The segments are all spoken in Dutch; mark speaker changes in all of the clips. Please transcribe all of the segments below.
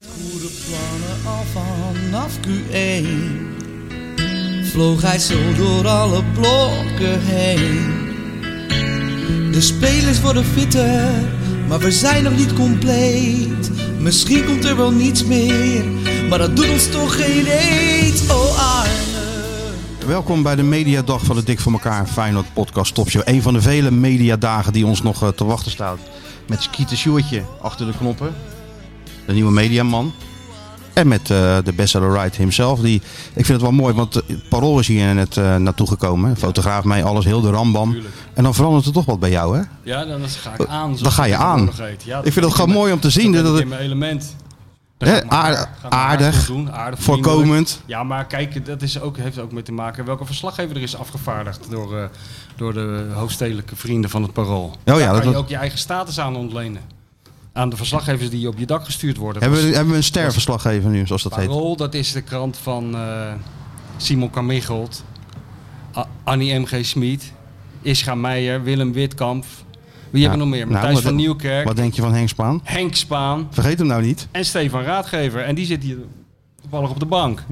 Speaker 1: goede plannen al vanaf Q1 Vloog hij zo door alle blokken heen De spelers worden fitter, maar we zijn nog niet compleet Misschien komt er wel niets meer, maar dat doet ons toch geen eet Oh Arne
Speaker 2: Welkom bij de Mediadag van de Dik voor elkaar Feyenoord Podcast Topshow. Een van de vele mediadagen die ons nog eh, te wachten staat. Met Skeeter Sjoertje achter de knoppen. De nieuwe mediaman. En met eh, de bestseller Wright himself. Die, ik vind het wel mooi, want eh, Parool is hier net eh, naartoe gekomen. hè. Fotograaf mij, alles heel de rambam. En dan verandert het toch wat bij jou, hè?
Speaker 3: Ja, dan is- ga ik aan.
Speaker 2: Dan
Speaker 3: zoals
Speaker 2: ga je
Speaker 3: het
Speaker 2: aan.
Speaker 3: tegenwoordig heet. Ja,
Speaker 2: Ik vind het gewoon mooi om te zien.
Speaker 3: Dat
Speaker 2: Dat
Speaker 3: is
Speaker 2: het
Speaker 3: in mijn element. Dan
Speaker 2: Hè,
Speaker 3: ga ik maar-
Speaker 2: aard-
Speaker 3: ga ik maar
Speaker 2: aardig,
Speaker 3: goed doen, aardig, vriendelijk.
Speaker 2: voorkomend.
Speaker 3: Ja, maar kijk, dat is ook, heeft ook mee te maken welke verslaggever er is afgevaardigd door, eh, door de hoofdstedelijke vrienden van het Parool. Daar
Speaker 2: Oh ja, dat-
Speaker 3: kan je ook je eigen status aan ontlenen. Aan de verslaggevers die op je dak gestuurd worden.
Speaker 2: Hebben we, hebben we een sterverslaggever nu, zoals dat heet?
Speaker 3: Parool, dat is de krant van eh, Simon Kamichelt, A- Annie M.G. Smit, Ischa Meijer, Willem Witkamp. Wie
Speaker 2: Ja,
Speaker 3: hebben we nog meer?
Speaker 2: nou,
Speaker 3: Matthijs
Speaker 2: wat-
Speaker 3: van Nieuwkerk,
Speaker 2: Wat denk je van Henk Spaan?
Speaker 3: Henk Spaan
Speaker 2: Vergeet hem nou niet.
Speaker 3: en Stefan Raadgever. En die zit hier toevallig op de bank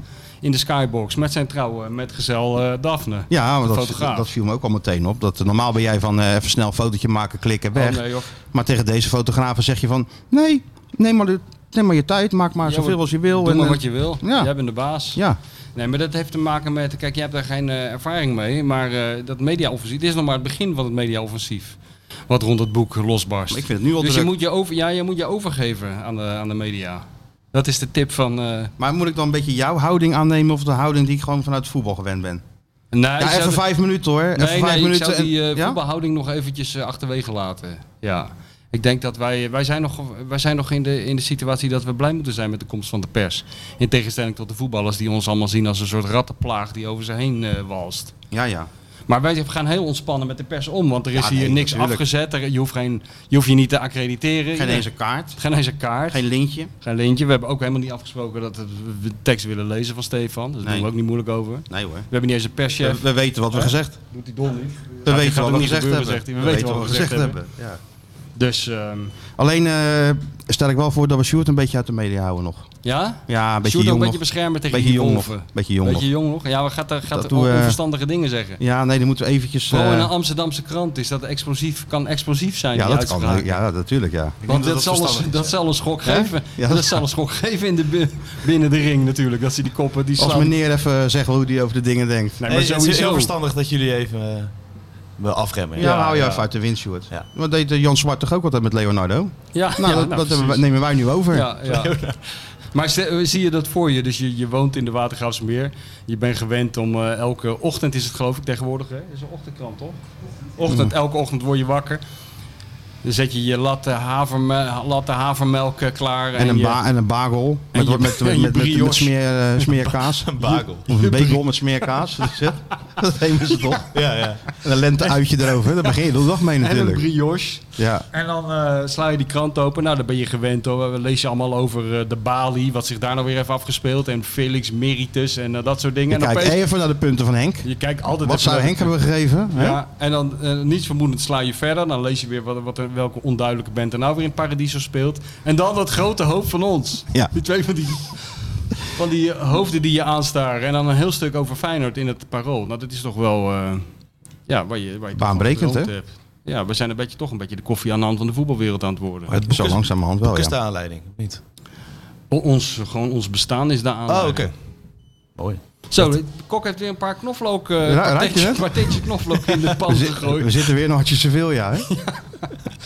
Speaker 3: in de skybox met zijn trouwe metgezel eh Daphne.
Speaker 2: Ja, want
Speaker 3: de
Speaker 2: dat,
Speaker 3: fotograaf.
Speaker 2: dat viel me ook al meteen op. Dat, eh, normaal ben jij van eh, even snel een fotootje maken, klikken, weg.
Speaker 3: Oh, nee, joh.
Speaker 2: Maar tegen deze fotografen zeg je van... Nee, neem maar, de, neem maar je tijd, maak maar
Speaker 3: Ja,
Speaker 2: zoveel
Speaker 3: maar
Speaker 2: als je wil.
Speaker 3: Doe
Speaker 2: en,
Speaker 3: maar
Speaker 2: eh,
Speaker 3: wat je wil.
Speaker 2: ja.
Speaker 3: Jij bent de baas.
Speaker 2: Ja,
Speaker 3: Nee, maar dat heeft te maken met... Kijk, jij hebt daar geen eh, ervaring mee. Maar eh, dat mediaoffensief... Dit is nog maar het begin van het mediaoffensief. Wat rond het boek losbarst.
Speaker 2: Maar ik vind het nu al
Speaker 3: dus je
Speaker 2: druk.
Speaker 3: moet je, over, ja, je moet je overgeven aan de, aan de media. Dat is de tip van... eh,
Speaker 2: maar moet ik dan een beetje jouw houding aannemen... of de houding die ik gewoon vanuit het voetbal gewend ben?
Speaker 3: nou, ik
Speaker 2: ja,
Speaker 3: zou
Speaker 2: even
Speaker 3: de-
Speaker 2: vijf minuten hoor. even
Speaker 3: Nee,
Speaker 2: vijf
Speaker 3: nee, ik
Speaker 2: minuten.
Speaker 3: zou
Speaker 2: en-
Speaker 3: die eh
Speaker 2: ja?
Speaker 3: voetbalhouding nog eventjes eh, achterwege laten. Ja. Ik denk dat wij, eh, wij zijn nog, wij zijn nog in, de, in de situatie dat we blij moeten zijn met de komst van de pers. In tegenstelling tot de voetballers die ons allemaal zien als een soort rattenplaag die over ze heen eh, walst.
Speaker 2: ja, ja.
Speaker 3: Maar wij gaan heel ontspannen met de pers om, want er is
Speaker 2: Ja,
Speaker 3: hier
Speaker 2: nee,
Speaker 3: niks
Speaker 2: natuurlijk.
Speaker 3: afgezet. Er- Je hoeft, geen, je hoeft je niet te accrediteren.
Speaker 2: Geen
Speaker 3: Je-
Speaker 2: eens een kaart.
Speaker 3: geen eens een kaart, geen,
Speaker 2: Geen lintje.
Speaker 3: lintje. We hebben ook helemaal niet afgesproken dat we de tekst willen lezen van Stefan. Dus daar
Speaker 2: Nee.
Speaker 3: doen we ook niet moeilijk over. We
Speaker 2: Nee hoor.
Speaker 3: hebben niet eens een
Speaker 2: We,
Speaker 3: perschef.
Speaker 2: we weten wat we
Speaker 3: Hè?
Speaker 2: gezegd
Speaker 3: Doet die dom niet.
Speaker 2: We weten wat we gezegd hebben.
Speaker 3: We, weten wat we gezegd hebben.
Speaker 2: Ja.
Speaker 3: Dus, ehm,
Speaker 2: Alleen eh, stel ik wel voor dat we Sjoerd een beetje uit de media houden nog.
Speaker 3: ja?
Speaker 2: Ja, een beetje
Speaker 3: Sjoerd ook
Speaker 2: jong
Speaker 3: een
Speaker 2: nog.
Speaker 3: beetje beschermen tegen
Speaker 2: Beetje
Speaker 3: die
Speaker 2: jong nog.
Speaker 3: wolven.
Speaker 2: Beetje jong nog.
Speaker 3: Beetje jong nog. Ja, we gaat, er- gaat
Speaker 2: Dat
Speaker 3: er
Speaker 2: doen we-
Speaker 3: onverstandige dingen zeggen.
Speaker 2: Ja, nee, dan moeten we eventjes...
Speaker 3: Vooral
Speaker 2: eh,
Speaker 3: in een Amsterdamse krant is dat explosief, kan explosief zijn.
Speaker 2: ja,
Speaker 3: die
Speaker 2: dat kan.
Speaker 3: uitspraak.
Speaker 2: eh, Ja, natuurlijk, ja.
Speaker 3: Want dat, zal, ons, dat zal een schok geven.
Speaker 2: Ja.
Speaker 3: Dat zal een schok geven in de, bi- binnen de ring natuurlijk. Dat ze die koppen die
Speaker 2: Als
Speaker 3: slaan.
Speaker 2: meneer even zegt hoe hij over de dingen denkt.
Speaker 3: Nee, maar
Speaker 4: Nee, het is heel
Speaker 3: sowieso.
Speaker 4: verstandig dat jullie even eh, me afremmen.
Speaker 2: Ja,
Speaker 4: Ja.
Speaker 2: hou je
Speaker 3: ja.
Speaker 2: even uit de wind, Sjoerd.
Speaker 4: Ja.
Speaker 2: Wat deed eh, Jan Zwart toch ook altijd met Leonardo? Nou,
Speaker 3: Ja, ja,
Speaker 2: dat,
Speaker 3: nou,
Speaker 2: dat hebben wij-
Speaker 3: precies.
Speaker 2: nemen wij nu over.
Speaker 3: Ja, ja. Maar ste- eh, zie je dat voor je? Dus je, je woont in de Watergraafsmeer. Je bent gewend om eh, elke ochtend, is het geloof ik tegenwoordig, hè? is een ochtendkrant toch? Ochtend,
Speaker 2: Mm.
Speaker 3: elke ochtend word je wakker. Dan zet je je latte, haverme, latte havermelk eh, klaar.
Speaker 2: En, een
Speaker 3: je-
Speaker 2: ba en een bagel met,
Speaker 3: en je-
Speaker 2: met, met,
Speaker 3: en
Speaker 2: met,
Speaker 3: je
Speaker 2: met, met,
Speaker 3: brioche.
Speaker 2: smeer, eh, smeerkaas.
Speaker 4: Een bagel.
Speaker 2: Of een bagel met smeerkaas. dat is het. Dat nemen ze toch.
Speaker 4: Ja, ja.
Speaker 2: En een lenteuitje erover. Daar begin je de dag mee
Speaker 3: en een
Speaker 2: natuurlijk.
Speaker 3: brioche.
Speaker 2: Ja.
Speaker 3: En dan eh, sla je die krant open. Nou, daar ben je gewend hoor. We lezen allemaal over eh, de Bali, wat zich daar nou weer heeft afgespeeld. En Felix Meritus en eh, dat soort dingen.
Speaker 2: Ik
Speaker 3: en
Speaker 2: kijk
Speaker 3: opeens-
Speaker 2: even naar de punten van Henk.
Speaker 3: je kijkt altijd
Speaker 2: Wat
Speaker 3: even
Speaker 2: zou
Speaker 3: naar de
Speaker 2: Henk hebben gegeven? hè?
Speaker 3: Ja, en dan eh, niets vermoedend sla je verder. Dan lees je weer wat, wat er, welke onduidelijke band er nou weer in Paradiso speelt. En dan dat grote hoofd van ons.
Speaker 2: Ja.
Speaker 3: Die twee van die, van die eh, hoofden die je aanstaren. En dan een heel stuk over Feyenoord in het parool. Nou, dat is toch wel eh, ja, waar je, waar je toch
Speaker 2: Baanbrekend,
Speaker 3: van gedroomd
Speaker 2: hè?
Speaker 3: hebt. Ja, we zijn een beetje, toch een beetje de koffie aan de hand van de voetbalwereld aan het worden.
Speaker 4: Het boek
Speaker 2: Zo
Speaker 4: is-
Speaker 2: langzamerhand wel,
Speaker 4: Wat is de
Speaker 2: ja.
Speaker 4: aanleiding? of Niet.
Speaker 3: O- Ons, gewoon ons bestaan is daar aan.
Speaker 4: Oh, oké. Mooi.
Speaker 3: Zo, de kok heeft weer een paar knoflook, eh
Speaker 2: ruik je
Speaker 3: kwartetje-
Speaker 2: het?
Speaker 3: kwartetje knoflook in de pan
Speaker 2: We, zi-
Speaker 3: gegooid.
Speaker 2: we zitten weer een hartje zoveel, ja. hè?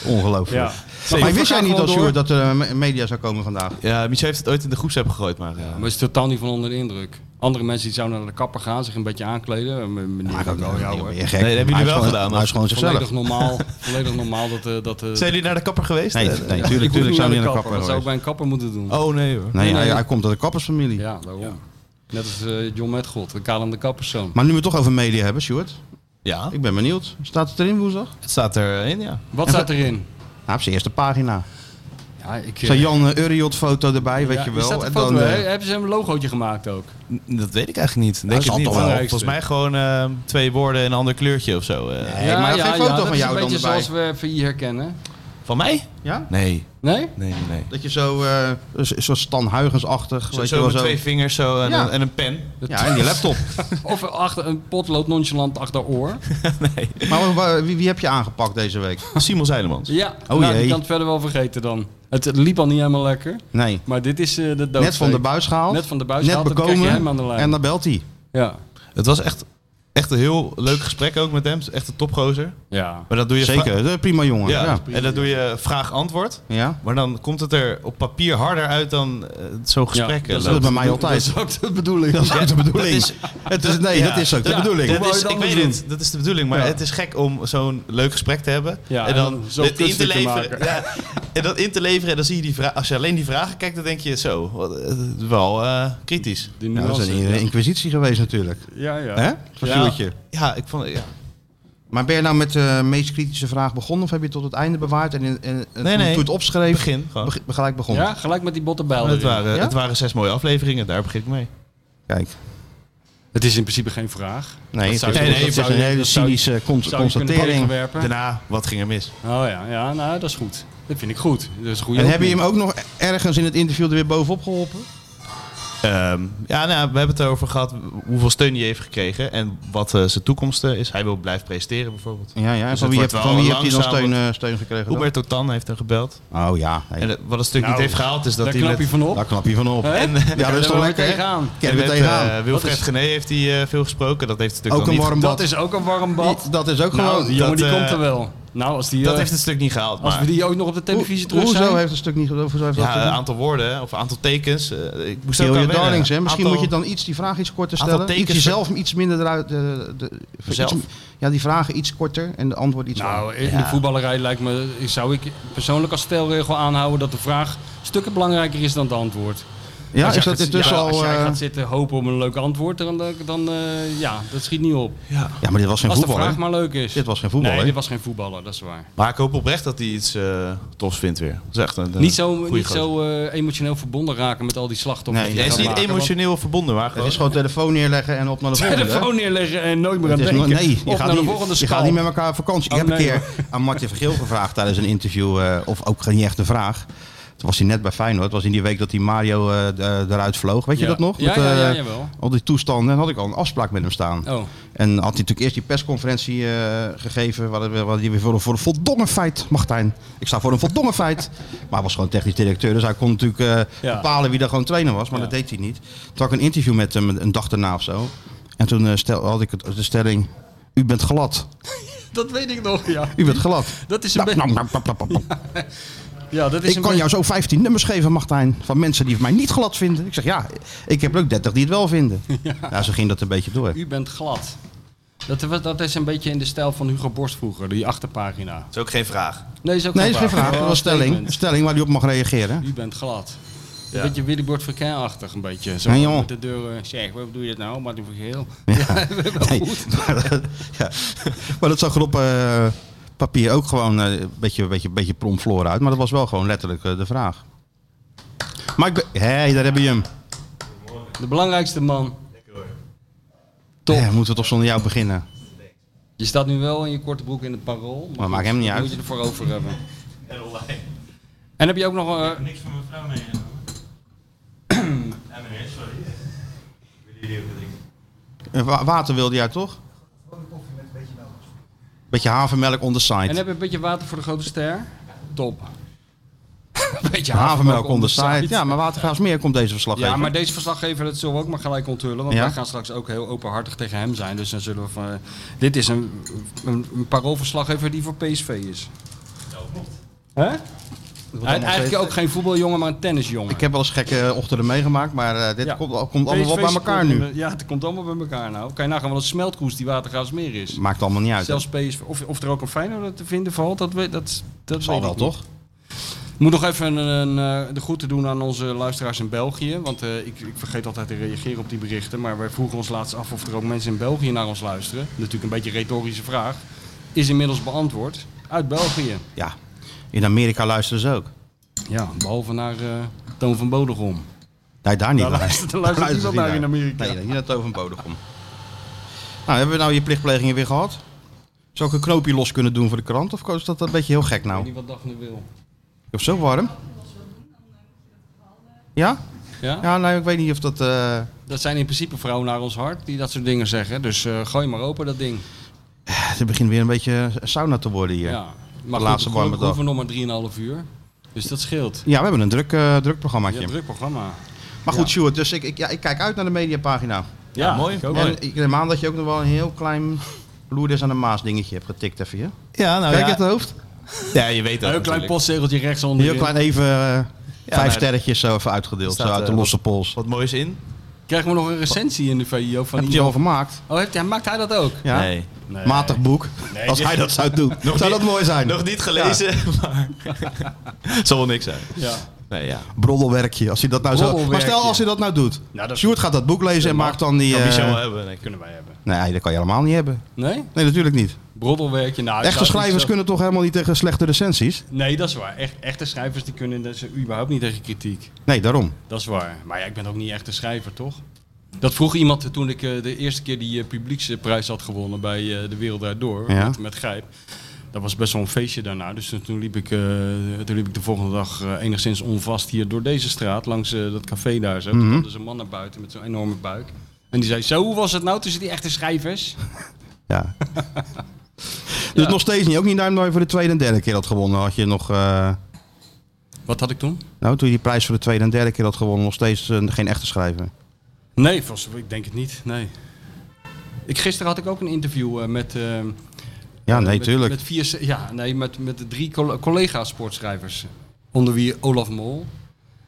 Speaker 2: Ongelooflijk.
Speaker 3: Ja.
Speaker 2: Maar wist jij niet
Speaker 3: al
Speaker 2: als Sjoerd dat er eh, me- media zou komen vandaag?
Speaker 4: Ja, Michel heeft het ooit in de groepsapp gegooid, maar... eh,
Speaker 3: Maar is totaal niet van onder de indruk. Andere mensen die zouden naar de kapper gaan, zich een beetje aankleden. Eh, m- Meneer,
Speaker 2: ik ook
Speaker 3: wel, ja, hoor.
Speaker 2: Nee, dat
Speaker 4: Nee, dat hebben jullie wel gedaan,
Speaker 2: Hij
Speaker 4: maar-
Speaker 2: is gewoon zichzelf.
Speaker 3: Volledig normaal, volledig normaal dat... eh dat eh,
Speaker 4: Zijn jullie naar de kapper geweest?
Speaker 2: Nee,
Speaker 4: Eh,
Speaker 2: nee,
Speaker 4: ja.
Speaker 2: tuurlijk,
Speaker 3: ik hoef
Speaker 2: tuurlijk zou
Speaker 3: naar
Speaker 2: hij naar de kapper
Speaker 3: Dat zou
Speaker 2: geweest.
Speaker 3: ik bij een kapper moeten doen.
Speaker 4: Oh, nee hoor.
Speaker 2: Nee,
Speaker 3: Nee,
Speaker 2: hij,
Speaker 3: nee.
Speaker 2: hij komt uit de kappersfamilie.
Speaker 3: Ja, daarom. Net als eh, John Metgold, de Kalem de Kapperszoon.
Speaker 2: Maar nu we het toch over media hebben, Sjoerd.
Speaker 4: Ja,
Speaker 2: Ik ben benieuwd. Staat het erin woensdag?
Speaker 4: het staat erin, ja.
Speaker 3: Wat staat erin?
Speaker 2: Nou, op zijn eerste pagina.
Speaker 3: Ja, ik... eh,
Speaker 2: Zo'n Jan eh, Uriot foto erbij, weet
Speaker 3: ja,
Speaker 2: je
Speaker 3: is
Speaker 2: wel.
Speaker 3: dat een
Speaker 2: En
Speaker 3: foto?
Speaker 2: dan, eh,
Speaker 3: He- Hebben ze een logootje gemaakt ook?
Speaker 4: N- Dat weet ik eigenlijk niet. Denk
Speaker 2: dat
Speaker 4: het
Speaker 2: zal
Speaker 4: niet.
Speaker 2: toch wel.
Speaker 4: Volgens mij gewoon eh, twee woorden en een ander kleurtje of zo. eh.
Speaker 2: Nee, maar geen foto
Speaker 3: dat
Speaker 2: van
Speaker 3: is
Speaker 2: jou
Speaker 3: een
Speaker 2: dan
Speaker 3: beetje
Speaker 2: erbij.
Speaker 3: zoals we VI herkennen.
Speaker 4: Van mij?
Speaker 2: Ja?
Speaker 4: Nee,
Speaker 3: Nee?
Speaker 4: nee, nee, nee.
Speaker 2: Dat je zo, eh, zo zo Stan Huygens-achtig,
Speaker 4: Zo,
Speaker 2: weet
Speaker 4: zo
Speaker 2: je wel,
Speaker 4: met
Speaker 2: zo.
Speaker 4: twee vingers zo en,
Speaker 2: Ja.
Speaker 4: een, en een pen.
Speaker 2: Ja, en die laptop.
Speaker 3: Of achter een potlood nonchalant achter oor.
Speaker 4: nee.
Speaker 2: maar wa- wie, wie heb je aangepakt deze week?
Speaker 4: Simon Zeilemans.
Speaker 3: Ja,
Speaker 2: Oh
Speaker 3: nou,
Speaker 2: jee.
Speaker 3: die kan het verder wel vergeten dan. Het liep al niet helemaal lekker.
Speaker 2: Nee.
Speaker 3: Maar dit is eh, de dood.
Speaker 2: Net van de buis gehaald.
Speaker 3: Net van de buis gehaald,
Speaker 2: Net
Speaker 3: dan krijg je
Speaker 2: bekomen.
Speaker 3: hem aan de lijn.
Speaker 2: En dan belt hij.
Speaker 3: Ja.
Speaker 4: Het was echt, echt een heel leuk gesprek ook met hem. Echt een topgozer.
Speaker 3: ja.
Speaker 4: Maar dat doe je
Speaker 2: Zeker, eh, prima jongen.
Speaker 4: vra- Ja,
Speaker 2: Ja. Ja.
Speaker 4: en dat doe je vraag-antwoord. Maar dan komt het er op papier harder uit dan eh, zo'n
Speaker 3: dat is
Speaker 4: gesprek.
Speaker 2: Dat is
Speaker 4: loopt.
Speaker 2: bij mij altijd.
Speaker 3: Dat is ook de bedoeling.
Speaker 2: Dat is ook de bedoeling.
Speaker 4: dat is-
Speaker 2: het is, nee,
Speaker 4: Ja.
Speaker 2: dat is ook de
Speaker 4: Ja,
Speaker 2: bedoeling.
Speaker 4: dat
Speaker 3: Hoe wou
Speaker 4: is,
Speaker 3: je het
Speaker 4: ik weet
Speaker 3: anders
Speaker 4: het, dat is de bedoeling. Maar
Speaker 3: Ja.
Speaker 4: het is gek om zo'n leuk gesprek te hebben.
Speaker 3: Ja,
Speaker 4: en
Speaker 3: en
Speaker 4: dan,
Speaker 3: dan zo
Speaker 4: dit in te
Speaker 3: kunstelijk te
Speaker 4: leveren.
Speaker 3: maken.
Speaker 4: Ja, en dat in te leveren. En dan zie je die vra- als je alleen die vragen kijkt, dan denk je zo. wat- eh, Wel eh, kritisch.
Speaker 3: Die
Speaker 2: Ja, dat is
Speaker 3: nuance.
Speaker 2: een eh, inquisitie geweest natuurlijk.
Speaker 3: ja, ja.
Speaker 2: Hè?
Speaker 4: Ja.
Speaker 2: Verzuurtje.
Speaker 4: Ja, ik vond. Ja.
Speaker 2: Maar ben je nou met de meest kritische vraag begonnen of heb je het tot het einde bewaard en, in, en, en toen-
Speaker 4: nee.
Speaker 2: toen je het opschreef,
Speaker 4: Begin gewoon.
Speaker 2: beg- gelijk begonnen?
Speaker 3: Ja, gelijk met die botte bijl.
Speaker 4: het,
Speaker 3: erin.
Speaker 4: waren,
Speaker 2: Ja?
Speaker 4: het waren zes mooie afleveringen, daar begin ik mee.
Speaker 2: Kijk,
Speaker 3: Het is in principe geen vraag.
Speaker 2: nee, het
Speaker 4: zou
Speaker 2: is,
Speaker 4: je-
Speaker 2: nee,
Speaker 4: dat
Speaker 2: het is
Speaker 3: zou
Speaker 2: een
Speaker 3: je-
Speaker 2: hele
Speaker 3: dat zou je-
Speaker 2: cynische con-
Speaker 3: Zou je kunnen
Speaker 2: constatering.
Speaker 3: tegenwerpen?
Speaker 4: Daarna, wat ging er mis?
Speaker 3: Oh ja, ja, nou dat is goed. Dat vind ik goed. Dat is een goede
Speaker 2: En heb je hem
Speaker 3: opening.
Speaker 2: ook nog ergens in het interview er weer bovenop geholpen?
Speaker 4: Ehm, ja, nou, we hebben het erover gehad hoeveel steun hij heeft gekregen en wat eh, zijn toekomst eh, is. Hij wil blijven presteren bijvoorbeeld.
Speaker 2: Ja, ja.
Speaker 4: Dus
Speaker 2: van
Speaker 4: het
Speaker 2: wie, heb,
Speaker 4: wordt wel
Speaker 2: van wie heb je dan
Speaker 4: langzaam
Speaker 2: steun, eh, steun gekregen? dan?
Speaker 4: Hubert Totan heeft hem gebeld.
Speaker 2: Oh ja, nee,
Speaker 4: En eh, wat het stuk
Speaker 3: Nou,
Speaker 4: niet heeft gehaald is dat
Speaker 3: Daar
Speaker 4: hij
Speaker 3: knap
Speaker 4: met...
Speaker 3: je van op.
Speaker 2: daar knap je van op.
Speaker 3: Hè?
Speaker 4: En,
Speaker 2: Ja, dat is
Speaker 3: Daar
Speaker 2: toch
Speaker 3: wil je
Speaker 2: lekker? hè?
Speaker 3: tegenaan.
Speaker 2: Ken je er
Speaker 4: met,
Speaker 2: tegenaan.
Speaker 4: eh, Wilfred
Speaker 3: Dat is-
Speaker 4: Gené heeft hij eh, veel gesproken. Dat heeft het stuk
Speaker 2: Ook
Speaker 4: dan
Speaker 2: een
Speaker 4: niet
Speaker 2: warm
Speaker 3: Dat
Speaker 2: bad.
Speaker 3: is ook een warm bad.
Speaker 2: Dat is ook
Speaker 3: Nou,
Speaker 2: gewoon...
Speaker 3: die jongen
Speaker 4: dat,
Speaker 3: die
Speaker 4: eh,
Speaker 3: komt er wel. Nou, als die,
Speaker 4: Dat
Speaker 3: eh,
Speaker 4: heeft het stuk niet gehaald.
Speaker 3: als
Speaker 4: maar-
Speaker 3: we die ook nog op de televisie
Speaker 2: Hoe-
Speaker 3: terug
Speaker 2: Hoezo
Speaker 3: zijn.
Speaker 2: heeft het stuk niet... Hoezo heeft dat
Speaker 4: ja, een
Speaker 2: stuk niet-
Speaker 4: aantal woorden of een aantal tekens. eh, ik moest
Speaker 2: Kill
Speaker 4: ook aan
Speaker 2: your
Speaker 4: wennen.
Speaker 2: darlings, hè? Misschien
Speaker 4: Aantal-
Speaker 2: moet je dan iets, die vraag iets korter
Speaker 4: aantal
Speaker 2: stellen. Iets
Speaker 4: tekens-
Speaker 2: jezelf iets minder eruit... eh, de, iets-
Speaker 4: Zelf.
Speaker 2: ja, die vragen iets korter en de antwoord iets langer.
Speaker 3: Nou, in
Speaker 4: Ja.
Speaker 3: de voetballerij lijkt me, zou ik persoonlijk als stelregel aanhouden dat de vraag stukken belangrijker is dan het antwoord.
Speaker 2: Ja,
Speaker 3: als
Speaker 2: is
Speaker 3: jij
Speaker 2: dat
Speaker 3: gaat-
Speaker 2: intussen
Speaker 3: ja,
Speaker 2: al...
Speaker 3: Als jij
Speaker 2: eh,
Speaker 3: gaat zitten hopen op een leuk antwoord, dan, dan eh, ja, dat schiet niet op.
Speaker 4: Ja.
Speaker 2: Ja, maar dit was geen
Speaker 3: Als de
Speaker 2: voetbal, hè?
Speaker 3: vraag maar leuk is.
Speaker 2: Dit was geen voetbal,
Speaker 3: Nee,
Speaker 2: hè?
Speaker 3: dit was geen voetballer, dat is waar.
Speaker 4: Maar ik hoop oprecht dat hij iets eh, tofs vindt weer. Dat is echt een, eh,
Speaker 3: niet zo,
Speaker 4: goeie
Speaker 3: niet
Speaker 4: gozer.
Speaker 3: zo eh, emotioneel verbonden raken met al die slachtoffers.
Speaker 2: Nee,
Speaker 3: die
Speaker 4: Hij
Speaker 3: je
Speaker 4: is
Speaker 3: gaat
Speaker 4: niet
Speaker 3: maken, want-
Speaker 4: emotioneel verbonden, maar
Speaker 2: Het
Speaker 4: gewoon...
Speaker 2: is gewoon telefoon neerleggen en op naar de volgende. hè?
Speaker 3: telefoon neerleggen en nooit meer aan
Speaker 2: Het is
Speaker 3: denken.
Speaker 2: nog- nee, je
Speaker 3: of
Speaker 2: gaat,
Speaker 3: naar de volgende
Speaker 2: niet, je gaat
Speaker 3: schaal.
Speaker 2: niet met elkaar op vakantie.
Speaker 3: Oh,
Speaker 2: ik heb
Speaker 3: nee,
Speaker 2: een keer aan Martin Vergeel gevraagd tijdens een interview, eh, of ook geen echt een vraag. Toen was hij net bij Feyenoord. Het was in die week dat die Mario eh, d- eh, eruit vloog. Weet je
Speaker 3: Ja.
Speaker 2: dat nog?
Speaker 3: Ja,
Speaker 2: Met,
Speaker 3: ja, ja,
Speaker 2: eh,
Speaker 3: jawel.
Speaker 2: al die toestanden. En had ik al een afspraak met hem staan.
Speaker 3: Oh,
Speaker 2: En had hij natuurlijk eerst die persconferentie eh, gegeven. Waar hij- waar hij weer voor een, voor een voldongen feit, Martijn. Ik sta voor een voldongen feit. Maar hij was gewoon technisch directeur. Dus hij kon natuurlijk eh,
Speaker 3: Ja.
Speaker 2: bepalen wie daar gewoon trainer was. Maar
Speaker 3: Ja.
Speaker 2: dat deed hij niet. Toen had ik een interview met hem een dag daarna of zo. En toen eh, stel, had ik het- de stelling... U bent glad.
Speaker 3: dat weet ik nog, ja.
Speaker 2: U bent glad.
Speaker 3: Dat is een
Speaker 2: Nou,
Speaker 3: beetje...
Speaker 2: nou, nou, nou, nou, nou.
Speaker 3: ja, dat is
Speaker 2: Ik
Speaker 3: een
Speaker 2: kan
Speaker 3: be-
Speaker 2: jou zo 15 nummers geven, Martijn. Van mensen die mij niet glad vinden. Ik zeg ja, ik heb er ook 30 die het wel vinden. Ja. zo ging dat een beetje door.
Speaker 3: U bent glad. Dat, was- dat is een beetje in de stijl van Hugo Borst vroeger, die achterpagina.
Speaker 4: Dat is ook geen vraag.
Speaker 3: Nee, is ook
Speaker 2: Nee, dat is geen vraag.
Speaker 3: Gewoon
Speaker 2: Dat was
Speaker 3: een
Speaker 2: stelling.
Speaker 3: statement.
Speaker 2: Stelling waar hij op mag reageren.
Speaker 3: U bent glad.
Speaker 4: Ja.
Speaker 3: Een beetje Willy Bord Verkeer-achtig, een beetje. Zo
Speaker 2: Ja, joh.
Speaker 3: met de deuren. Zeg, wat bedoel je het nou? Martin Vergeel.
Speaker 2: Ja. Nee, maar, ja. maar dat zag er op eh, papier ook gewoon eh, een beetje, een beetje, een beetje promfloor uit. Maar dat was wel gewoon letterlijk eh, de vraag. Maar ik ben- Hé, daar hebben je hem.
Speaker 3: De belangrijkste man. Top.
Speaker 2: Hé, Eh, moeten we toch zonder jou beginnen?
Speaker 3: Je staat nu wel in je korte broek in het parool. Maar, goed,
Speaker 2: maakt hem niet
Speaker 3: dat
Speaker 2: uit.
Speaker 3: moet je ervoor over hebben. En heb je ook nog... eh,
Speaker 5: niks van mijn vrouw meegenomen. ja, meneer, sorry. Willen jullie even drinken?
Speaker 2: Eh, wa- water wilde jij toch? Beetje havermelk on the side.
Speaker 3: en heb je een beetje water voor de grote ster? Top. beetje
Speaker 2: havermelk on the
Speaker 3: onderzijds.
Speaker 2: side. Ja, maar Watergraafsmeer komt deze verslaggever.
Speaker 3: Ja, maar deze verslaggever, dat zullen we ook maar gelijk onthullen. Want
Speaker 2: Ja.
Speaker 3: wij gaan straks ook heel openhartig tegen hem zijn. Dus dan zullen we van... eh, dit is een, een, een paroolverslaggever die voor PSV is. Hè?
Speaker 2: Wordt
Speaker 3: Hij
Speaker 2: allemaal
Speaker 3: is eigenlijk
Speaker 2: steeds-
Speaker 3: ook geen voetbaljongen, maar een tennisjongen.
Speaker 2: Ik heb wel eens gekke ochtenden meegemaakt, maar eh, dit
Speaker 3: Ja.
Speaker 2: komt, komt allemaal
Speaker 3: PSV
Speaker 2: wel bij elkaar
Speaker 3: komt-
Speaker 2: nu.
Speaker 3: Ja, het komt allemaal bij elkaar nou. Kan je nagaan wat een smeltkroes die Watergraafsmeer is.
Speaker 2: Maakt allemaal niet uit.
Speaker 3: Zelfs PSV, of, of er ook een Feyenoord te vinden valt, dat, weet- dat, dat
Speaker 2: zal
Speaker 3: weet
Speaker 2: wel,
Speaker 3: ik niet.
Speaker 2: toch?
Speaker 3: Ik moet nog even een, een, eh, de groeten doen aan onze luisteraars in België. Want eh, ik, ik vergeet altijd te reageren op die berichten. Maar wij vroegen ons laatst af of er ook mensen in België naar ons luisteren. Natuurlijk een beetje een retorische vraag. Is inmiddels beantwoord. Uit België.
Speaker 2: Ja. In Amerika luisteren ze ook.
Speaker 3: Ja, behalve naar eh, Toon van Bodegom.
Speaker 2: Nee, daar niet.
Speaker 3: Daar
Speaker 2: naar.
Speaker 3: luistert- daar luistert
Speaker 2: Daar
Speaker 3: niemand naar in
Speaker 2: luistert
Speaker 3: Amerika.
Speaker 2: Nee, hier naar Toon van Bodegom. Nou, hebben we nou je plichtplegingen weer gehad? Zou ik een knoopje los kunnen doen voor de krant? Of is dat een beetje heel gek nou?
Speaker 3: Niet wat Daphne wil.
Speaker 2: Of zo warm? Ja?
Speaker 3: Ja?
Speaker 2: Ja, nee, ik weet niet of dat... eh,
Speaker 3: Dat zijn in principe vrouwen naar ons hart die dat soort dingen zeggen. Dus eh, gooi maar open dat ding.
Speaker 2: Het begint weer een beetje sauna te worden hier.
Speaker 3: Ja.
Speaker 2: Ja,
Speaker 3: Maar
Speaker 2: laatste
Speaker 3: laatste
Speaker 2: warme
Speaker 3: goed,
Speaker 2: dag.
Speaker 3: we hoeven nog maar 3,5 uur. Dus dat scheelt.
Speaker 2: we hebben een druk, eh druk
Speaker 3: Je
Speaker 2: programmaatje.
Speaker 3: hebt druk programma.
Speaker 2: maar goed, Sjoerd, dus ik, ik, ja, ik kijk uit naar de mediapagina.
Speaker 3: Ja,
Speaker 4: mooi.
Speaker 3: ik ook.
Speaker 2: En ik neem aan dat je ook nog wel een heel klein Loerders aan de Maas dingetje hebt getikt even hier.
Speaker 4: Ja, nou
Speaker 2: Kijk
Speaker 4: ja,
Speaker 2: het hoofd?
Speaker 4: ja, je weet
Speaker 3: Een heel
Speaker 4: dat
Speaker 3: klein
Speaker 4: natuurlijk.
Speaker 3: postzegeltje rechtsonder.
Speaker 2: Heel klein even eh, vijf
Speaker 4: nou,
Speaker 2: sterretjes zo even uitgedeeld,
Speaker 4: staat,
Speaker 2: zo uit de
Speaker 4: eh,
Speaker 2: losse pols.
Speaker 4: Wat moois in?
Speaker 3: Krijgen we nog een recensie in de VIO van
Speaker 2: Heb je al
Speaker 3: iemand?
Speaker 2: gemaakt?
Speaker 3: Oh, heeft hij, maakt hij dat ook?
Speaker 2: Ja.
Speaker 4: Nee.
Speaker 2: Matig boek. Als hij dat zou doen, zou dat mooi zijn.
Speaker 4: Nog niet gelezen, maar... Zal wel niks zijn.
Speaker 3: Ja.
Speaker 4: Nee, ja.
Speaker 2: Broddelwerkje, als hij dat nou zo... Maar
Speaker 3: Broddelwerkje.
Speaker 2: stel als hij dat nou doet.
Speaker 3: Nou, dat-
Speaker 2: Sjoerd gaat dat boek lezen en
Speaker 3: mag.
Speaker 2: maakt dan die...
Speaker 4: Kan
Speaker 2: eh,
Speaker 4: Michel wel hebben, denk ik.
Speaker 3: Kunnen wij hebben.
Speaker 2: nee, dat kan je helemaal niet hebben.
Speaker 3: Nee?
Speaker 2: Nee, natuurlijk niet.
Speaker 3: Broddelwerkje. Nou, ik
Speaker 2: Echte
Speaker 3: zou het niet
Speaker 2: schrijvers
Speaker 3: zo-
Speaker 2: kunnen toch helemaal niet tegen slechte recensies?
Speaker 3: Nee, dat is waar. Echt, echte schrijvers die kunnen dat ze überhaupt niet tegen kritiek.
Speaker 2: Nee, daarom.
Speaker 3: Dat is waar. Maar ja, ik ben ook niet echt een schrijver, toch? Dat vroeg iemand toen ik eh, de eerste keer die eh, publieksprijs had gewonnen bij eh, De Wereld Daardoor,
Speaker 2: Ja.
Speaker 3: met, met Gijp. Dat was best wel een feestje daarna. Dus toen- toen liep ik, eh, toen liep ik de volgende dag eh, enigszins onvast hier door deze straat, langs eh, dat café daar zo. Toen kwam dus een man naar buiten met zo'n enorme buik. En die zei, zo, hoe was het nou tussen die echte schrijvers?
Speaker 2: Ja. dus nog steeds niet. Ook niet omdat je voor de tweede en derde keer had gewonnen. Had je nog... eh,
Speaker 3: Wat had ik toen?
Speaker 2: nou, toen je die prijs voor de tweede en derde keer had gewonnen, nog steeds eh, geen echte schrijver.
Speaker 3: Nee, volgens, ik denk het niet, nee. Ik, gisteren had ik ook een interview eh, met... eh,
Speaker 2: Ja, nee,
Speaker 3: met,
Speaker 2: tuurlijk.
Speaker 3: Met vier, ja, nee, met, met de drie collega-sportschrijvers. Onder wie Olaf Mol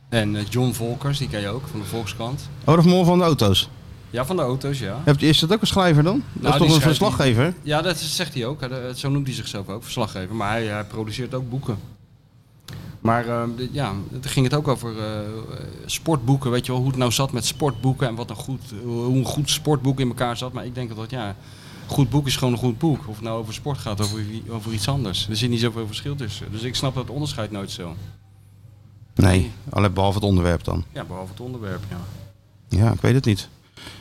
Speaker 3: en eh, John Volkers, die ken je ook, van de Volkskrant.
Speaker 2: Oh, dat is Mol van de auto's.
Speaker 3: Ja, van de auto's, ja.
Speaker 2: Heb- Is dat ook een schrijver dan? dat
Speaker 3: Nou, die
Speaker 2: is toch een
Speaker 3: schrijft-
Speaker 2: verslaggever?
Speaker 3: Ja, dat zegt hij ook. Hij, eh, Zo noemt hij zichzelf ook, verslaggever. Maar hij, hij produceert ook boeken. Maar eh, de- ja, toen ging het ook over eh, eh, sportboeken. Weet je wel, hoe het nou zat met sportboeken en wat een goed, hoe een goed sportboek in elkaar zat. Maar ik denk dat, ja, een goed boek is gewoon een goed boek. Of het nou over sport gaat of over, over iets anders. Er zit niet zoveel verschil tussen. Dus ik snap dat onderscheid nooit zo.
Speaker 2: Nee, alleen behalve het onderwerp dan.
Speaker 3: Ja, behalve het onderwerp, ja.
Speaker 2: Ja, ik weet het niet.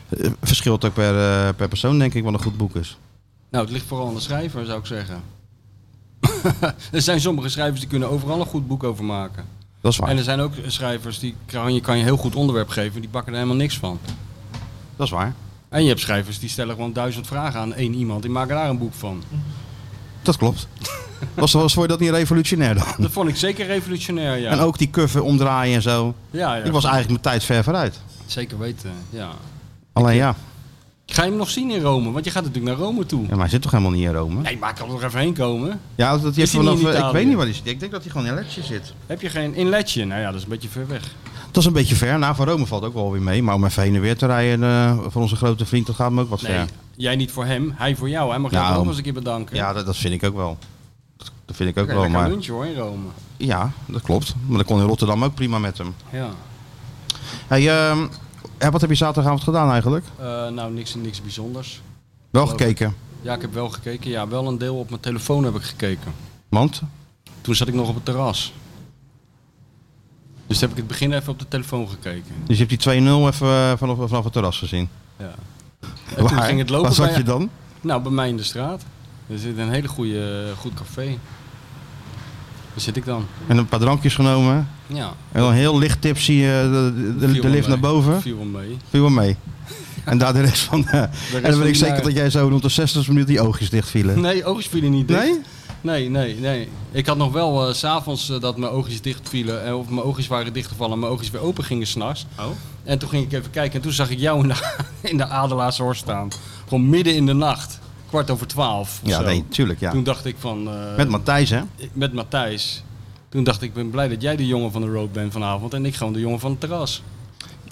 Speaker 2: Eh, Verschilt ook per, eh, per persoon, denk ik, wat een goed boek is.
Speaker 3: Nou, het ligt vooral aan de schrijver, zou ik zeggen. er zijn sommige schrijvers die kunnen overal een goed boek over maken.
Speaker 2: Dat is waar.
Speaker 3: En er zijn ook schrijvers die kan je, kan je heel goed onderwerp geven, die bakken er helemaal niks van.
Speaker 2: Dat is waar.
Speaker 3: En je hebt schrijvers die stellen gewoon duizend vragen aan één iemand, die maken daar een boek van.
Speaker 2: Dat klopt. was, was voor je dat niet revolutionair dan?
Speaker 3: Dat vond ik zeker revolutionair, ja.
Speaker 2: En ook die cover omdraaien en zo.
Speaker 3: ja, ja
Speaker 2: Ik was eigenlijk mijn tijd ver vooruit.
Speaker 3: Zeker weten, ja.
Speaker 2: Alleen ja,
Speaker 3: Ga je hem nog zien in Rome? Want je gaat natuurlijk naar Rome toe.
Speaker 2: ja maar hij zit toch helemaal niet in Rome?
Speaker 3: Nee, maar ik kan er nog even heen komen.
Speaker 2: Ja, dat heeft
Speaker 3: hij niet
Speaker 2: vanaf,
Speaker 3: in
Speaker 2: eh, ik
Speaker 3: Italië?
Speaker 2: weet niet waar hij zit. Ik denk dat hij gewoon in Lecce zit.
Speaker 3: Heb je geen inletje? Nou ja, dat is een beetje ver weg.
Speaker 2: Dat is een beetje ver. Nou, van Rome valt ook wel weer mee. Maar om even heen en weer te rijden eh, voor onze grote vriend, dat gaat me ook wat
Speaker 3: Nee,
Speaker 2: ver.
Speaker 3: jij niet voor hem, hij voor jou. Hij mag jou
Speaker 2: Nou,
Speaker 3: ook nog eens een keer bedanken.
Speaker 2: Ja, dat, dat vind ik ook wel. Dat- Dat vind ik ook
Speaker 3: Oké,
Speaker 2: wel.
Speaker 3: lekker
Speaker 2: Maar
Speaker 3: lunch hoor in Rome.
Speaker 2: ja, dat klopt. Maar dat kon in Rotterdam ook prima met hem.
Speaker 3: Ja.
Speaker 2: Hey, ehm, eh, wat heb je zaterdagavond gedaan eigenlijk?
Speaker 3: Eh, nou, niks, niks bijzonders.
Speaker 2: Wel
Speaker 3: Geloof
Speaker 2: gekeken.
Speaker 3: Ja, ik heb wel gekeken. Ja, wel een deel op mijn telefoon heb ik gekeken.
Speaker 2: Want?
Speaker 3: Toen zat ik nog op het terras. Dus heb ik het begin even op de telefoon gekeken.
Speaker 2: Dus je hebt die 2-0 even eh, vanaf, vanaf het terras gezien.
Speaker 3: Ja. En toen ging het lopen
Speaker 2: Waar zat
Speaker 3: bij-
Speaker 2: je dan?
Speaker 3: Nou, bij mij in de straat. Er zit een hele goede, goed café. Daar zit ik dan.
Speaker 2: En een paar drankjes genomen.
Speaker 3: Ja.
Speaker 2: En dan heel licht tipsy eh, de, de- de,
Speaker 3: Viel
Speaker 2: de
Speaker 3: wel
Speaker 2: lift
Speaker 3: mee.
Speaker 2: naar boven.
Speaker 3: Viel wel mee.
Speaker 2: Viel wel mee. En daar de rest van... eh, en dan
Speaker 3: van
Speaker 2: weet ik
Speaker 3: die
Speaker 2: zeker
Speaker 3: lui.
Speaker 2: dat jij zo rond de 60 minuut die oogjes dicht vielen.
Speaker 3: Nee, oogjes vielen niet dicht.
Speaker 2: Nee?
Speaker 3: Nee, nee, nee. Ik had nog wel eh, s s'avonds dat mijn oogjes dicht vielen. eh, of mijn oogjes waren dichtgevallen en mijn oogjes weer open gingen s'nachts.
Speaker 4: Oh.
Speaker 3: En toen ging ik even kijken en toen zag ik jou in de, in de Adelaarshorst staan. Gewoon midden in de nacht. Kwart over twaalf. of
Speaker 2: Ja,
Speaker 3: zo.
Speaker 2: nee, tuurlijk ja.
Speaker 3: Toen dacht ik van... eh,
Speaker 2: Met Matthijs hè?
Speaker 3: met Matthijs. Toen dacht ik, ik ben blij dat jij de jongen van de road bent vanavond. En ik gewoon de jongen van het terras.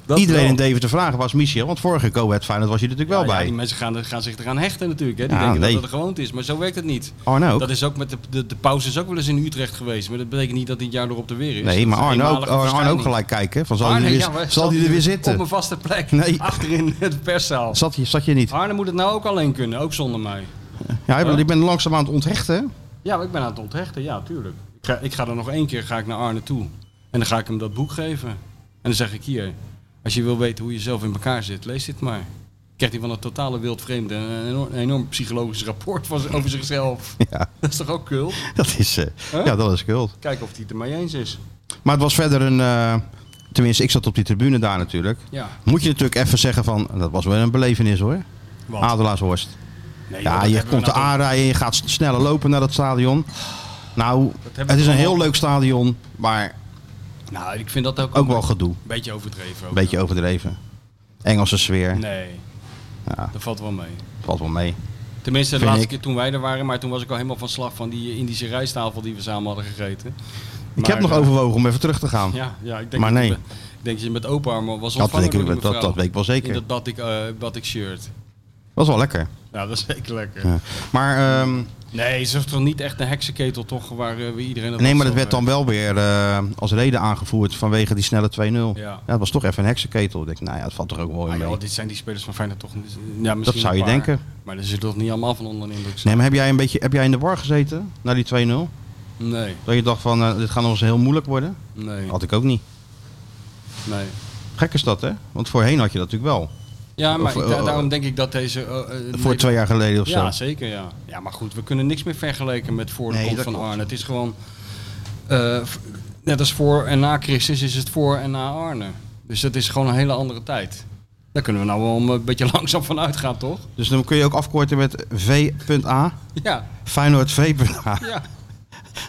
Speaker 3: Dat
Speaker 2: Iedereen
Speaker 3: wel.
Speaker 2: in Deventer vragen was Michiel, want vorige Go-Head Feyenoord was je natuurlijk
Speaker 3: Ja,
Speaker 2: wel
Speaker 3: ja,
Speaker 2: bij.
Speaker 3: die mensen gaan, er- gaan zich eraan hechten natuurlijk. Hè. Die
Speaker 2: Ja,
Speaker 3: denken
Speaker 2: nee.
Speaker 3: dat dat de gewoonte is. Maar zo werkt het niet.
Speaker 2: Arno ook.
Speaker 3: Dat is ook met de, de, de pauze is ook wel eens in Utrecht geweest. Maar dat betekent niet dat hij het jaar erop er weer is.
Speaker 2: Nee, maar
Speaker 3: Dat is een
Speaker 2: Arno ook,
Speaker 3: eenmalige
Speaker 2: Arno ook
Speaker 3: verschijning.
Speaker 2: gelijk kijken. Van, zal,
Speaker 3: Arne,
Speaker 2: hij, er
Speaker 3: ja,
Speaker 2: weer,
Speaker 3: maar
Speaker 2: zal hij er weer
Speaker 3: Op
Speaker 2: zitten?
Speaker 3: een vaste plek.
Speaker 2: Nee.
Speaker 3: Achterin het perszaal.
Speaker 2: Zat, je- zat je niet?
Speaker 3: Arne moet het nou ook alleen kunnen, ook zonder mij.
Speaker 2: Ja, ik ben- ik ben langzaam aan het onthechten.
Speaker 3: Ja, maar ik ben aan het onthechten, ja, tuurlijk. Ik ga, ik ga er nog één keer ga ik naar Arne toe. En dan ga ik hem dat boek geven. En dan zeg ik hier, als je wil weten hoe je zelf in elkaar zit, lees dit maar. krijgt hij van een totale wildvreemde een enorm, een enorm psychologisch rapport van, z- over zichzelf.
Speaker 2: Ja,
Speaker 3: Dat is toch ook cool?
Speaker 2: dat is, eh,
Speaker 3: Huh?
Speaker 2: ja, dat is kult.
Speaker 3: Kijken of hij het ermee eens is.
Speaker 2: Maar het was verder een... eh, tenminste, ik zat op die tribune daar natuurlijk.
Speaker 3: Ja.
Speaker 2: Moet je natuurlijk even zeggen van... Dat was wel een belevenis hoor.
Speaker 3: Wat?
Speaker 2: Adelaarshorst.
Speaker 3: Nee, joh,
Speaker 2: Ah, Ja,
Speaker 3: dat
Speaker 2: je
Speaker 3: hebben we
Speaker 2: komt te
Speaker 3: nou toch-
Speaker 2: aanrijden, je gaat sneller lopen naar dat stadion. Nou,
Speaker 3: we
Speaker 2: het is een
Speaker 3: toch
Speaker 2: heel
Speaker 3: al-
Speaker 2: leuk stadion, maar
Speaker 3: Nou, ik vind dat ook,
Speaker 2: ook wel gedoe.
Speaker 3: een beetje overdreven.
Speaker 2: Een
Speaker 3: Ook.
Speaker 2: beetje overdreven. Engelse sfeer,
Speaker 3: Nee,
Speaker 2: Ja.
Speaker 3: dat valt wel mee.
Speaker 2: valt wel mee.
Speaker 3: Tenminste, de
Speaker 2: Vind
Speaker 3: laatste
Speaker 2: ik.
Speaker 3: keer toen wij er waren, maar toen was ik al helemaal van slag van die Indische rijsttafel die we samen hadden gegeten.
Speaker 2: Ik
Speaker 3: Maar,
Speaker 2: heb nog
Speaker 3: eh,
Speaker 2: overwogen om even terug te gaan. Ja,
Speaker 3: Ja, ja ik denk
Speaker 2: Maar
Speaker 3: dat
Speaker 2: nee.
Speaker 3: je met- ik denk dat je met open armen was
Speaker 2: dat,
Speaker 3: ontvangen
Speaker 2: denk
Speaker 3: door
Speaker 2: ik, dat,
Speaker 3: die mevrouw.
Speaker 2: dat, dat weet ik wel
Speaker 3: In
Speaker 2: zeker.
Speaker 3: dat batik, eh batik shirt.
Speaker 2: Was wel lekker.
Speaker 3: Ja, dat is zeker lekker.
Speaker 2: Ja. Maar, ehm,
Speaker 3: Nee, ze is toch niet echt een heksenketel toch, waar eh, we iedereen...
Speaker 2: nee, maar
Speaker 3: dat
Speaker 2: dat werd dan wel weer eh, als reden aangevoerd vanwege die snelle 2-0. Ja.
Speaker 3: Ja.
Speaker 2: dat was toch even een heksenketel. Ik denk, nou ja, dat valt toch ook wel
Speaker 3: Ah,
Speaker 2: in
Speaker 3: joh,
Speaker 2: mee.
Speaker 3: dit zijn die spelers van Feyenoord toch... niet- Ja, misschien
Speaker 2: Dat zou
Speaker 3: een
Speaker 2: je
Speaker 3: paar.
Speaker 2: denken.
Speaker 3: Maar daar zit toch niet allemaal van onder de indruk.
Speaker 2: Nee, maar heb jij, een beetje, heb jij in de war gezeten na die 2-0?
Speaker 3: nee,
Speaker 2: Dat je dacht van, eh, dit gaat nog eens heel moeilijk worden?
Speaker 3: nee,
Speaker 2: Had ik ook niet.
Speaker 3: nee.
Speaker 2: Gek is dat, hè? Want voorheen had je dat natuurlijk wel.
Speaker 3: Ja, maar
Speaker 2: Of,
Speaker 3: ik- da-
Speaker 2: eh,
Speaker 3: daarom denk ik dat deze... eh, eh,
Speaker 2: Voor
Speaker 3: Nederland-
Speaker 2: twee jaar geleden of zo.
Speaker 3: Ja, zeker ja. Ja, maar goed, we kunnen niks meer vergelijken met voor de
Speaker 2: Nee,
Speaker 3: komst
Speaker 2: dat
Speaker 3: van
Speaker 2: klopt.
Speaker 3: Arne. Het is gewoon, eh, v- net als voor en na Christus is het voor en na Arne. Dus dat is gewoon een hele andere tijd. Daar kunnen we nou wel een beetje langzaam van uitgaan, toch?
Speaker 2: Dus dan kun je ook afkorten met V.A.
Speaker 3: Ja,
Speaker 2: Feyenoord V.A.
Speaker 3: ja.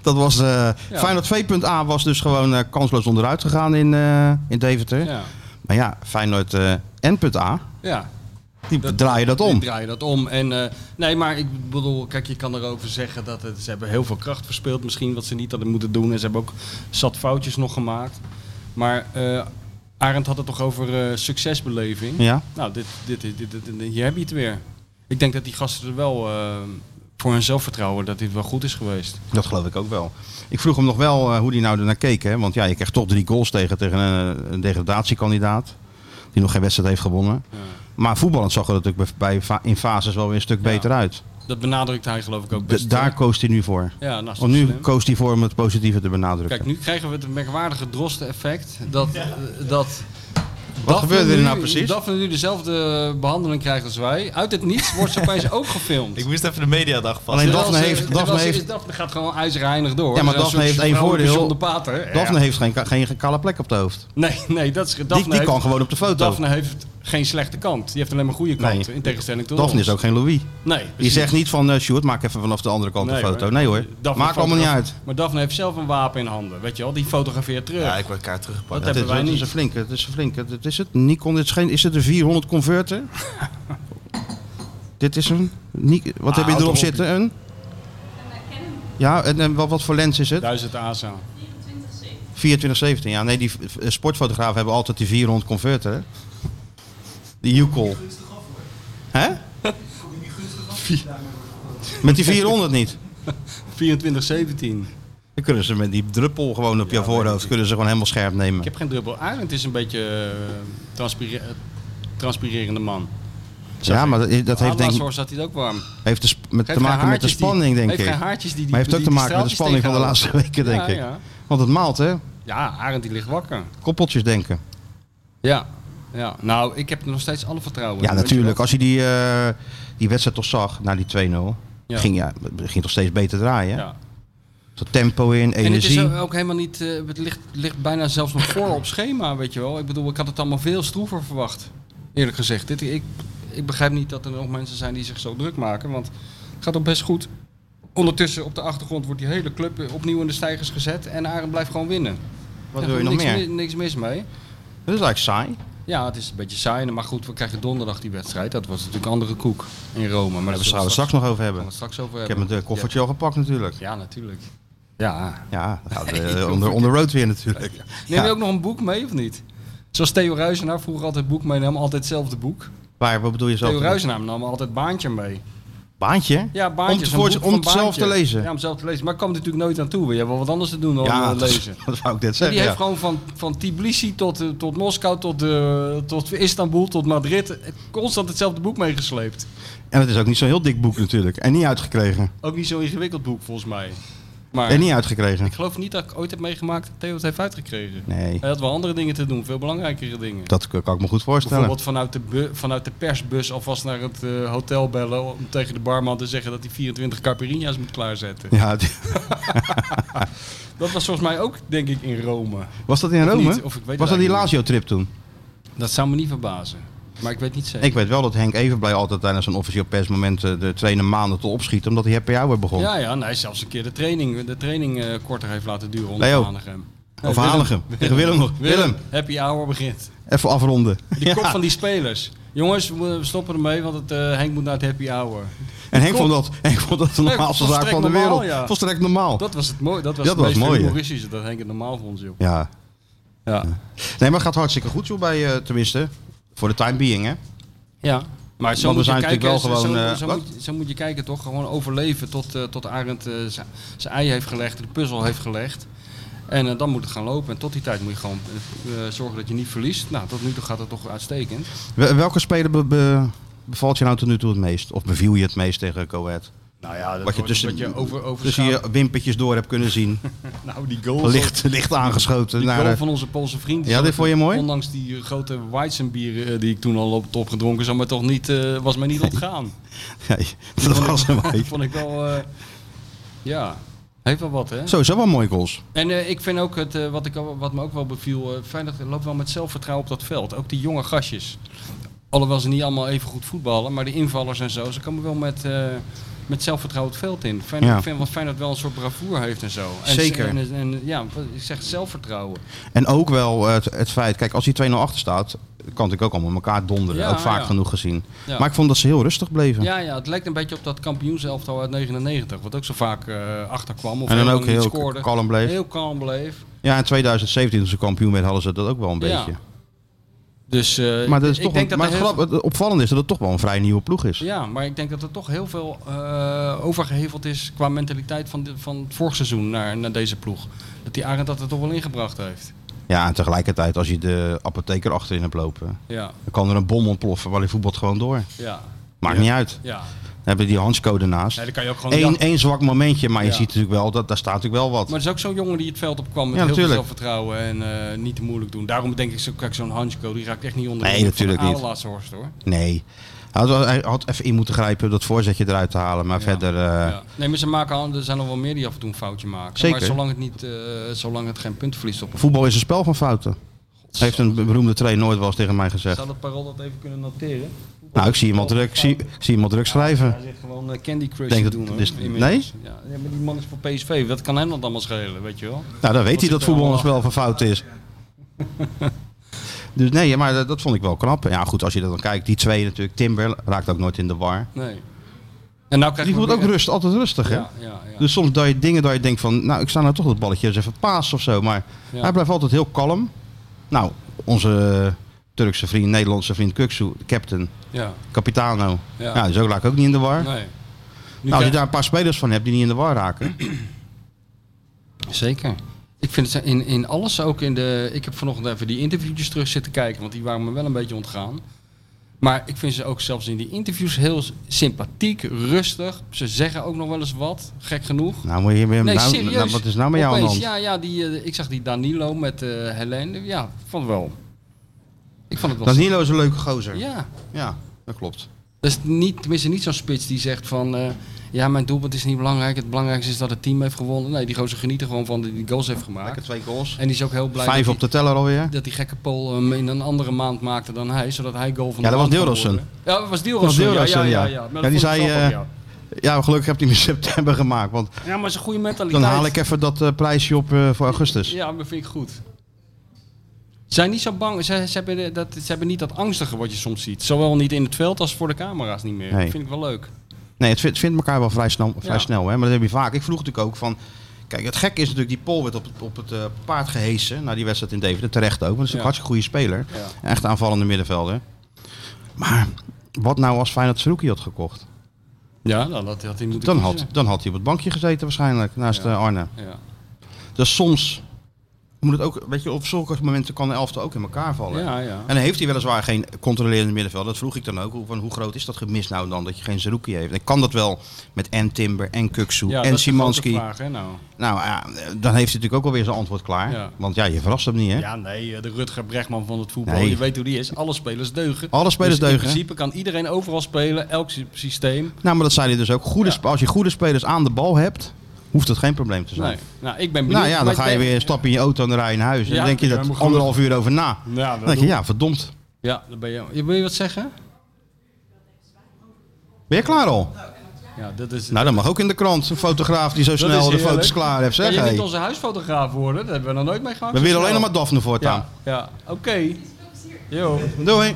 Speaker 2: Dat was, eh
Speaker 3: Ja.
Speaker 2: Feyenoord V.A. was dus gewoon eh, kansloos onderuit gegaan in, eh, in Deventer.
Speaker 3: ja.
Speaker 2: Maar ja, Feyenoord eh, N.A.
Speaker 3: ja.
Speaker 2: Die draaien dat om.
Speaker 3: Die draaien dat om. En, eh, nee, maar ik bedoel, kijk, je kan erover zeggen dat het, ze hebben heel veel kracht verspeeld. Misschien wat ze niet hadden moeten doen. En ze hebben ook zat foutjes nog gemaakt. Maar eh Arend had het toch over eh, succesbeleving.
Speaker 2: Ja.
Speaker 3: Nou, dit, dit, dit, dit, dit- hier heb je het weer. Ik denk dat die gasten er wel eh, voor hun zelfvertrouwen dat dit wel goed is geweest.
Speaker 2: Dat geloof ik ook wel. Ik vroeg hem nog wel eh, hoe hij nou ernaar keek. Hè? Want ja, je krijgt toch drie goals tegen, tegen eh, een, een degradatiekandidaat. Die nog geen wedstrijd heeft gewonnen.
Speaker 3: Ja.
Speaker 2: Maar voetballend zag er natuurlijk bij, bij fa- in fases wel weer een stuk
Speaker 3: Ja.
Speaker 2: beter uit.
Speaker 3: Dat benadrukt hij geloof ik ook
Speaker 2: D-
Speaker 3: best. hè?
Speaker 2: daar koos hij nu voor.
Speaker 3: ja, nou, is
Speaker 2: Want
Speaker 3: toch
Speaker 2: nu
Speaker 3: slim.
Speaker 2: koos hij voor om het positieve te benadrukken.
Speaker 3: Kijk, nu krijgen we het merkwaardige drosten-effect. Dat, eh, dat
Speaker 2: Wat
Speaker 3: Daphne
Speaker 2: gebeurde er
Speaker 3: nu-
Speaker 2: nou precies?
Speaker 3: Daphne nu dezelfde behandeling krijgt als wij. Uit het niets wordt ze opeens ook gefilmd.
Speaker 4: Ik moest even de mediadag vast.
Speaker 2: Alleen
Speaker 3: Terwijl
Speaker 2: Daphne
Speaker 3: ze-
Speaker 2: heeft-
Speaker 3: terwijl
Speaker 2: Daphne
Speaker 3: ze-
Speaker 2: heeft-
Speaker 3: Daphne gaat gewoon ijzereinig door.
Speaker 2: Ja, maar
Speaker 3: Ze is
Speaker 2: Daphne
Speaker 3: een
Speaker 2: heeft één
Speaker 3: vrouwelijke
Speaker 2: voordeel.
Speaker 3: John de Pater.
Speaker 2: Daphne
Speaker 3: Ja.
Speaker 2: heeft geen, ka- geen, geen kale plek op de hoofd.
Speaker 3: Nee, nee, dat is... Daphne
Speaker 2: Die, die
Speaker 3: heeft,
Speaker 2: kan gewoon op de foto. Daphne,
Speaker 3: Daphne heeft geen slechte kant. Die heeft alleen maar goede
Speaker 2: Nee.
Speaker 3: kanten. In tegenstelling tot ons.
Speaker 2: is ook geen Louis.
Speaker 3: Nee.
Speaker 2: Die
Speaker 3: precies.
Speaker 2: zegt niet van, eh Sjoerd, maak even vanaf de andere kant
Speaker 3: Nee,
Speaker 2: een foto.
Speaker 3: hoor.
Speaker 2: Nee hoor,
Speaker 3: Daphne
Speaker 2: maakt allemaal niet uit.
Speaker 3: Maar Daphne heeft zelf een wapen in handen. Weet je wel, die fotografeert terug.
Speaker 4: Ja, ik word elkaar teruggepakt.
Speaker 3: dat
Speaker 2: Het is,
Speaker 3: hebben
Speaker 2: het is
Speaker 3: wij niet.
Speaker 2: een flinke, het is een flinke. Het is het, Nikon, dit is, geen, is het een 400 converter? dit is een, Ni- wat heb je erop
Speaker 3: houd erop.
Speaker 2: zitten? Een? Ja, en, en wat, wat voor lens is het?
Speaker 3: Duizend ASA.
Speaker 2: 2417, ja. Nee, die v- v- sportfotografen hebben altijd die 400 converter. hè? Die Yukol. Hè? Met die 400 niet.
Speaker 3: 24-17.
Speaker 2: Dan kunnen ze met die druppel gewoon op je voorhoofd kunnen ze gewoon helemaal scherp nemen.
Speaker 3: Ik heb geen druppel. Arend is een beetje eh, transpire- eh, transpirerende man.
Speaker 2: ja, maar dat, dat heeft, denk, ik-
Speaker 3: Laatst zat hij het ook warm.
Speaker 2: heeft dus met,
Speaker 3: Heeft
Speaker 2: te maken
Speaker 3: geen
Speaker 2: met de
Speaker 3: haartjes die-
Speaker 2: spanning, denk
Speaker 3: heeft
Speaker 2: ik.
Speaker 3: geen haartjes die, die
Speaker 2: Maar heeft ook
Speaker 3: die-
Speaker 2: te
Speaker 3: die
Speaker 2: maken met de
Speaker 3: straaltjes
Speaker 2: spanning van de laatste weken, denk
Speaker 3: tegenhouden.
Speaker 2: ik.
Speaker 3: Ja,
Speaker 2: Want het maalt, hè?
Speaker 3: ja. ja, Arend die ligt wakker.
Speaker 2: Koppeltjes denken.
Speaker 3: Ja. ja. Nou, ik heb er nog steeds alle vertrouwen
Speaker 2: Ja,
Speaker 3: in, weet je
Speaker 2: natuurlijk.
Speaker 3: wel.
Speaker 2: Als je die, eh, die wedstrijd toch zag, na die 2-0,
Speaker 3: Ja.
Speaker 2: ging, ja, ging toch steeds beter draaien. hè?
Speaker 3: Ja.
Speaker 2: Tot tempo in,
Speaker 3: En het
Speaker 2: energie.
Speaker 3: is ook helemaal niet, eh, het ligt, ligt bijna zelfs nog voor op schema, weet je wel. Ik bedoel, ik had het allemaal veel stroever verwacht, eerlijk gezegd. Dit, ik, ik begrijp niet dat er nog mensen zijn die zich zo druk maken, want het gaat ook best goed. Ondertussen op de achtergrond wordt die hele club eh, opnieuw in de stijgers gezet en Arend blijft gewoon winnen.
Speaker 2: Wat
Speaker 3: Er
Speaker 2: wil je
Speaker 3: is
Speaker 2: nog
Speaker 3: niks
Speaker 2: meer?
Speaker 3: mi- niks mis mee.
Speaker 2: Dat is eigenlijk saai.
Speaker 3: Ja, het is een beetje saai, maar goed, we krijgen donderdag die wedstrijd. Dat was natuurlijk andere koek in Rome. Maar
Speaker 2: Daar
Speaker 3: dat
Speaker 2: gaan we het
Speaker 3: zullen
Speaker 2: straks nog over
Speaker 3: gaan we
Speaker 2: hebben.
Speaker 3: het straks over
Speaker 2: Ik
Speaker 3: hebben.
Speaker 2: heb mijn eh, koffertje al gepakt natuurlijk.
Speaker 3: Ja, natuurlijk. Ja.
Speaker 2: Ja, dan gaat eh, onder, onder road weer natuurlijk.
Speaker 3: Neem je
Speaker 2: Ja.
Speaker 3: ook nog een boek mee of niet? Zoals Theo Ruizenaar vroeger altijd boek meenam, altijd hetzelfde boek.
Speaker 2: Waar, wat bedoel je
Speaker 3: Theo
Speaker 2: zo?
Speaker 3: Ruizenaar nam altijd Baantje mee.
Speaker 2: Baantje?
Speaker 3: Ja, Baantje.
Speaker 2: Om te
Speaker 3: is een
Speaker 2: voor-
Speaker 3: boek
Speaker 2: om
Speaker 3: van
Speaker 2: het zelf
Speaker 3: Baantje.
Speaker 2: te lezen?
Speaker 3: Ja, om zelf te lezen. Maar ik kwam er natuurlijk nooit aan toe. We hebben wel wat anders te doen dan eh,
Speaker 2: dat,
Speaker 3: lezen.
Speaker 2: dat wou ik net
Speaker 3: Die
Speaker 2: zeggen.
Speaker 3: heeft
Speaker 2: Ja.
Speaker 3: gewoon van, van Tbilisi tot, eh, tot Moskou, tot, eh, tot Istanbul, tot Madrid, eh, constant hetzelfde boek meegesleept.
Speaker 2: En het is ook niet zo'n heel dik boek natuurlijk. En niet uitgekregen.
Speaker 3: Ook niet zo'n ingewikkeld boek volgens mij. Maar
Speaker 2: En niet uitgekregen.
Speaker 3: ik geloof niet dat ik ooit heb meegemaakt dat Theo het heeft uitgekregen.
Speaker 2: Nee,
Speaker 3: Hij had wel andere dingen te doen, veel belangrijkere dingen.
Speaker 2: dat kan ik me goed voorstellen.
Speaker 3: Bijvoorbeeld vanuit de, bu- vanuit de persbus alvast naar het eh, hotel bellen om tegen de barman te zeggen dat hij 24 caipirinha's moet klaarzetten.
Speaker 2: Ja, het-
Speaker 3: Dat was volgens mij ook, denk ik, in Rome.
Speaker 2: was dat in
Speaker 3: Of
Speaker 2: Rome?
Speaker 3: niet, of ik weet
Speaker 2: was
Speaker 3: het
Speaker 2: dat die
Speaker 3: eigenlijk
Speaker 2: Lazio-trip toen?
Speaker 3: Dat zou me niet verbazen. Maar ik weet niet zeker.
Speaker 2: Ik weet wel dat Henk Evenblij altijd tijdens een officieel persmoment eh, de trainer maanden te opschieten. Omdat hij happy hour begon.
Speaker 3: Ja, ja, en hij zelfs een keer de training, de training eh, korter heeft laten duren onder
Speaker 2: Leo.
Speaker 3: Hanegem.
Speaker 2: of Hanegem. Tegen Willem nog. Willem,
Speaker 3: happy hour begint.
Speaker 2: even afronden.
Speaker 3: Die kop van die spelers. Jongens, we moeten- we stoppen ermee, want het, eh, Henk moet naar het happy hour.
Speaker 2: En Henk vond, dat, Henk vond dat de
Speaker 3: Nee,
Speaker 2: normaalste zaak
Speaker 3: volstrekt
Speaker 2: van de
Speaker 3: normaal,
Speaker 2: wereld.
Speaker 3: ja.
Speaker 2: Volstrekt normaal.
Speaker 3: Dat was het mooi. Dat was
Speaker 2: Dat
Speaker 3: het
Speaker 2: was
Speaker 3: meest
Speaker 2: mooi, hè?
Speaker 3: humoristische, dat Henk het normaal vond, joh.
Speaker 2: Ja.
Speaker 3: Ja.
Speaker 2: Nee, maar het gaat hartstikke goed zo bij, eh, tenminste, voor de time being hè.
Speaker 3: Ja, maar
Speaker 2: Want
Speaker 3: zo
Speaker 2: we
Speaker 3: moet
Speaker 2: zijn
Speaker 3: je kijken,
Speaker 2: natuurlijk wel
Speaker 3: zo-
Speaker 2: gewoon,
Speaker 3: zo-
Speaker 2: eh,
Speaker 3: zo,
Speaker 2: wat?
Speaker 3: moet, zo moet je kijken toch, gewoon overleven tot, eh, tot Arend eh, z- zijn ei heeft gelegd, de puzzel heeft gelegd. En eh, dan moet het gaan lopen. En tot die tijd moet je gewoon eh, zorgen dat je niet verliest. Nou, tot nu toe gaat het toch uitstekend.
Speaker 2: Wel- Welke speler be- be- bevalt je nou tot nu toe het meest? Of beviel je het meest tegen Coët?
Speaker 3: Nou ja, dat
Speaker 2: Wat je
Speaker 3: wordt-
Speaker 2: tussen,
Speaker 3: wat je over, over
Speaker 2: tussen
Speaker 3: schaam-
Speaker 2: je wimpertjes door hebt kunnen zien.
Speaker 3: nou, die goal,
Speaker 2: licht, licht aangeschoten.
Speaker 3: die
Speaker 2: naar,
Speaker 3: goal
Speaker 2: eh,
Speaker 3: van onze Poolse vriend. die
Speaker 2: Ja,
Speaker 3: zal
Speaker 2: dit
Speaker 3: ik-
Speaker 2: vond je mooi?
Speaker 3: Ondanks die eh, grote Weizenbieren eh, die ik toen al op het top gedronken zou maar toch niet, eh, was mij niet ontgaan.
Speaker 2: nee, dat was hem
Speaker 3: Dat
Speaker 2: eigenlijk.
Speaker 3: vond ik wel, eh, ja, heeft wel wat hè.
Speaker 2: Sowieso wel mooie goals.
Speaker 3: En eh, ik vind ook het, eh, wat, ik, al- wat me ook wel beviel, eh Feyenoord loopt wel met zelfvertrouwen op dat veld. Ook die jonge gastjes. Alhoewel ze niet allemaal even goed voetballen, maar de invallers en zo, ze komen wel met, eh, met zelfvertrouwen het veld in. Feyenoord,
Speaker 2: Ja.
Speaker 3: Ik vind wat Feyenoord wel een soort bravoer heeft en zo. En,
Speaker 2: Zeker.
Speaker 3: En, en- ja, wat ik zeg zelfvertrouwen.
Speaker 2: En ook wel eh, het, het feit, kijk, als hij 2-0 achter staat, kan ik ook allemaal elkaar donderen.
Speaker 3: Ja,
Speaker 2: ook vaak
Speaker 3: ja.
Speaker 2: genoeg gezien.
Speaker 3: Ja.
Speaker 2: Maar ik vond dat ze heel rustig bleven.
Speaker 3: ja, ja, het lijkt een beetje op dat kampioenselftal uit 99, wat ook zo vaak eh achterkwam. Of
Speaker 2: en dan
Speaker 3: helemaal
Speaker 2: ook
Speaker 3: niet
Speaker 2: heel
Speaker 3: scoorde.
Speaker 2: kalm bleef.
Speaker 3: Heel kalm bleef.
Speaker 2: Ja, in 2017, toen ze kampioen werd, hadden ze dat ook wel een
Speaker 3: Ja.
Speaker 2: beetje.
Speaker 3: Dus, eh,
Speaker 2: Maar, dat is
Speaker 3: ik
Speaker 2: toch
Speaker 3: denk
Speaker 2: een-
Speaker 3: dat
Speaker 2: maar
Speaker 3: er
Speaker 2: het,
Speaker 3: heel-
Speaker 2: grap, het opvallende is dat het toch wel een vrij nieuwe ploeg is.
Speaker 3: Ja, maar ik denk dat er toch heel veel eh, overgeheveld is qua mentaliteit van, de, van het vorig seizoen naar, naar deze ploeg. Dat die Arend dat er toch wel ingebracht heeft.
Speaker 2: Ja, en tegelijkertijd, als je de apotheker achterin hebt lopen,
Speaker 3: Ja,
Speaker 2: dan kan er een bom ontploffen, waar die voetbalt gewoon door.
Speaker 3: ja,
Speaker 2: Maakt niet uit.
Speaker 3: ja.
Speaker 2: Dan hebben we die Hansco ernaast.
Speaker 3: Nee, dan kan je ook gewoon...
Speaker 2: Eén
Speaker 3: ja.
Speaker 2: één zwak momentje, maar je
Speaker 3: Ja.
Speaker 2: ziet natuurlijk wel, dat, daar staat natuurlijk wel wat.
Speaker 3: Maar het is ook zo'n jongen die het veld opkwam met
Speaker 2: Ja,
Speaker 3: heel veel
Speaker 2: natuurlijk.
Speaker 3: zelfvertrouwen en eh, niet te moeilijk doen. Daarom denk ik, zo, kijk, zo'n Hansko, die raakt echt niet onder
Speaker 2: Nee,
Speaker 3: de indruk
Speaker 2: natuurlijk
Speaker 3: van de
Speaker 2: niet.
Speaker 3: laatste horst hoor.
Speaker 2: Nee. Hij had, wel- hij had even in moeten grijpen om dat voorzetje eruit te halen, maar
Speaker 3: Ja.
Speaker 2: verder... eh,
Speaker 3: Ja. Nee, maar ze maken, al- er zijn nog wel meer die af en toe een foutje maken.
Speaker 2: Zeker.
Speaker 3: Maar zolang het, niet, eh, zolang het geen puntverlies op...
Speaker 2: Voetbal is een spel van fouten. Heeft een beroemde trainer nooit wel eens tegen mij gezegd.
Speaker 3: Zou dat parool dat even kunnen noteren?
Speaker 2: Nou, ik zie iemand druk, ik zie, ik zie iemand druk schrijven.
Speaker 3: Hij zit gewoon eh, Candy Crush
Speaker 2: Denk
Speaker 3: te
Speaker 2: dat-
Speaker 3: doen. hoor,
Speaker 2: dus-
Speaker 3: inmiddels. Ja, ja, maar die man is voor PSV. Dat kan hem dat allemaal schelen, weet je wel.
Speaker 2: Nou, dan weet
Speaker 3: Dat
Speaker 2: hij
Speaker 3: zit
Speaker 2: dat
Speaker 3: er
Speaker 2: voetbal een spel
Speaker 3: allemaal
Speaker 2: van fouten is. Dus nee, maar dat, dat vond ik wel knap. Ja, goed, als je dat dan kijkt, die twee natuurlijk. Timber raakt ook nooit in de war.
Speaker 3: Nee. En nou krijg
Speaker 2: Die voelt ook rust, altijd rustig, hè?
Speaker 3: Ja, ja, ja.
Speaker 2: Dus soms dat je dingen dat je denkt van, nou, ik sta nou toch dat balletje eens even paas of zo. Maar
Speaker 3: Ja.
Speaker 2: hij blijft altijd heel kalm. Nou, onze eh, Turkse vriend, Nederlandse vriend Kuksu, de captain, Nou,
Speaker 3: ja,
Speaker 2: Capitano. Ja,
Speaker 3: ja.
Speaker 2: die is ook raak ook niet in de war.
Speaker 3: nee. Nu
Speaker 2: nou, als je
Speaker 3: krijg-
Speaker 2: daar een paar spelers van hebt die niet in de war raken.
Speaker 3: Zeker. Ik vind het in, in alles ook in de. Ik heb vanochtend even die interviewtjes terug zitten kijken, want die waren me wel een beetje ontgaan. Maar ik vind ze ook zelfs in die interviews heel s- sympathiek, rustig. Ze zeggen ook nog wel eens wat, gek genoeg.
Speaker 2: Nou, moet je weer,
Speaker 3: Nee,
Speaker 2: nou,
Speaker 3: serieus.
Speaker 2: nou, wat is nou met jou aan de
Speaker 3: Opeens,
Speaker 2: hand?
Speaker 3: Ja, ja die, eh, ik zag die Danilo met eh Helene. Ja, vond het wel. Ik vond het wel.
Speaker 2: Danilo is een leuke gozer. Ja,
Speaker 3: Ja.
Speaker 2: dat klopt.
Speaker 3: Dat is niet, tenminste niet zo'n spits die zegt van... eh, ja, mijn doelpunt is niet belangrijk. Het belangrijkste is dat het team heeft gewonnen. Nee, die gozer geniet er gewoon van die die goals heeft
Speaker 2: Lekker
Speaker 3: gemaakt.
Speaker 2: twee goals.
Speaker 3: En die is ook heel blij
Speaker 2: Vijf
Speaker 3: dat,
Speaker 2: op de teller alweer.
Speaker 3: die, dat die gekke Pool hem in een andere maand maakte dan hij. Zodat hij goal van
Speaker 2: Ja,
Speaker 3: de
Speaker 2: dat was
Speaker 3: maand kon
Speaker 2: Deelrossen.
Speaker 3: worden. Ja, dat was Deelrossen.
Speaker 2: Dat was
Speaker 3: ja,
Speaker 2: Deelrossen,
Speaker 3: ja, ja,
Speaker 2: ja.
Speaker 3: ja.
Speaker 2: Ja,
Speaker 3: Maar dat
Speaker 2: die
Speaker 3: vond ik
Speaker 2: zei,
Speaker 3: grappig,
Speaker 2: eh,
Speaker 3: ja.
Speaker 2: Ja, gelukkig heb je hem in september gemaakt. Want
Speaker 3: ja, maar het is een goede mentaliteit.
Speaker 2: dan haal ik even dat eh, prijsje op eh, voor augustus.
Speaker 3: Ja, maar vind ik goed. Ze zijn niet zo bang. Ze, ze, hebben, de- dat, ze hebben niet dat angstige wat je soms ziet. Zowel niet in het veld als voor de camera's niet meer.
Speaker 2: Nee.
Speaker 3: Dat vind ik wel leuk.
Speaker 2: Nee, het vindt, vindt elkaar wel vrij snel. Vrij
Speaker 3: Ja.
Speaker 2: snel hè? Maar dat heb je vaak. Ik vroeg natuurlijk ook van... Kijk, het gekke is natuurlijk, die Pol werd op het, op het eh, paard gehesen. Na die wedstrijd in Deventer, terecht ook. Want dat is
Speaker 3: Ja.
Speaker 2: een hartstikke goede speler.
Speaker 3: Ja.
Speaker 2: Echt aanvallende middenvelder. Maar wat nou als Feyenoord Zerouki had gekocht?
Speaker 3: Ja, nou, dat had hij moeten
Speaker 2: Dan had,
Speaker 3: kiezen.
Speaker 2: dan had hij op het bankje gezeten waarschijnlijk, naast
Speaker 3: Ja.
Speaker 2: eh, Arne.
Speaker 3: Ja.
Speaker 2: Dus eh, soms moet het ook, weet je, op zulke momenten kan de elfte ook in elkaar vallen.
Speaker 3: Ja, ja.
Speaker 2: Oh, En dan heeft hij weliswaar geen controlerende middenveld. Dat vroeg ik dan ook. Hoe- Van hoe groot is dat gemis nou dan dat je geen Zerouki heeft? En kan dat wel met en Timber en Kuksu
Speaker 3: Ja, dat
Speaker 2: en
Speaker 3: is de grote
Speaker 2: Simanski?
Speaker 3: vraag, hè, nou.
Speaker 2: Nou ja, dan heeft hij natuurlijk ook alweer zijn antwoord klaar.
Speaker 3: Ja.
Speaker 2: Want ja, je verrast hem niet hè?
Speaker 3: Ja, nee, eh, de Rutger Brechtman van het voetbal.
Speaker 2: Nee.
Speaker 3: Je weet hoe die is. Alle spelers deugen.
Speaker 2: Alle spelers
Speaker 3: Dus
Speaker 2: deugen, hè?
Speaker 3: In principe kan iedereen overal spelen, elk sy- systeem.
Speaker 2: Nou, maar dat zei hij dus ook. Goede
Speaker 3: Ja.
Speaker 2: sp- Als je goede spelers aan de bal hebt, hoeft dat geen probleem te zijn.
Speaker 3: Nee. Nou, ik ben benieuwd.
Speaker 2: Nou ja,
Speaker 3: maar
Speaker 2: dan
Speaker 3: ik
Speaker 2: ga je
Speaker 3: ben-
Speaker 2: weer stappen in je auto en dan rij je naar huis. En
Speaker 3: Ja,
Speaker 2: dan denk je
Speaker 3: ja,
Speaker 2: dat
Speaker 3: maar goed.
Speaker 2: anderhalf uur over na.
Speaker 3: Ja, dat
Speaker 2: Dan denk je,
Speaker 3: doe-
Speaker 2: ja, verdomd.
Speaker 3: ja, dan ben je... je- Wil je wat zeggen?
Speaker 2: Ben je klaar al?
Speaker 3: Ja, dat is...
Speaker 2: Nou, dat mag ook in de krant. Een fotograaf die zo
Speaker 3: dat
Speaker 2: snel
Speaker 3: is
Speaker 2: de
Speaker 3: heerlijk.
Speaker 2: foto's klaar heeft. Zeg,
Speaker 3: Kan je
Speaker 2: hey.
Speaker 3: niet onze huisfotograaf worden? Dat hebben we nog nooit mee gehad.
Speaker 2: We willen alleen nog
Speaker 3: nog
Speaker 2: maar Daphne voortaan.
Speaker 3: Ja, ja. oké. Jo.
Speaker 2: Doei.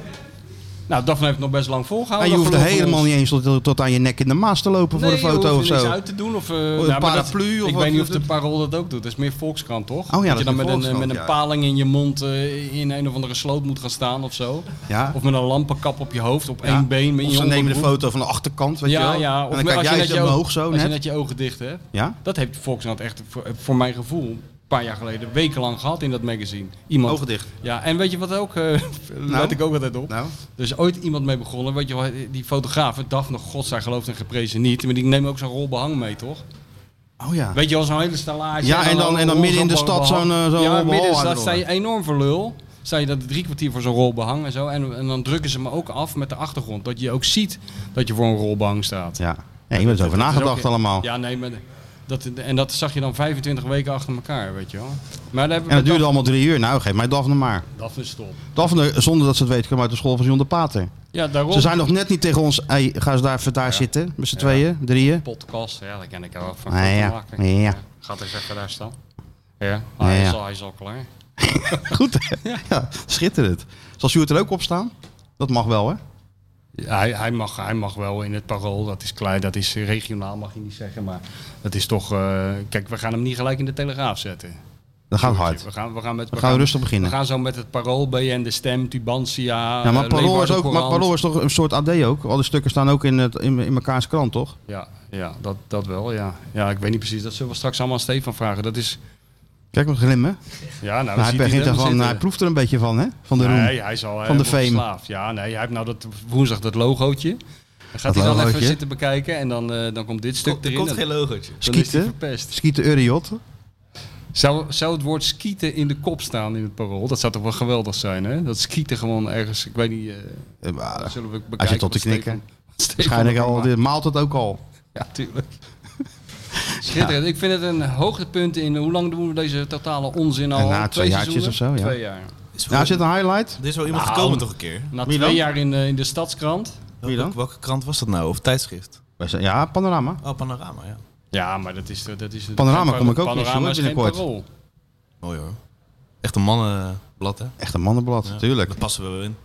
Speaker 3: Nou, Daphne heeft het nog best lang volgehouden.
Speaker 2: En Ah, Nou, je
Speaker 3: dat
Speaker 2: hoeft er
Speaker 3: verlof van
Speaker 2: helemaal
Speaker 3: ons.
Speaker 2: niet eens tot, tot aan je nek in de maas te lopen voor
Speaker 3: Nee,
Speaker 2: een
Speaker 3: je
Speaker 2: foto of
Speaker 3: hoeft er niks
Speaker 2: zo.
Speaker 3: uit te doen. Of, eh,
Speaker 2: een
Speaker 3: nou, maar
Speaker 2: paraplu of
Speaker 3: Ik
Speaker 2: wat
Speaker 3: weet niet
Speaker 2: doet
Speaker 3: of
Speaker 2: het?
Speaker 3: de
Speaker 2: Oh,
Speaker 3: parool dat ook doet. Dat is meer Volkskrant, toch?
Speaker 2: ja, dat
Speaker 3: dat
Speaker 2: is
Speaker 3: je dan
Speaker 2: meer
Speaker 3: met een, eh,
Speaker 2: Volkskrant,
Speaker 3: met een
Speaker 2: ja.
Speaker 3: paling in je mond eh, in een of andere sloot moet gaan staan of zo.
Speaker 2: Ja.
Speaker 3: Of met een lampenkap op je hoofd, op
Speaker 2: Ja.
Speaker 3: één been. Met
Speaker 2: Of
Speaker 3: je
Speaker 2: ze nemen de
Speaker 3: onderbroek.
Speaker 2: foto van de achterkant, weet je
Speaker 3: Ja,
Speaker 2: wel.
Speaker 3: ja.
Speaker 2: en
Speaker 3: Of
Speaker 2: dan
Speaker 3: met-
Speaker 2: kijk
Speaker 3: als je
Speaker 2: jij
Speaker 3: net je
Speaker 2: zo omhoog
Speaker 3: oog-
Speaker 2: zo
Speaker 3: als je
Speaker 2: net.
Speaker 3: net je ogen dicht hebt.
Speaker 2: Ja?
Speaker 3: Dat heeft Volkskrant echt, voor, eh, voor mijn gevoel, een paar jaar geleden, wekenlang gehad in dat magazine. Iemand.
Speaker 2: Ogen dicht.
Speaker 3: Ja, en weet je wat ook, eh let ik ook altijd op.
Speaker 2: Nou,
Speaker 3: Er is ooit iemand mee begonnen, weet je wel, die fotograaf, Daphne, god zij gelooft en geprezen niet. Maar die neemt ook zo'n rol behang mee, toch?
Speaker 2: oh ja.
Speaker 3: Weet je wel, zo'n hele stallage.
Speaker 2: Ja, en dan- en dan
Speaker 3: rol-
Speaker 2: midden in de
Speaker 3: zo'n
Speaker 2: stad
Speaker 3: behang.
Speaker 2: zo'n, eh, zo'n
Speaker 3: Ja,
Speaker 2: rol
Speaker 3: midden in de
Speaker 2: behang
Speaker 3: stad
Speaker 2: uitrollen.
Speaker 3: sta je enorm voor lul. Sta je dat drie kwartier voor zo'n rol behang en zo. En, en dan drukken ze me ook af met de achtergrond. Dat je ook ziet dat je voor een rol behang staat.
Speaker 2: Ja. Nee, je bent erover
Speaker 3: Dat
Speaker 2: nagedacht
Speaker 3: is ook-
Speaker 2: allemaal.
Speaker 3: Ja, nee, maar dat, en dat zag je dan 25 weken achter elkaar, weet je wel. Maar daar
Speaker 2: En
Speaker 3: hebben
Speaker 2: dat
Speaker 3: we
Speaker 2: duurde
Speaker 3: Daf-
Speaker 2: allemaal drie uur. Nou, geef mij Daphne maar.
Speaker 3: Daphne stop.
Speaker 2: Daphne, zonder dat ze het weet, kwam uit de school van John de Pater.
Speaker 3: Ja, daarom.
Speaker 2: Ze zijn nog net niet tegen ons. Hey, ga eens daar, even daar zitten. Met z'n tweeën, drieën.
Speaker 3: podcast. Ja, daar ken ik er wel van.
Speaker 2: Ah, ja.
Speaker 3: maken.
Speaker 2: ja.
Speaker 3: Gaat eens even daar staan. Ja, hij,
Speaker 2: ja.
Speaker 3: Is al, hij is al klaar.
Speaker 2: Goed, hè? ja, schitterend. Zal Sjoerd er ook op staan? Dat mag wel, hè?
Speaker 3: Ja, hij, hij, mag, hij mag wel in het parool, dat is klein, dat is regionaal mag je niet zeggen, maar dat is toch... eh, kijk, we gaan hem niet gelijk in de Telegraaf zetten.
Speaker 2: Dat gaat hard.
Speaker 3: We gaan, we gaan, met,
Speaker 2: Dan gaan we rustig beginnen.
Speaker 3: We gaan zo met het parool, BN De Stem, Tubantia,
Speaker 2: Ja, maar
Speaker 3: eh,
Speaker 2: Parool, is
Speaker 3: Leeuwarden
Speaker 2: ook, maar
Speaker 3: Courant.
Speaker 2: Parool is toch een soort AD ook? Alle stukken staan ook in, het, in, in mekaars krant, toch?
Speaker 3: Ja, ja dat, dat wel, ja. Ja, ik weet niet precies, dat zullen we straks allemaal aan Stefan vragen. Dat is...
Speaker 2: Kijk maar glimmen.
Speaker 3: Ja, nou,
Speaker 2: Nou, hij,
Speaker 3: ziet hij
Speaker 2: begint
Speaker 3: hem
Speaker 2: ervan,
Speaker 3: zitten.
Speaker 2: hij proeft er een beetje van, hè? Van de roem.
Speaker 3: Nee, hij is al
Speaker 2: Van de
Speaker 3: helemaal
Speaker 2: fame.
Speaker 3: verslaafd. Ja, nee, hij heeft nou dat woensdag dat logootje. Dan gaat
Speaker 2: Dat
Speaker 3: hij dan even
Speaker 2: logootje.
Speaker 3: zitten bekijken en dan, eh, dan komt dit stuk
Speaker 4: er
Speaker 3: erin.
Speaker 4: komt
Speaker 3: en
Speaker 4: geen logootje.
Speaker 3: dan is hij
Speaker 2: Skieten.
Speaker 3: verpest.
Speaker 2: Skieten Uriot.
Speaker 3: Zou, zou het woord skieten in de kop staan in het parool? Dat zou toch wel geweldig zijn, hè? Dat skieten gewoon ergens, ik weet niet, eh,
Speaker 2: Eh, maar,
Speaker 3: zullen we bekijken.
Speaker 2: Hij zit al
Speaker 3: wat
Speaker 2: te
Speaker 3: Stefan-
Speaker 2: knikken.
Speaker 3: wat Stefan
Speaker 2: Waarschijnlijk
Speaker 3: ervan
Speaker 2: al,
Speaker 3: maakt.
Speaker 2: dit maalt het ook al.
Speaker 3: Ja, tuurlijk. Schitterend. Ik vind het een hoogtepunt in, hoe lang doen we deze totale onzin al?
Speaker 2: Eh, na twee jaartjes
Speaker 3: seizoenen?
Speaker 2: of zo, ja.
Speaker 3: Twee jaar.
Speaker 4: Is
Speaker 2: Nou,
Speaker 4: voor-
Speaker 2: er zit een highlight.
Speaker 4: Er is wel iemand
Speaker 3: Nou,
Speaker 4: gekomen toch een keer?
Speaker 3: Na
Speaker 2: Wie
Speaker 3: twee
Speaker 2: dan?
Speaker 3: jaar in, eh, in de Stadskrant.
Speaker 2: Wie dan?
Speaker 4: Welke, welke krant was dat nou? Of tijdschrift?
Speaker 2: Wij zijn- Ja, Panorama.
Speaker 4: Oh, Panorama, ja.
Speaker 3: Ja, maar dat is... Dat is
Speaker 2: Panorama kom ik ook eens,
Speaker 3: Panorama
Speaker 2: hoor,
Speaker 3: is geen
Speaker 2: binnenkort.
Speaker 3: parool.
Speaker 4: Mooi hoor. Echt een mannenblad, hè?
Speaker 2: Echt een mannenblad, tuurlijk.
Speaker 4: Daar passen we wel in.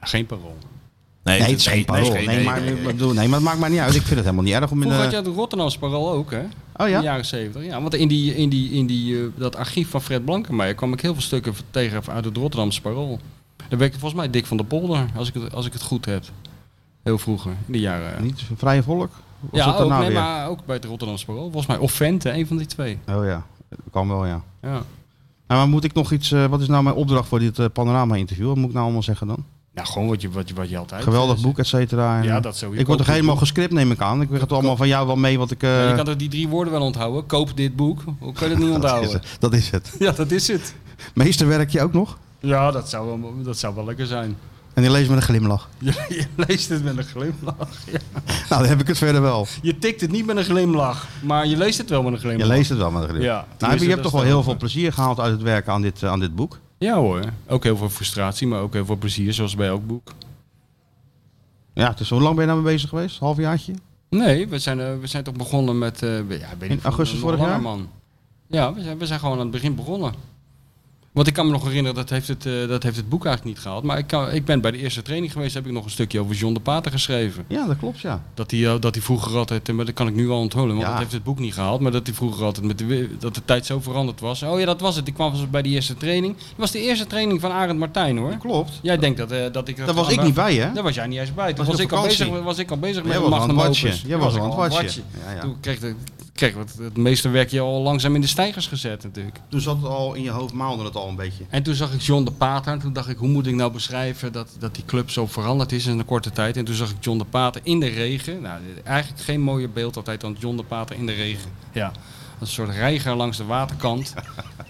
Speaker 3: Ja, Geen parool.
Speaker 2: Nee, het is geen Parool. Nee, maar,
Speaker 4: nee, nee.
Speaker 2: ik bedoel, nee, maar het maakt mij niet uit. Ik vind het helemaal niet erg om in
Speaker 3: Vroeger had
Speaker 2: de...
Speaker 3: je het Rotterdamse parool ook, hè?
Speaker 2: Oh
Speaker 3: In
Speaker 2: eh, ja?
Speaker 3: de jaren zeventig. Ja, want in, die, in, die, in die, eh, dat archief van Fred Blankenmeijer kwam ik heel veel stukken tegen uit het Rotterdamse Parool. Daar werkte volgens mij Dick van der Polder, als ik het, als ik het goed heb. Heel vroeger, in de jaren.
Speaker 2: Niet Vrije Volk? Of
Speaker 3: ja,
Speaker 2: dat er
Speaker 3: ook,
Speaker 2: nou
Speaker 3: nee,
Speaker 2: weer?
Speaker 3: maar ook bij het Rotterdamse Parool. Volgens mij, of Vente, een van die twee.
Speaker 2: Oh ja, kan wel ja.
Speaker 3: Ja.
Speaker 2: Nou, maar moet ik nog iets, eh, wat is nou mijn opdracht voor dit eh, panorama-interview? Wat moet ik nou allemaal zeggen dan?
Speaker 3: Nou, gewoon wat je, wat je, wat je altijd...
Speaker 2: Geweldig
Speaker 3: eh,
Speaker 2: boek, et cetera. En,
Speaker 3: Ja,
Speaker 2: eh,
Speaker 3: dat sowieso.
Speaker 2: ik word toch
Speaker 3: Koop dit
Speaker 2: helemaal
Speaker 3: boek.
Speaker 2: gescript, neem ik aan. Ik krijg het allemaal van jou wel mee wat ik... eh,
Speaker 3: Ja, je kan toch die drie woorden wel onthouden? Koop dit boek. Hoe kan je dat
Speaker 2: dat,
Speaker 3: niet
Speaker 2: is
Speaker 3: onthouden?
Speaker 2: het, dat is het.
Speaker 3: ja, dat is het.
Speaker 2: Meesterwerkje ook nog.
Speaker 3: Ja, dat zou wel, dat zou wel lekker zijn.
Speaker 2: En die leest met een glimlach.
Speaker 3: Je, je leest het met een glimlach. Ja.
Speaker 2: Nou, dan heb ik het verder wel.
Speaker 3: Je tikt het niet met een glimlach, maar je leest het wel met een
Speaker 2: Je
Speaker 3: glimlach.
Speaker 2: leest het wel met een glimlach.
Speaker 3: Ja,
Speaker 2: nou, heb je-
Speaker 3: tenminste,
Speaker 2: je
Speaker 3: dat
Speaker 2: hebt toch wel
Speaker 3: is
Speaker 2: heel
Speaker 3: wel
Speaker 2: veel
Speaker 3: waar.
Speaker 2: plezier gehaald uit het werken aan dit, eh, aan dit boek.
Speaker 3: Ja hoor, ook heel veel frustratie, maar ook heel veel plezier, zoals bij elk boek.
Speaker 2: Ja, dus hoe lang ben je nou mee bezig geweest? Halfjaartje?
Speaker 3: Nee, we zijn, eh, we zijn toch begonnen met... eh, ja, weet ik
Speaker 2: In
Speaker 3: veel,
Speaker 2: augustus
Speaker 3: nog
Speaker 2: vorig
Speaker 3: langer,
Speaker 2: jaar?
Speaker 3: Man. Ja, we zijn, we zijn gewoon aan het begin begonnen. Want ik kan me nog herinneren, dat heeft het, eh, dat heeft het boek eigenlijk niet gehaald. Maar ik, kan, ik ben bij de eerste training geweest, heb ik nog een stukje over John de Pater geschreven.
Speaker 2: Ja, dat klopt, ja.
Speaker 3: Dat hij, eh, dat hij vroeger altijd, eh, maar dat kan ik nu al onthullen, want
Speaker 2: Ja.
Speaker 3: dat heeft het boek niet gehaald. Maar dat hij vroeger altijd, met de, we- dat de tijd zo veranderd was. Oh ja, dat was het. Ik kwam bij die eerste training. Dat was de eerste training van Arend Martijn hoor.
Speaker 2: Klopt.
Speaker 3: Jij denkt dat, eh, dat ik... Dat
Speaker 2: Daar was ik
Speaker 3: aan-
Speaker 2: niet bij, hè?
Speaker 3: Daar was jij niet eens bij. Toen
Speaker 2: Was
Speaker 3: was,
Speaker 2: je op
Speaker 3: ik, al
Speaker 2: vakantie?
Speaker 3: bezig, was ik al bezig
Speaker 2: Jij
Speaker 3: met
Speaker 2: was
Speaker 3: de
Speaker 2: aan het
Speaker 3: magnum
Speaker 2: watje.
Speaker 3: opus.
Speaker 2: Jij
Speaker 3: Toen
Speaker 2: was
Speaker 3: ik
Speaker 2: aan het
Speaker 3: al aan
Speaker 2: watje. Ja, ja.
Speaker 3: Toen kreeg de, Kijk, want het meeste werd je al langzaam in de stijgers gezet natuurlijk.
Speaker 2: Toen zat het al in je hoofd, maalde het al een beetje.
Speaker 3: En toen zag ik John de Pater en toen dacht ik, hoe moet ik nou beschrijven dat, dat die club zo veranderd is in een korte tijd. En toen zag ik John de Pater in de regen. Nou, eigenlijk geen mooier beeld altijd dan John de Pater in de regen. Ja. Als een soort reiger langs de waterkant,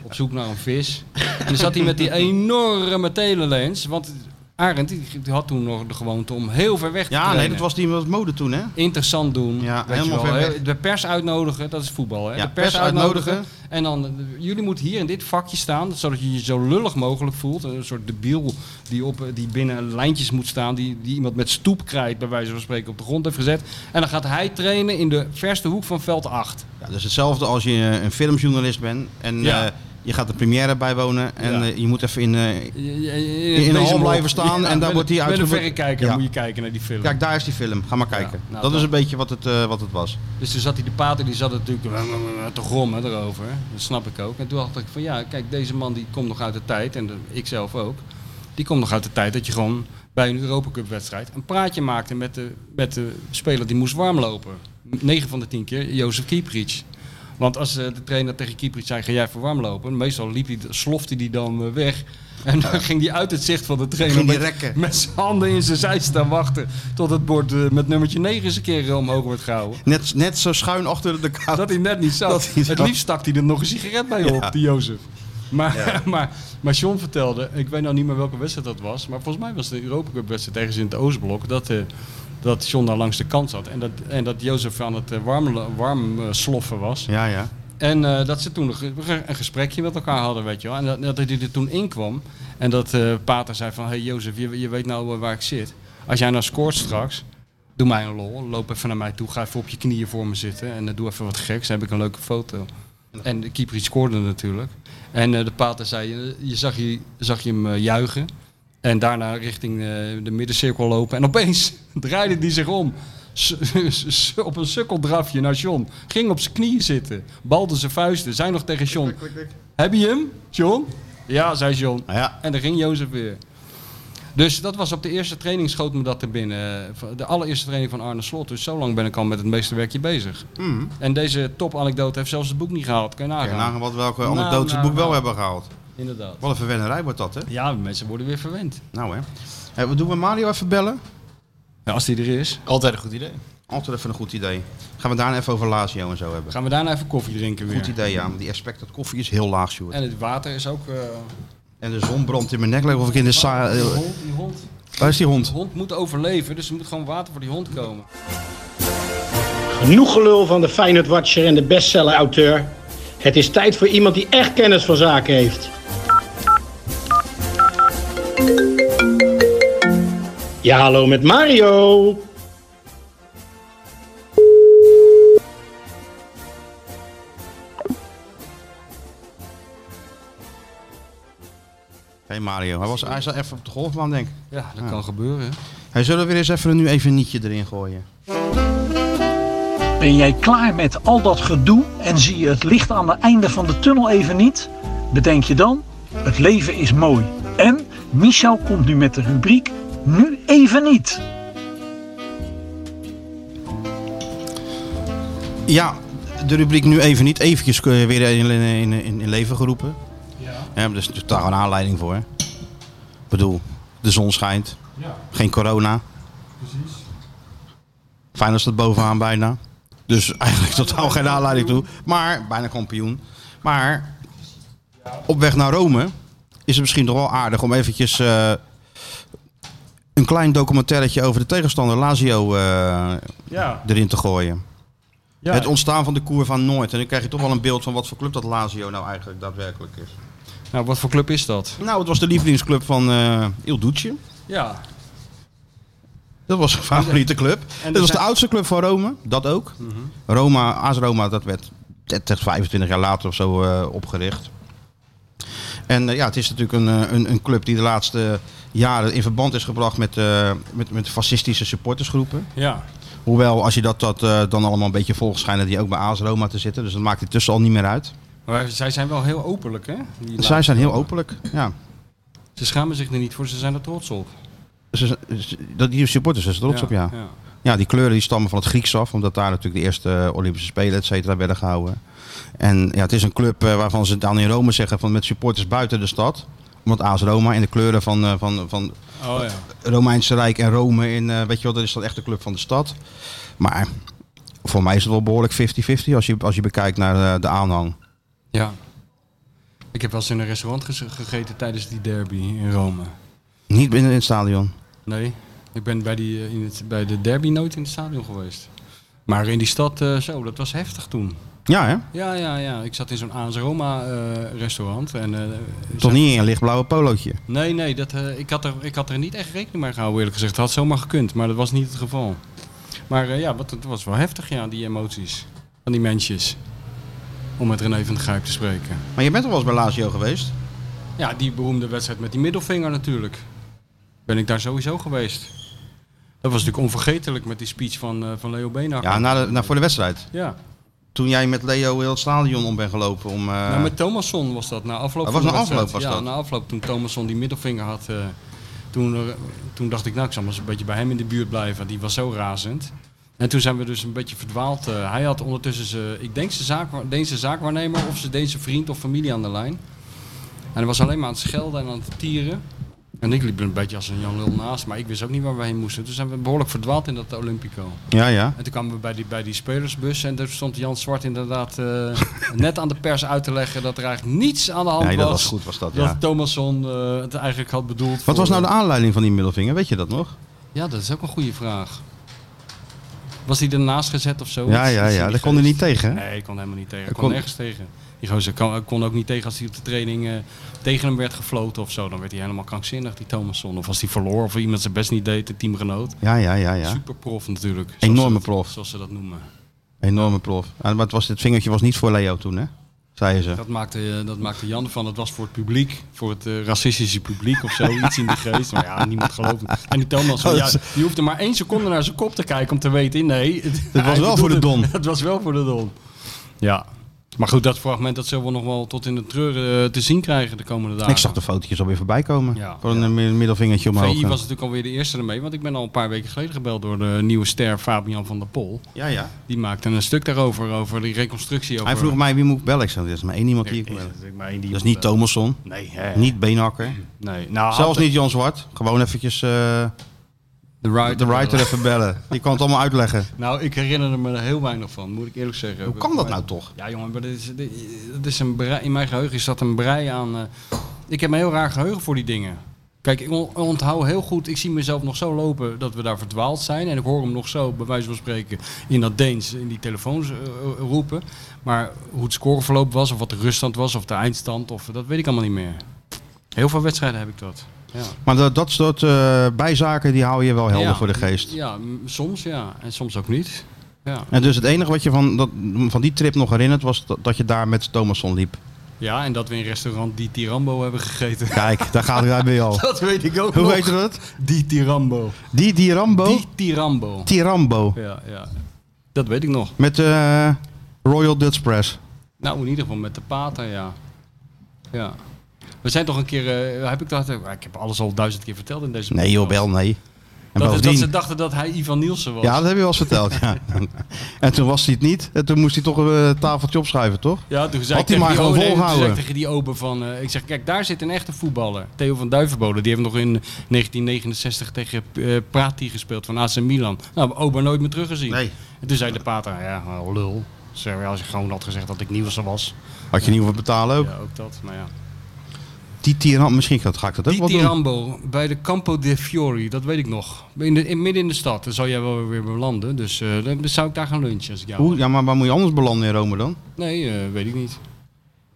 Speaker 3: op zoek naar een vis. En dan zat hij met die enorme telelens, want Arend die, die had toen nog de gewoonte om heel ver weg te
Speaker 2: Ja, nee,
Speaker 3: trainen.
Speaker 2: dat was die was mode toen, hè?
Speaker 3: Interessant doen.
Speaker 2: Ja,
Speaker 3: weet je
Speaker 2: helemaal
Speaker 3: wel.
Speaker 2: ver weg.
Speaker 3: De pers uitnodigen, dat is voetbal. Hè?
Speaker 2: Ja,
Speaker 3: de pers,
Speaker 2: pers
Speaker 3: uitnodigen.
Speaker 2: uitnodigen.
Speaker 3: En dan, eh, jullie moeten hier in dit vakje staan, zodat je je zo lullig mogelijk voelt. Een soort debiel die, op, eh, die binnen lijntjes moet staan, die, die iemand met stoepkrijt, bij wijze van spreken, op de grond heeft gezet. En dan gaat hij trainen in de verste hoek van veld 8.
Speaker 2: Ja, dat is hetzelfde als je een filmjournalist bent en
Speaker 3: Ja.
Speaker 2: eh, je gaat de première bijwonen en
Speaker 3: Ja.
Speaker 2: eh, je moet even in... eh,
Speaker 3: In,
Speaker 2: In een hal blijven staan en daar wordt hij
Speaker 3: Met een
Speaker 2: uitgevoerd.
Speaker 3: verrekijker
Speaker 2: Ja.
Speaker 3: moet je kijken naar die film.
Speaker 2: kijk, daar is die film, ga maar kijken.
Speaker 3: nou,
Speaker 2: dat
Speaker 3: dat-
Speaker 2: is een beetje wat het, eh, wat het was.
Speaker 3: Dus toen zat hij de pater, die zat natuurlijk te grommen erover. Dat snap ik ook. En toen dacht ik van ja, kijk, deze man die komt nog uit de tijd, en ik zelf ook. Die komt nog uit de tijd dat je gewoon bij een Europa Cup wedstrijd een praatje maakte met de, met de speler die moest warmlopen. 9 van de 10 keer, Jozef Kieprits. Want als eh, de trainer tegen Kieprits zei, ga jij voor warmlopen? Meestal liep hij, slofte hij dan eh, weg. En dan ging hij uit het zicht van de trainer
Speaker 2: Ging die
Speaker 3: met-
Speaker 2: rekken.
Speaker 3: met zijn handen in zijn zij staan wachten. Tot het bord eh, met nummertje 9 eens een keer eh, omhoog werd gehouden.
Speaker 2: Net, net zo schuin achter de
Speaker 3: Oh.
Speaker 2: kou.
Speaker 3: Dat hij net niet zag.
Speaker 2: Dat hij
Speaker 3: het
Speaker 2: zag.
Speaker 3: liefst stak hij er nog een sigaret bij op,
Speaker 2: Ja.
Speaker 3: die Jozef. Maar,
Speaker 2: Ja.
Speaker 3: maar, maar John vertelde, ik weet nou niet meer welke wedstrijd dat was, maar volgens mij was het de Europa Cup wedstrijd ergens in het Oostblok, dat, eh, dat John daar langs de kant zat en dat, en dat Jozef aan het eh, warm, warm eh, sloffen was.
Speaker 2: Ja, ja.
Speaker 3: En eh, dat ze toen een ge- een gesprekje met elkaar hadden, weet je wel. En dat, dat hij er toen inkwam. En dat eh, Pater zei van, hey Jozef, je, je weet nou eh, waar ik zit. Als jij nou scoort straks, doe mij een lol. Loop even naar mij toe, ga even op je knieën voor me zitten. En eh, doe even wat geks, dan heb ik een leuke foto. En de keeper die scoorde natuurlijk. En eh, de Pater zei, eh, je zag, je, zag je hem eh, juichen. En daarna richting eh, de middencirkel lopen. En opeens draaide hij zich om. S- s- s- op een sukkeldrafje naar John. Ging op zijn knieën zitten. Balde zijn vuisten. Zei nog tegen John. Heb je hem, John? Ja, zei John.
Speaker 2: Nou ja,
Speaker 3: En daar ging Jozef weer. Dus dat was op de eerste training schoot me dat er binnen. De allereerste training van Arne Slot. Dus zo lang ben ik al met het meeste werkje bezig. En deze topanekdote heeft zelfs het boek niet gehaald. Kan je
Speaker 2: kijk
Speaker 3: nagaan.
Speaker 2: nagaan wat welke
Speaker 3: Nou,
Speaker 2: anekdotes het
Speaker 3: nou,
Speaker 2: boek wel
Speaker 3: nou.
Speaker 2: hebben gehaald.
Speaker 3: Inderdaad.
Speaker 2: Wat een verwennerij wordt dat, hè?
Speaker 3: Ja, mensen worden weer verwend.
Speaker 2: Nou, hè. Eh, wat doen we Mario even bellen?
Speaker 3: Ja, als die er is.
Speaker 4: Altijd een goed idee.
Speaker 2: Altijd even een goed idee. Gaan we daar nou even over Lazio en zo hebben.
Speaker 3: Gaan we daarna even koffie drinken weer.
Speaker 2: Goed idee, ja. Want die expected koffie is heel laag, Sjoerd.
Speaker 3: En het water is ook... eh,
Speaker 2: En de zon brandt in mijn nek. lijkt Of ik in de sa...
Speaker 3: die,
Speaker 2: eh,
Speaker 3: hond, die hond.
Speaker 2: Waar is die hond?
Speaker 3: De hond moet overleven, dus er moet gewoon water voor die hond komen.
Speaker 6: Genoeg gelul van de Feyenoord Watcher en de bestseller-auteur. Het is tijd voor iemand die echt kennis van zaken heeft. Ja, hallo met Mario.
Speaker 2: hey Mario, hij, was, hij zat even op de golfbaan, denk ik.
Speaker 3: Ja, dat kan gebeuren.
Speaker 2: Hij zullen we weer eens even nu even een nietje erin gooien.
Speaker 7: Ben jij klaar met al dat gedoe en zie je het licht aan het einde van de tunnel even niet? Bedenk je dan, het leven is mooi. En Michel komt nu met de rubriek Nu even niet.
Speaker 2: Ja, de rubriek nu even niet. Eventjes eh, weer in, in, in, in leven geroepen. Ja. maar daar is totaal een aanleiding voor. hè. Ik bedoel, de zon schijnt. Geen corona. Precies. dat staat bovenaan bijna. Dus eigenlijk totaal geen aanleiding toe. Maar, bijna kampioen. Maar, op weg naar Rome is het misschien toch wel aardig om eventjes... eh, een klein documentaretje over de tegenstander Lazio eh,
Speaker 3: Ja.
Speaker 2: erin te gooien.
Speaker 3: ja.
Speaker 2: Het ontstaan van de Koer van Noord. En dan krijg je toch wel een beeld van wat voor club dat Lazio nou eigenlijk daadwerkelijk is.
Speaker 3: Nou, wat voor club is dat?
Speaker 2: Nou, het was de lievelingsclub van eh Il Duce.
Speaker 3: Ja.
Speaker 2: Dat was een favoriete club. Dat was
Speaker 3: er
Speaker 2: de Mhm.
Speaker 3: zijn-
Speaker 2: oudste club van Rome. Dat ook. Roma, AS Roma, dat werd 30, 25 jaar later of zo eh, opgericht. En eh, ja, het is natuurlijk een, eh, een, een club die de laatste jaren in verband is gebracht met, eh, met, met fascistische supportersgroepen.
Speaker 3: Ja.
Speaker 2: Hoewel, als je dat, dat eh, dan allemaal een beetje volgt, schijnen die ook bij AS Roma te zitten. Dus dat maakt het tussen al niet meer uit.
Speaker 3: Maar zij zijn wel heel openlijk, hè? Die
Speaker 2: Zij
Speaker 3: laatste
Speaker 2: zijn heel
Speaker 3: groepen.
Speaker 2: openlijk. Ja.
Speaker 3: Ze schamen zich er niet voor, ze zijn er trots op.
Speaker 2: Ze- ze- dat die supporters zijn er trots
Speaker 3: Ja,
Speaker 2: op, ja.
Speaker 3: ja.
Speaker 2: Ja, die kleuren die stammen van het Grieks af, omdat daar natuurlijk de eerste eh, Olympische Spelen et cetera, werden gehouden. En ja, het is een club eh, waarvan ze dan in Rome zeggen van met supporters buiten de stad. Omdat AS Roma in de kleuren van, eh, van, van
Speaker 3: Oh ja.
Speaker 2: Romeinse Rijk en Rome in, eh, weet je wel, dat is dan echt de club van de stad. Maar voor mij is het wel behoorlijk 50-50 als je, als je bekijkt naar eh, de aanhang.
Speaker 3: ja. Ik heb wel eens in een restaurant gez- gegeten tijdens die derby in Rome.
Speaker 2: Niet binnen in het stadion.
Speaker 3: Nee, ik ben bij, die, eh, in het, bij de derby nooit in het stadion geweest. Maar in die stad, eh, zo, dat was heftig toen.
Speaker 2: Ja, hè?
Speaker 3: Ja, ja, ja. Ik zat in zo'n AS Roma eh, restaurant. En, eh,
Speaker 2: Toch niet in een lichtblauwe polootje.
Speaker 3: Nee, nee, dat, eh, ik, had er, ik had er niet echt rekening mee gehouden, eerlijk gezegd. Het had zomaar gekund, maar dat was niet het geval. Maar eh, ja, wat, het was wel heftig, ja, die emoties van die mensjes. Om met René van der Grijp te spreken.
Speaker 2: Maar je bent al wel eens bij Lazio geweest.
Speaker 3: Ja, die beroemde wedstrijd met die middelvinger natuurlijk. Ben ik daar sowieso geweest. Dat was natuurlijk onvergetelijk met die speech van, eh, van Leo Benak.
Speaker 2: Ja, nou, na de, na, voor de wedstrijd.
Speaker 3: ja.
Speaker 2: Toen jij met Leo heel het stadion om bent gelopen om... eh,
Speaker 3: Nou, met Thomasson was dat na afloop.
Speaker 2: Dat
Speaker 3: van
Speaker 2: was
Speaker 3: de
Speaker 2: na afloop,
Speaker 3: wedstrijd.
Speaker 2: was
Speaker 3: ja,
Speaker 2: dat?
Speaker 3: na afloop toen Thomasson die middelvinger had. eh, toen, er- toen dacht ik, nou, ik zal maar eens een beetje bij hem in de buurt blijven. Die was zo razend. En toen zijn we dus een beetje verdwaald. eh. hij had ondertussen, ze, ik denk, zijn zaak, deze zaakwaarnemer of ze deze vriend of familie aan de lijn. En hij was alleen maar aan het schelden en aan het tieren. En ik liep er een beetje als een Jan Lul naast, maar ik wist ook niet waar we heen moesten. Toen zijn we behoorlijk verdwaald in dat Olympico.
Speaker 2: Ja, ja.
Speaker 3: En toen kwamen we bij die, bij die spelersbus en daar stond Jan Zwart inderdaad eh, net aan de pers uit te leggen dat er eigenlijk niets aan de hand
Speaker 2: Nee,
Speaker 3: was.
Speaker 2: dat was goed, was dat,
Speaker 3: Dat
Speaker 2: ja.
Speaker 3: Thomasson eh, het eigenlijk had bedoeld.
Speaker 2: Wat
Speaker 3: voor-
Speaker 2: was nou de aanleiding van die middelvinger? Weet je dat nog?
Speaker 3: Ja, dat is ook een goede vraag. Was hij ernaast gezet of zo?
Speaker 2: Ja,
Speaker 3: Is-
Speaker 2: ja,
Speaker 3: is
Speaker 2: ja.
Speaker 3: die
Speaker 2: Daar kon hij
Speaker 3: geweest?
Speaker 2: niet tegen, hè?
Speaker 3: Nee, ik kon helemaal niet tegen. Ik
Speaker 2: Hij
Speaker 3: kon,
Speaker 2: kon-
Speaker 3: nergens tegen. Die gozer kon, kon ook niet tegen als hij op de training eh, tegen hem werd gefloten of zo. Dan werd hij helemaal krankzinnig, die Thomasson. Of als hij verloor of iemand zijn best niet deed, een teamgenoot.
Speaker 2: Ja, ja, ja, ja.
Speaker 3: Super prof natuurlijk. zoals
Speaker 2: Enorme
Speaker 3: ze dat-
Speaker 2: prof.
Speaker 3: Zoals ze dat noemen.
Speaker 2: Enorme prof. Ah, Maar het, was, het vingertje was niet voor Leo toen, hè? Zeiden ze.
Speaker 3: Dat maakte, eh, dat maakte Jan van. Het was voor het publiek, voor het eh, racistische publiek of zo. Iets in die geest. Maar ja, niemand gelooft het. En die Thomas, van, ja, die hoefde maar één seconde naar zijn kop te kijken om te weten. Nee,
Speaker 2: was
Speaker 3: het hij
Speaker 2: wel voor de
Speaker 3: bedoelde-
Speaker 2: Don.
Speaker 3: Het was wel voor de Don. Ja. Maar goed, dat fragment dat zullen we nog wel tot in de treuren eh, te zien krijgen de komende dagen.
Speaker 2: Ik zag de fotootjes alweer voorbij komen.
Speaker 3: Ja.
Speaker 2: Van een mi- middelvingertje omhoog.
Speaker 3: VI was natuurlijk alweer de eerste ermee, want ik ben al een paar weken geleden gebeld door de nieuwe ster Fabian van der Pol.
Speaker 2: Ja, ja.
Speaker 3: Die maakte een stuk daarover, over die reconstructie. Over...
Speaker 2: Hij vroeg mij wie moet ik bellen. Ik zei, er is maar één iemand die ik moet bellen. Dat is niet Thomasson,
Speaker 3: Nee, hè.
Speaker 2: niet Beenhakker,
Speaker 3: nee. Nou,
Speaker 2: zelfs niet Jan Zwart. Gewoon eventjes eh,
Speaker 3: de writer.
Speaker 2: de writer even bellen. Die kan het allemaal uitleggen.
Speaker 3: Nou, ik herinner er me er heel weinig van, moet ik eerlijk zeggen.
Speaker 2: Hoe kan dat nou toch?
Speaker 3: Ja, jongen, maar dat is, dit- dat is een brei, in mijn geheugen is dat een brei aan... eh, ik heb een heel raar geheugen voor die dingen. Kijk, ik on- onthoud heel goed, ik zie mezelf nog zo lopen dat we daar verdwaald zijn. En ik hoor hem nog zo, bij wijze van spreken, in dat Deens, in die telefoons eh, eh, roepen. Maar hoe het scoreverloop was, of wat de ruststand was, of de eindstand, of, dat weet ik allemaal niet meer. Heel veel wedstrijden heb ik dat. Ja.
Speaker 2: Maar dat, dat soort eh, bijzaken die hou je wel helder
Speaker 3: Ja.
Speaker 2: voor de geest.
Speaker 3: Ja, m- soms ja, en soms ook niet. Ja.
Speaker 2: En dus het enige wat je van, dat, van die trip nog herinnert was dat, dat je daar met Thomasson liep.
Speaker 3: Ja, en dat we in restaurant Die Tirambo hebben gegeten.
Speaker 2: Kijk, daar gaat hij bij al.
Speaker 3: Dat weet ik ook
Speaker 2: Hoe
Speaker 3: nog.
Speaker 2: heet dat?
Speaker 3: Die Tirambo.
Speaker 2: Die Dirambo?
Speaker 3: Die Tirambo.
Speaker 2: Tirambo.
Speaker 3: Ja, ja. Dat weet ik nog.
Speaker 2: Met eh, Royal Dutch Press.
Speaker 3: Nou, in ieder geval met de pater, ja. Ja. We zijn toch een keer... eh, heb ik, dat, ik heb alles al duizend keer verteld in deze
Speaker 2: Nee joh, wel nee. En
Speaker 3: Dat, is dat
Speaker 2: bovendien-
Speaker 3: ze dachten dat hij Ivan Nielsen was.
Speaker 2: Ja, dat heb je wel eens verteld. Ja. en toen was hij het niet. En toen moest hij toch een eh, tafeltje opschuiven, toch?
Speaker 3: Ja, toen zei
Speaker 2: Had hij
Speaker 3: ik tegen
Speaker 2: maar
Speaker 3: die
Speaker 2: gewoon
Speaker 3: ode- toen
Speaker 2: volgehouden.
Speaker 3: zei ik tegen die open van... eh, ik zeg, kijk, daar zit een echte voetballer. Theo van Duivenbode. Die heeft nog in 1969 tegen eh, Prati gespeeld van AC Milan. Nou, ober nooit meer teruggezien.
Speaker 2: Nee.
Speaker 3: En toen zei de pater, ja, nou, lul. Zeg, ja, als je gewoon had gezegd dat ik Nielsen was.
Speaker 2: Had je niet hoeven betalen ook.
Speaker 3: Ja, ook dat. Maar ja.
Speaker 2: Die tiran, misschien ga ik dat ook
Speaker 3: Die
Speaker 2: wel doen.
Speaker 3: Tirambo bij de Campo de Fiori, dat weet ik nog. In de, in, midden in de stad, daar zou jij wel weer belanden. Dus eh, dan dan zou ik daar gaan lunchen als ik jou
Speaker 2: Hoe, ja, maar waar moet je anders belanden in Rome dan?
Speaker 3: was. Nee, eh, weet ik niet.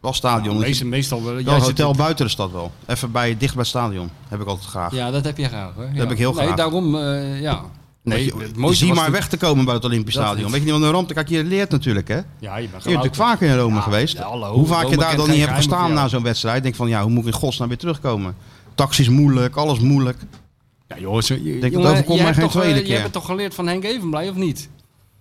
Speaker 2: Wel stadion.
Speaker 3: Nou,
Speaker 2: Ja,
Speaker 3: meest- meestal wel.
Speaker 2: wel
Speaker 3: Jij
Speaker 2: een
Speaker 3: zit
Speaker 2: hotel
Speaker 3: in-
Speaker 2: buiten de stad wel. Even bij, dicht bij het stadion. Heb ik altijd graag.
Speaker 3: Ja, dat heb je graag. Hoor. Dat
Speaker 2: heb ik heel
Speaker 3: Nee,
Speaker 2: graag.
Speaker 3: daarom, eh, ja.
Speaker 2: Nee,
Speaker 3: Nee,
Speaker 2: je,
Speaker 3: het
Speaker 2: je
Speaker 3: mooiste
Speaker 2: ziet
Speaker 3: was
Speaker 2: maar
Speaker 3: toen-
Speaker 2: weg te komen bij het Olympisch
Speaker 3: Dat
Speaker 2: Stadion.
Speaker 3: niet.
Speaker 2: Weet je niet wat een ramp? Kijk, je leert natuurlijk hè.
Speaker 3: Ja, je bent
Speaker 2: Je bent natuurlijk vaker in Rome geweest.
Speaker 3: ja, hallo.
Speaker 2: hoe vaak
Speaker 3: Rome
Speaker 2: je daar
Speaker 3: kent
Speaker 2: dan
Speaker 3: geen
Speaker 2: niet hebt
Speaker 3: geheimen
Speaker 2: gestaan
Speaker 3: voor
Speaker 2: na
Speaker 3: jou.
Speaker 2: zo'n wedstrijd. Denk van ja, hoe moet ik in godsnaam weer terugkomen? Taxis moeilijk, alles moeilijk.
Speaker 3: Ja, joh, zo, je,
Speaker 2: dat
Speaker 3: jongen,
Speaker 2: overkomt
Speaker 3: je
Speaker 2: mij
Speaker 3: hebt
Speaker 2: geen
Speaker 3: toch, eh,
Speaker 2: tweede
Speaker 3: Je
Speaker 2: keer.
Speaker 3: hebt het toch geleerd van Henk Evenblij, of niet?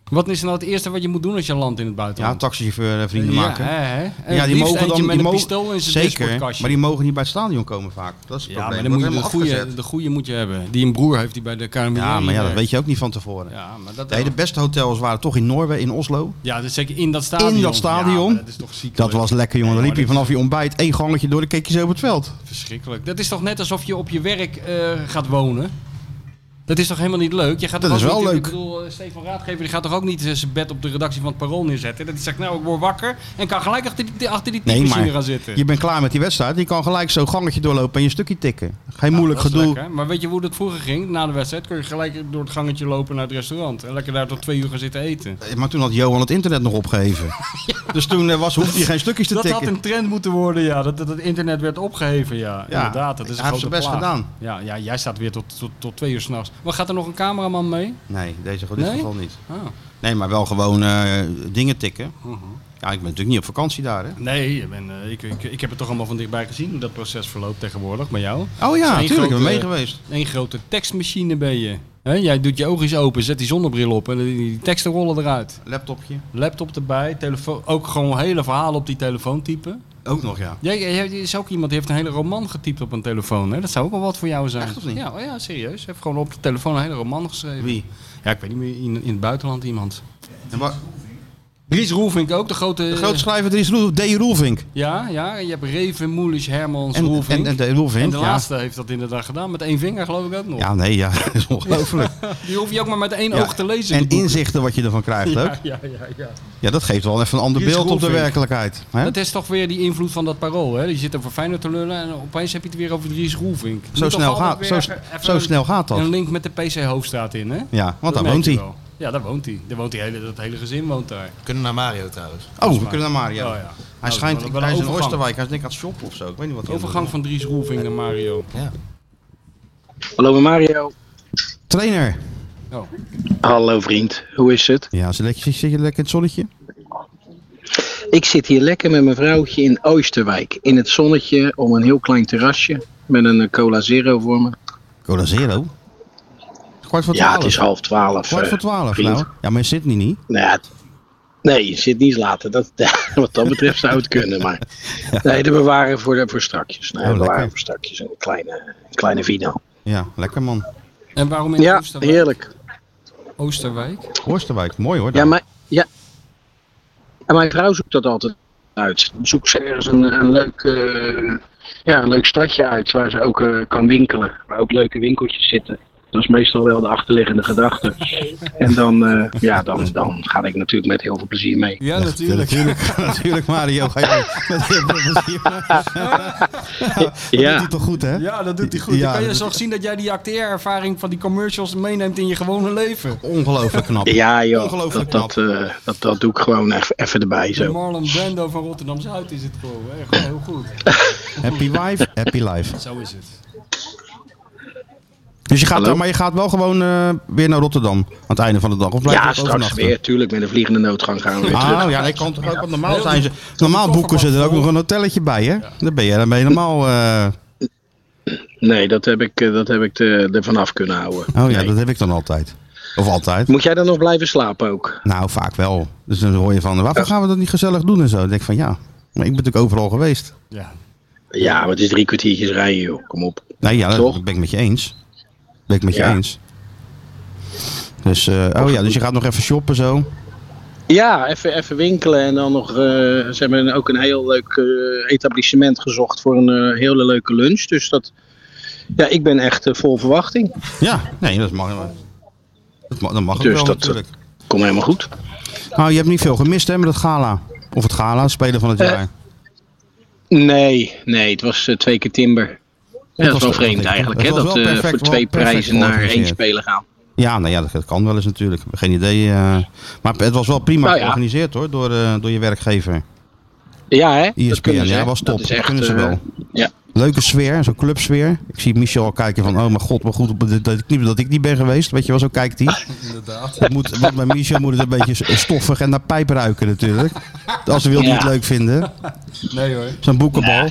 Speaker 3: Wat is nou het eerste wat je moet doen als je landt in het
Speaker 2: Ja,
Speaker 3: buitenland?
Speaker 2: taxichauffeur eh, vrienden maken.
Speaker 3: hè, hè? En
Speaker 2: Ja,
Speaker 3: het
Speaker 2: die mogen
Speaker 3: liefst eentje
Speaker 2: dan
Speaker 3: met
Speaker 2: die
Speaker 3: een
Speaker 2: mogen-
Speaker 3: pistool in zijn
Speaker 2: Zeker,
Speaker 3: dashboardkastje.
Speaker 2: maar die mogen niet bij het stadion komen vaak. Dat is het
Speaker 3: ja, maar
Speaker 2: probleem.
Speaker 3: dan moet je
Speaker 2: Wordt
Speaker 3: de
Speaker 2: helemaal
Speaker 3: goede,
Speaker 2: afgezet.
Speaker 3: de goede moet je hebben. Die een broer heeft die bij de KNVB
Speaker 2: Ja, maar ja, dat
Speaker 3: werkt.
Speaker 2: weet je ook niet van tevoren.
Speaker 3: Ja, maar dat,
Speaker 2: Nee, de beste hotels waren toch in Noorwegen, in Oslo.
Speaker 3: ja, dat is zeker in dat stadion.
Speaker 2: In dat stadion?
Speaker 3: Ja, maar dat is toch ziek.
Speaker 2: Dat
Speaker 3: hoor.
Speaker 2: was lekker, jongen. Dan
Speaker 3: Ja,
Speaker 2: liep je
Speaker 3: maar
Speaker 2: vanaf je ontbijt één gangetje door, dan keek je zo op het veld.
Speaker 3: Verschrikkelijk. Dat is toch net alsof je op je werk eh, gaat wonen? Dat is toch helemaal niet leuk? Je gaat
Speaker 2: Dat
Speaker 3: toch
Speaker 2: is
Speaker 3: ook
Speaker 2: wel
Speaker 3: niet-
Speaker 2: leuk.
Speaker 3: Ik bedoel, eh, Stefan Raadgever die gaat toch ook niet eh, zijn bed op de redactie van het Parool neerzetten? Dat hij zegt, nou, ik word wakker en kan gelijk achter die, achter die
Speaker 2: Nee,
Speaker 3: typemachine
Speaker 2: maar
Speaker 3: gaan zitten.
Speaker 2: je bent klaar met die wedstrijd. Je kan gelijk zo gangetje doorlopen en je stukje tikken. Geen
Speaker 3: Nou,
Speaker 2: moeilijk
Speaker 3: dat is
Speaker 2: gedoe.
Speaker 3: lekker. Maar weet je hoe dat vroeger ging? Na de wedstrijd kun je gelijk door het gangetje lopen naar het restaurant. En lekker daar tot twee uur gaan zitten eten.
Speaker 2: Maar toen had Johan het internet nog opgegeven. Dus toen eh, was, hoefde hij geen stukjes te
Speaker 3: Dat had
Speaker 2: tikken.
Speaker 3: een trend moeten worden, ja. Dat, dat het internet werd opgeheven, ja. Inderdaad, dat is een
Speaker 2: hij heeft
Speaker 3: grote
Speaker 2: zijn best
Speaker 3: plaag.
Speaker 2: gedaan.
Speaker 3: Ja, ja, jij staat weer tot, tot, tot twee uur s'nachts. Maar gaat er nog een cameraman mee?
Speaker 2: Nee, deze, in dit
Speaker 3: Nee?
Speaker 2: geval niet.
Speaker 3: Ah.
Speaker 2: Nee, maar wel gewoon eh, dingen tikken.
Speaker 3: Mhm.
Speaker 2: Ja, ik ben natuurlijk niet op vakantie daar, hè.
Speaker 3: Nee, ik, ben, eh, ik, ik, ik heb het toch allemaal van dichtbij gezien hoe dat proces verloopt tegenwoordig bij jou.
Speaker 2: Oh
Speaker 3: Zo'n
Speaker 2: ja, natuurlijk. Ik ben
Speaker 3: grote-
Speaker 2: mee geweest.
Speaker 3: Eén grote tekstmachine ben je. Hè, jij doet je oogjes open, zet die zonnebril op en die, die teksten rollen eruit.
Speaker 2: Laptopje.
Speaker 3: Laptop erbij, telefoon, ook gewoon hele verhalen op die telefoon typen.
Speaker 2: Ook nog, ja.
Speaker 3: Jij, jij, jij is ook iemand die heeft een hele roman getypt op een telefoon. Hè? Dat zou ook wel wat voor jou zijn.
Speaker 2: Echt of niet?
Speaker 3: Ja, oh ja, serieus. Hij heeft gewoon op de telefoon een hele roman geschreven.
Speaker 2: Wie?
Speaker 3: Ja, ik weet niet meer, in, in het buitenland iemand.
Speaker 2: En wa-
Speaker 3: Dries Roelvink ook, de grote... eh,
Speaker 2: De grote schrijver is Roel- D. Roelvink.
Speaker 3: Ja, ja. Je hebt Reven, Moelis, Hermans,
Speaker 2: En,
Speaker 3: Roelvink.
Speaker 2: en, en D. Roelvink,
Speaker 3: En de
Speaker 2: ja.
Speaker 3: laatste heeft dat inderdaad gedaan. Met één vinger geloof ik ook nog.
Speaker 2: Ja, nee, ja. Dat is ongelooflijk.
Speaker 3: Die hoef je ook maar met één
Speaker 2: Ja,
Speaker 3: oog te lezen.
Speaker 2: En
Speaker 3: die boeken.
Speaker 2: inzichten wat je ervan krijgt ook.
Speaker 3: Ja, ja, ja, ja.
Speaker 2: Ja, dat geeft wel even een ander
Speaker 3: Hier is
Speaker 2: beeld op de
Speaker 3: Roelvink.
Speaker 2: werkelijkheid. Hè?
Speaker 3: Dat is toch weer die invloed van dat parool. Hè? Je zit over Feyenoord te lullen en opeens heb je het weer over Dries Roelvink.
Speaker 2: Zo snel, gaat, zo, zo snel gaat
Speaker 3: Een
Speaker 2: dat.
Speaker 3: link met de PC-hoofdstraat in, hè?
Speaker 2: Ja, want
Speaker 3: Dat
Speaker 2: daar woont
Speaker 3: merk je
Speaker 2: hij. Oh,
Speaker 3: wel. Ja, daar woont hij. Daar woont hij hele, dat hele gezin woont daar.
Speaker 4: We kunnen naar Mario trouwens.
Speaker 2: Oh, we kunnen naar Mario.
Speaker 3: Oh, ja.
Speaker 2: Hij
Speaker 3: Nou,
Speaker 2: schijnt,
Speaker 3: wel
Speaker 2: ik,
Speaker 3: een
Speaker 2: hij is in
Speaker 3: overgang.
Speaker 2: Oosterwijk, hij is denk ik aan het shoppen of zo. Ik weet niet wat hij
Speaker 3: Overgang van Dries Roelvink naar Mario.
Speaker 6: Hallo Mario.
Speaker 2: doet. Trainer.
Speaker 6: Hallo vriend, hoe is het?
Speaker 2: Ja, zit je, zit je lekker in het zonnetje?
Speaker 6: Ik zit hier lekker met mijn vrouwtje in Oosterwijk. In het zonnetje om een heel klein terrasje. Met een eh, cola zero voor me.
Speaker 2: Cola Zero. Kwart voor
Speaker 6: Ja,
Speaker 2: twaalf.
Speaker 6: het is half twaalf.
Speaker 2: Kwart
Speaker 6: eh,
Speaker 2: voor twaalf,
Speaker 6: vriend.
Speaker 2: nou. Ja, maar in Sydney niet.
Speaker 6: Nou ja, het- nee, je zit niet later. Dat, wat dat betreft zou het kunnen. Maar nee, de bewaren voor, de, voor strakjes. Nee,
Speaker 2: Oh,
Speaker 6: de bewaren
Speaker 2: lekker.
Speaker 6: voor strakjes. Een kleine, een kleine vino.
Speaker 2: Ja, lekker man.
Speaker 3: En waarom in
Speaker 6: Ja,
Speaker 3: Oosterwijk?
Speaker 6: heerlijk.
Speaker 3: Oosterwijk?
Speaker 2: Oosterwijk, mooi hoor.
Speaker 6: Ja,
Speaker 2: daar.
Speaker 6: maar, ja. En mijn vrouw zoekt dat altijd uit. Zoekt ze ergens een, een, leuk, eh, ja, een leuk stadje uit waar ze ook eh, kan winkelen. Waar ook leuke winkeltjes zitten. Dat is meestal wel de achterliggende gedachte. En dan, eh, ja, dan, dan ga ik natuurlijk met heel veel plezier mee.
Speaker 3: Ja,
Speaker 2: Ja,
Speaker 3: natuurlijk.
Speaker 2: natuurlijk. natuurlijk, Mario. Ga je met heel veel plezier. Dat doet hij toch goed, hè?
Speaker 3: Ja, dat doet hij goed.
Speaker 2: Ja,
Speaker 3: dan kan je
Speaker 2: dat-
Speaker 3: toch zien dat jij die acteerervaring van die commercials meeneemt in je gewone leven.
Speaker 2: Ongelooflijk knap.
Speaker 6: Ja, joh.
Speaker 2: Ongelooflijk
Speaker 6: Dat, dat, eh, dat, dat doe ik gewoon even, even erbij
Speaker 3: De
Speaker 6: zo.
Speaker 3: Marlon Brando van Rotterdam-Zuid is het gewoon. hè. Gewoon heel goed.
Speaker 2: Happy wife, happy life.
Speaker 3: Zo is het.
Speaker 2: Dus je gaat,
Speaker 6: Hallo?
Speaker 2: maar je gaat wel gewoon eh, weer naar Rotterdam aan het einde van de dag? Of blijf je
Speaker 6: Ja,
Speaker 2: ook
Speaker 6: straks
Speaker 2: overnachten?
Speaker 6: weer. Tuurlijk, met een vliegende noodgang gaan we weer terug.
Speaker 2: Ah, ja, ik kan toch ook, want normaal,
Speaker 3: Heel
Speaker 2: zijn
Speaker 3: die-
Speaker 2: ze,
Speaker 3: heel die
Speaker 2: normaal boeken ze er ook
Speaker 3: kofferbak
Speaker 2: nog
Speaker 3: vol.
Speaker 2: een hotelletje bij, hè? Dan ben je, dan ben je normaal... eh,
Speaker 6: Nee, dat heb ik, eh, dat heb ik eh, ervan af kunnen houden.
Speaker 2: Oh ja,
Speaker 6: Nee.
Speaker 2: dat heb ik dan altijd. Of altijd.
Speaker 6: Moet jij dan nog blijven slapen ook?
Speaker 2: Nou, vaak wel. Dus dan hoor je van, waarvoor gaan we dat niet gezellig doen en zo? Dan denk ik van, ja, maar ik ben natuurlijk overal geweest.
Speaker 3: Ja.
Speaker 6: Ja, maar het is drie kwartiertjes rijden, joh. Kom op.
Speaker 2: Nee, ja, dat
Speaker 6: Toch?
Speaker 2: ben ik met je eens. Ben ik met je
Speaker 6: Ja.
Speaker 2: eens. Dus, eh, oh ja, dus je gaat nog even shoppen zo.
Speaker 6: Ja, even, even winkelen en dan nog. eh, ze hebben ook een heel leuk eh, etablissement gezocht voor een eh, hele leuke lunch. Dus dat. Ja, ik ben echt eh, vol verwachting.
Speaker 2: Ja, nee, dat mag, dat mag, dat mag ook
Speaker 6: Dus
Speaker 2: wel
Speaker 6: dat-
Speaker 2: natuurlijk.
Speaker 6: Kom helemaal goed.
Speaker 2: Nou, je hebt niet veel gemist hè, met het gala. Of het gala, het spelen van het
Speaker 6: Eh,
Speaker 2: jaar.
Speaker 6: Nee, nee, het was eh, twee keer timber. Ja, dat is wel
Speaker 2: was-
Speaker 6: vreemd eigenlijk, hè?
Speaker 2: het was
Speaker 6: Dat
Speaker 2: wel
Speaker 6: eh,
Speaker 2: perfect,
Speaker 6: voor
Speaker 2: wel
Speaker 6: twee
Speaker 2: perfect
Speaker 6: prijzen naar één
Speaker 2: georganiseerd.
Speaker 6: speler gaan.
Speaker 2: Ja, nou ja, dat, dat kan wel eens natuurlijk. Geen idee. eh, maar het was wel prima
Speaker 6: Nou ja.
Speaker 2: georganiseerd hoor, door, eh, door je werkgever.
Speaker 6: Ja,
Speaker 2: E
Speaker 6: hè? Dat
Speaker 2: ESPN,
Speaker 6: kunnen ze,
Speaker 2: ja,
Speaker 6: hè?
Speaker 2: was top.
Speaker 6: Dat
Speaker 2: Dat,
Speaker 6: is echt,
Speaker 2: kunnen ze
Speaker 6: eh,
Speaker 2: wel.
Speaker 6: ja.
Speaker 2: Leuke sfeer, zo'n clubsfeer. Ik zie Michel al kijken van, oh mijn god, maar goed op de- dat, ik niet, dat ik niet ben geweest. Weet je wel, zo kijkt hij.
Speaker 3: Inderdaad.
Speaker 2: Het moet, want bij Michel moet het een beetje stoffig en naar pijp ruiken natuurlijk. Als ze wil
Speaker 6: Ja.
Speaker 2: niet leuk vinden.
Speaker 3: Nee hoor.
Speaker 2: Zo'n boekenbal.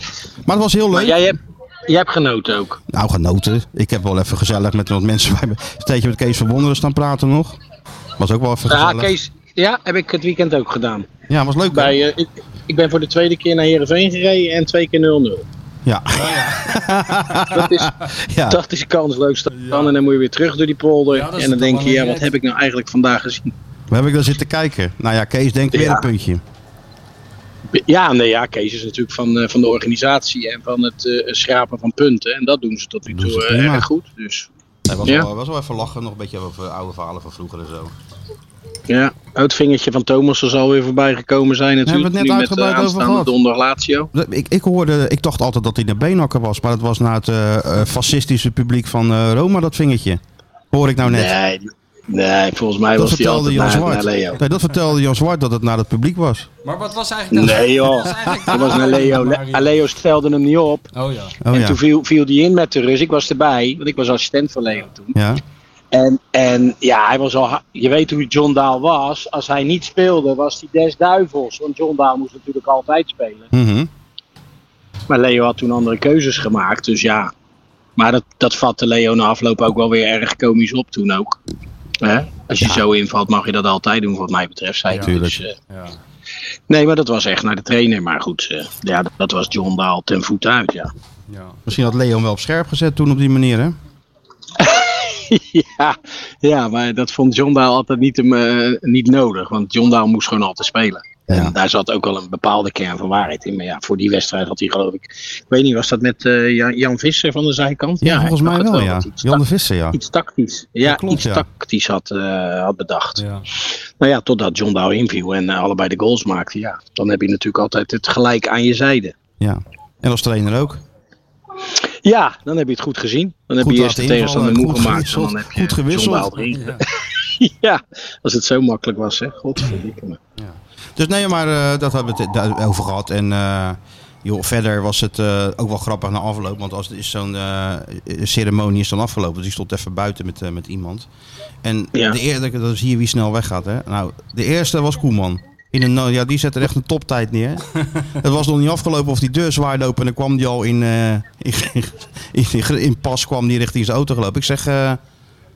Speaker 2: Maar het was heel
Speaker 6: Maar
Speaker 2: leuk.
Speaker 6: jij hebt, jij hebt genoten ook.
Speaker 2: Nou, genoten. Ik heb wel even gezellig met wat mensen bij me. Steentje met Kees van Wonderen staan praten nog. Was ook wel even
Speaker 6: Ja,
Speaker 2: gezellig.
Speaker 6: Ah, Kees, ja, heb ik het weekend ook gedaan.
Speaker 2: Ja, was leuk. hè?
Speaker 6: Bij, eh, ik, ik ben voor de tweede keer naar Heerenveen gereden en twee keer 0-0.
Speaker 2: Ja.
Speaker 6: Dat is,
Speaker 2: ja.
Speaker 6: dat is kansloos staan en dan moet je weer terug door die polder.
Speaker 3: Ja, dat is
Speaker 6: en dan
Speaker 3: toch
Speaker 6: denk
Speaker 3: wel
Speaker 6: je,
Speaker 3: een
Speaker 6: ja, wat
Speaker 3: red.
Speaker 6: heb ik nou eigenlijk vandaag gezien?
Speaker 2: Waar heb ik dan zitten kijken? Nou ja, Kees denkt weer
Speaker 6: Ja.
Speaker 2: een puntje.
Speaker 6: Ja, nee, ja, Kees is natuurlijk van, eh, van de organisatie en van het eh, schrapen van punten. En dat doen ze tot nu
Speaker 2: Doen
Speaker 6: toe
Speaker 2: ze
Speaker 6: eh,
Speaker 2: prima.
Speaker 6: erg goed. Dus
Speaker 2: Hij was,
Speaker 6: Ja.
Speaker 2: wel, was wel even lachen, nog een beetje over oude verhalen van vroeger en zo.
Speaker 6: ja, het vingertje van Thomas zal weer voorbij gekomen zijn natuurlijk.
Speaker 2: Hebben we het net
Speaker 6: nu met
Speaker 2: uitgebreid over
Speaker 6: de aanstaande
Speaker 2: gehad?
Speaker 6: donderdag Lazio.
Speaker 2: Ik, ik hoorde, ik dacht altijd dat hij naar Beenhakker was, maar dat was naar het eh, eh, fascistische publiek van eh, Roma, dat vingertje. Hoor ik nou net.
Speaker 6: Nee, nee, volgens mij
Speaker 2: dat
Speaker 6: was hij
Speaker 2: vertelde
Speaker 6: altijd
Speaker 2: Jan
Speaker 6: naar,
Speaker 2: Zwart.
Speaker 6: naar Leo.
Speaker 2: Nee, dat vertelde Jan Zwart dat het naar het publiek was.
Speaker 3: Maar wat was eigenlijk de...
Speaker 6: Nee joh, dat was naar Leo. Le- Leo stelde hem niet op.
Speaker 3: Oh ja.
Speaker 2: Oh
Speaker 6: en
Speaker 2: ja.
Speaker 6: toen viel, viel die in met de Rus. Ik was erbij, want ik was assistent van Leo toen.
Speaker 2: Ja,
Speaker 6: En, en ja, hij was al. ha- Je weet hoe John Daal was. Als hij niet speelde, was hij des duivels. Want John Daal moest natuurlijk altijd spelen.
Speaker 2: Mhm.
Speaker 6: Maar Leo had toen andere keuzes gemaakt. Dus ja. Maar dat, dat vatte Leo na afloop ook wel weer erg komisch op toen ook. Hè? Als je zo invalt, mag je dat altijd doen, wat mij betreft. Zei hij.
Speaker 2: tuurlijk.
Speaker 6: Dus, eh,
Speaker 3: Ja.
Speaker 6: nee, maar dat was echt naar de trainer. Maar goed, eh, ja, dat, dat was John Daal ten voet uit. Ja.
Speaker 3: ja.
Speaker 2: Misschien had Leo hem wel op scherp gezet toen op die manier, hè?
Speaker 6: ja, ja, maar dat vond John Daal altijd niet, hem, eh, niet nodig. Want John Daal moest gewoon altijd spelen.
Speaker 2: Ja.
Speaker 6: En daar zat ook wel een bepaalde kern van waarheid in. Maar ja, voor die wedstrijd had hij geloof ik... Ik weet niet, was dat met eh, Jan, Jan Visser van de zijkant?
Speaker 2: Ja, volgens
Speaker 6: ik
Speaker 2: mij
Speaker 6: dacht het
Speaker 2: wel, ja.
Speaker 6: dat hij Iets,
Speaker 2: Jan de
Speaker 6: tac-
Speaker 2: Visser, ja.
Speaker 6: iets tactisch. Ja,
Speaker 2: klopt,
Speaker 6: iets
Speaker 2: ja.
Speaker 6: tactisch had, eh, had bedacht.
Speaker 3: Ja.
Speaker 6: Nou ja, totdat John Daal inviel en eh, allebei de goals maakte. Ja, dan heb je natuurlijk altijd het gelijk aan je zijde.
Speaker 2: ja. En als trainer ook.
Speaker 6: Ja, dan heb je het goed gezien. Dan heb
Speaker 2: Goed
Speaker 6: je eerst de
Speaker 2: laten
Speaker 6: tegenstander
Speaker 2: invallen,
Speaker 6: moe
Speaker 2: goed
Speaker 6: gemaakt. En
Speaker 2: gewisseld,
Speaker 6: dan heb je
Speaker 2: goed gewisseld.
Speaker 6: John Daal erin
Speaker 3: Ja.
Speaker 6: Ja, als het zo makkelijk was, hè. Godverdikke me.
Speaker 2: Dus nee, maar eh, dat hebben we het daarover gehad. En eh, joh, verder was het eh, ook wel grappig na afloop. Want als het is zo'n eh, ceremonie is dan afgelopen. Dus ik stond even buiten met, eh, met iemand. En
Speaker 6: Ja.
Speaker 2: de eerlijke, dat is hier wie snel weggaat. Hè? Nou, de eerste was Koeman. In een, nou, ja, die zette er echt een toptijd neer. Het was nog niet afgelopen of die deur zwaaide open. En dan kwam die al in, eh, in, in, in pas kwam die richting zijn auto gelopen. Ik zeg, eh,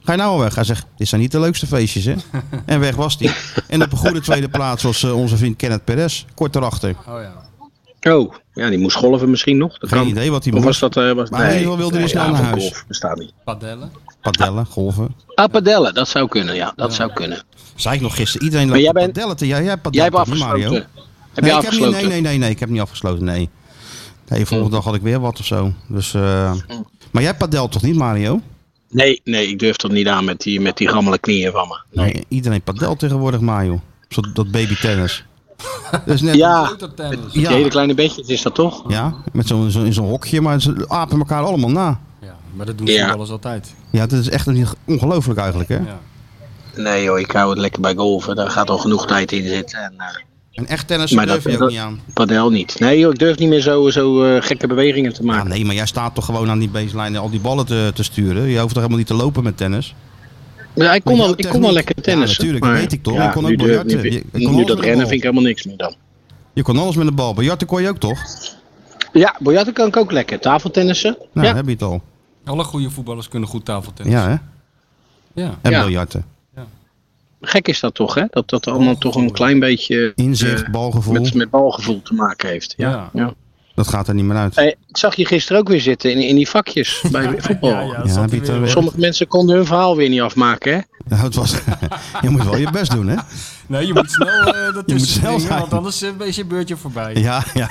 Speaker 2: ga je nou al weg? Hij zegt, dit zijn niet de leukste feestjes, hè? En weg was hij. En op een goede tweede plaats was eh, onze vriend Kenneth Perez. Kort erachter.
Speaker 3: Oh ja.
Speaker 6: Oh, ja, die moest golven misschien nog. Dat
Speaker 2: Geen
Speaker 6: kan.
Speaker 2: idee wat hij
Speaker 6: Of
Speaker 2: moest.
Speaker 6: was dat... eh was,
Speaker 2: Maar in ieder geval wilde hij
Speaker 6: nee,
Speaker 2: snel
Speaker 6: ja,
Speaker 2: naar
Speaker 6: van
Speaker 2: huis.
Speaker 6: golf bestaat niet.
Speaker 3: Padellen.
Speaker 2: Padellen, golven.
Speaker 6: Ah, padellen, dat zou kunnen, ja. Dat zou kunnen.
Speaker 2: Zei ik nog gisteren. Iedereen
Speaker 6: Maar
Speaker 2: loopt
Speaker 6: jij
Speaker 2: op
Speaker 6: bent-
Speaker 2: padellen te- Jij, jij padelt
Speaker 6: Jij hebt
Speaker 2: toch niet, Mario?
Speaker 6: afgesloten. Heb
Speaker 2: Nee,
Speaker 6: jij
Speaker 2: ik heb niet,
Speaker 6: afgesloten? Hm.
Speaker 2: nee, nee, nee, nee. Ik heb niet afgesloten, nee. Nee, volgende dag had ik weer wat of zo. Dus, eh, Maar jij padelt toch niet, Mario?
Speaker 6: nee, nee, ik durf dat niet aan met die, met die gammele knieën van me.
Speaker 2: Nee. iedereen padelt tegenwoordig, Mario. Zo, dat babytennis. Dat is net...
Speaker 6: Ja,
Speaker 3: Autotennis.
Speaker 6: die
Speaker 2: Ja.
Speaker 6: hele kleine bedjes is dat toch?
Speaker 2: Ja, met zo'n zo, in zo'n hokje, maar ze apen elkaar allemaal na.
Speaker 3: Ja, maar dat doen
Speaker 6: Ja.
Speaker 3: voetballers altijd.
Speaker 2: Ja, dat is echt een- ongelooflijk eigenlijk, hè?
Speaker 3: Ja.
Speaker 6: Nee joh, ik hou het lekker bij golven. Daar gaat al genoeg tijd in zitten. En, eh,
Speaker 2: En echt tennis
Speaker 6: Maar
Speaker 2: Dus durf
Speaker 6: dat-
Speaker 2: je ook
Speaker 6: dat-
Speaker 2: niet aan.
Speaker 6: padel niet. Nee joh, ik durf niet meer zo, zo eh, gekke bewegingen te
Speaker 2: Ja,
Speaker 6: maken.
Speaker 2: nee, maar jij staat toch gewoon aan die baseline al die ballen te, te sturen. Je hoeft toch helemaal niet te lopen met tennis.
Speaker 6: Ja, ik
Speaker 2: Maar
Speaker 6: kon, al,
Speaker 2: jouw
Speaker 6: ik kon
Speaker 2: techniek-
Speaker 6: al lekker
Speaker 2: Ja,
Speaker 6: tennis.
Speaker 2: natuurlijk, dat weet ik toch. Je kon ook biljarten. Je- je kon
Speaker 6: Nu,
Speaker 2: alles met
Speaker 6: dat
Speaker 2: de
Speaker 6: rennen
Speaker 2: bal.
Speaker 6: vind ik helemaal niks meer dan.
Speaker 2: Je kon alles met de bal. Bejatten kon je ook toch? Nou,
Speaker 6: Ja, biljarten kan ik ook lekker. Tafeltennissen.
Speaker 2: dan
Speaker 6: ja.
Speaker 2: Nou, heb je het al.
Speaker 3: Alle goede voetballers kunnen goed tafeltennis.
Speaker 2: Ja, hè?
Speaker 3: Ja.
Speaker 2: En
Speaker 6: Ja.
Speaker 2: biljarten.
Speaker 6: Gek is dat toch, hè? Dat dat allemaal toch een klein beetje eh,
Speaker 2: Inzicht, balgevoel.
Speaker 6: met, met balgevoel te maken heeft. Ja.
Speaker 3: Ja.
Speaker 6: Ja.
Speaker 2: Dat gaat er niet meer uit.
Speaker 6: Hey, ik zag je gisteren ook weer zitten in, in die vakjes bij voetbal.
Speaker 2: Ja,
Speaker 3: zat hij
Speaker 2: Pieter,
Speaker 3: weer.
Speaker 2: we-
Speaker 6: Sommige mensen konden hun verhaal weer niet afmaken, hè?
Speaker 2: Nou, het was, je moet wel je best doen, hè?
Speaker 3: Nee, je moet snel eh dat
Speaker 2: moet
Speaker 3: tussen
Speaker 2: snel
Speaker 3: springen,
Speaker 2: zijn.
Speaker 3: want anders eh, is je beurtje voorbij.
Speaker 2: Ja, ja.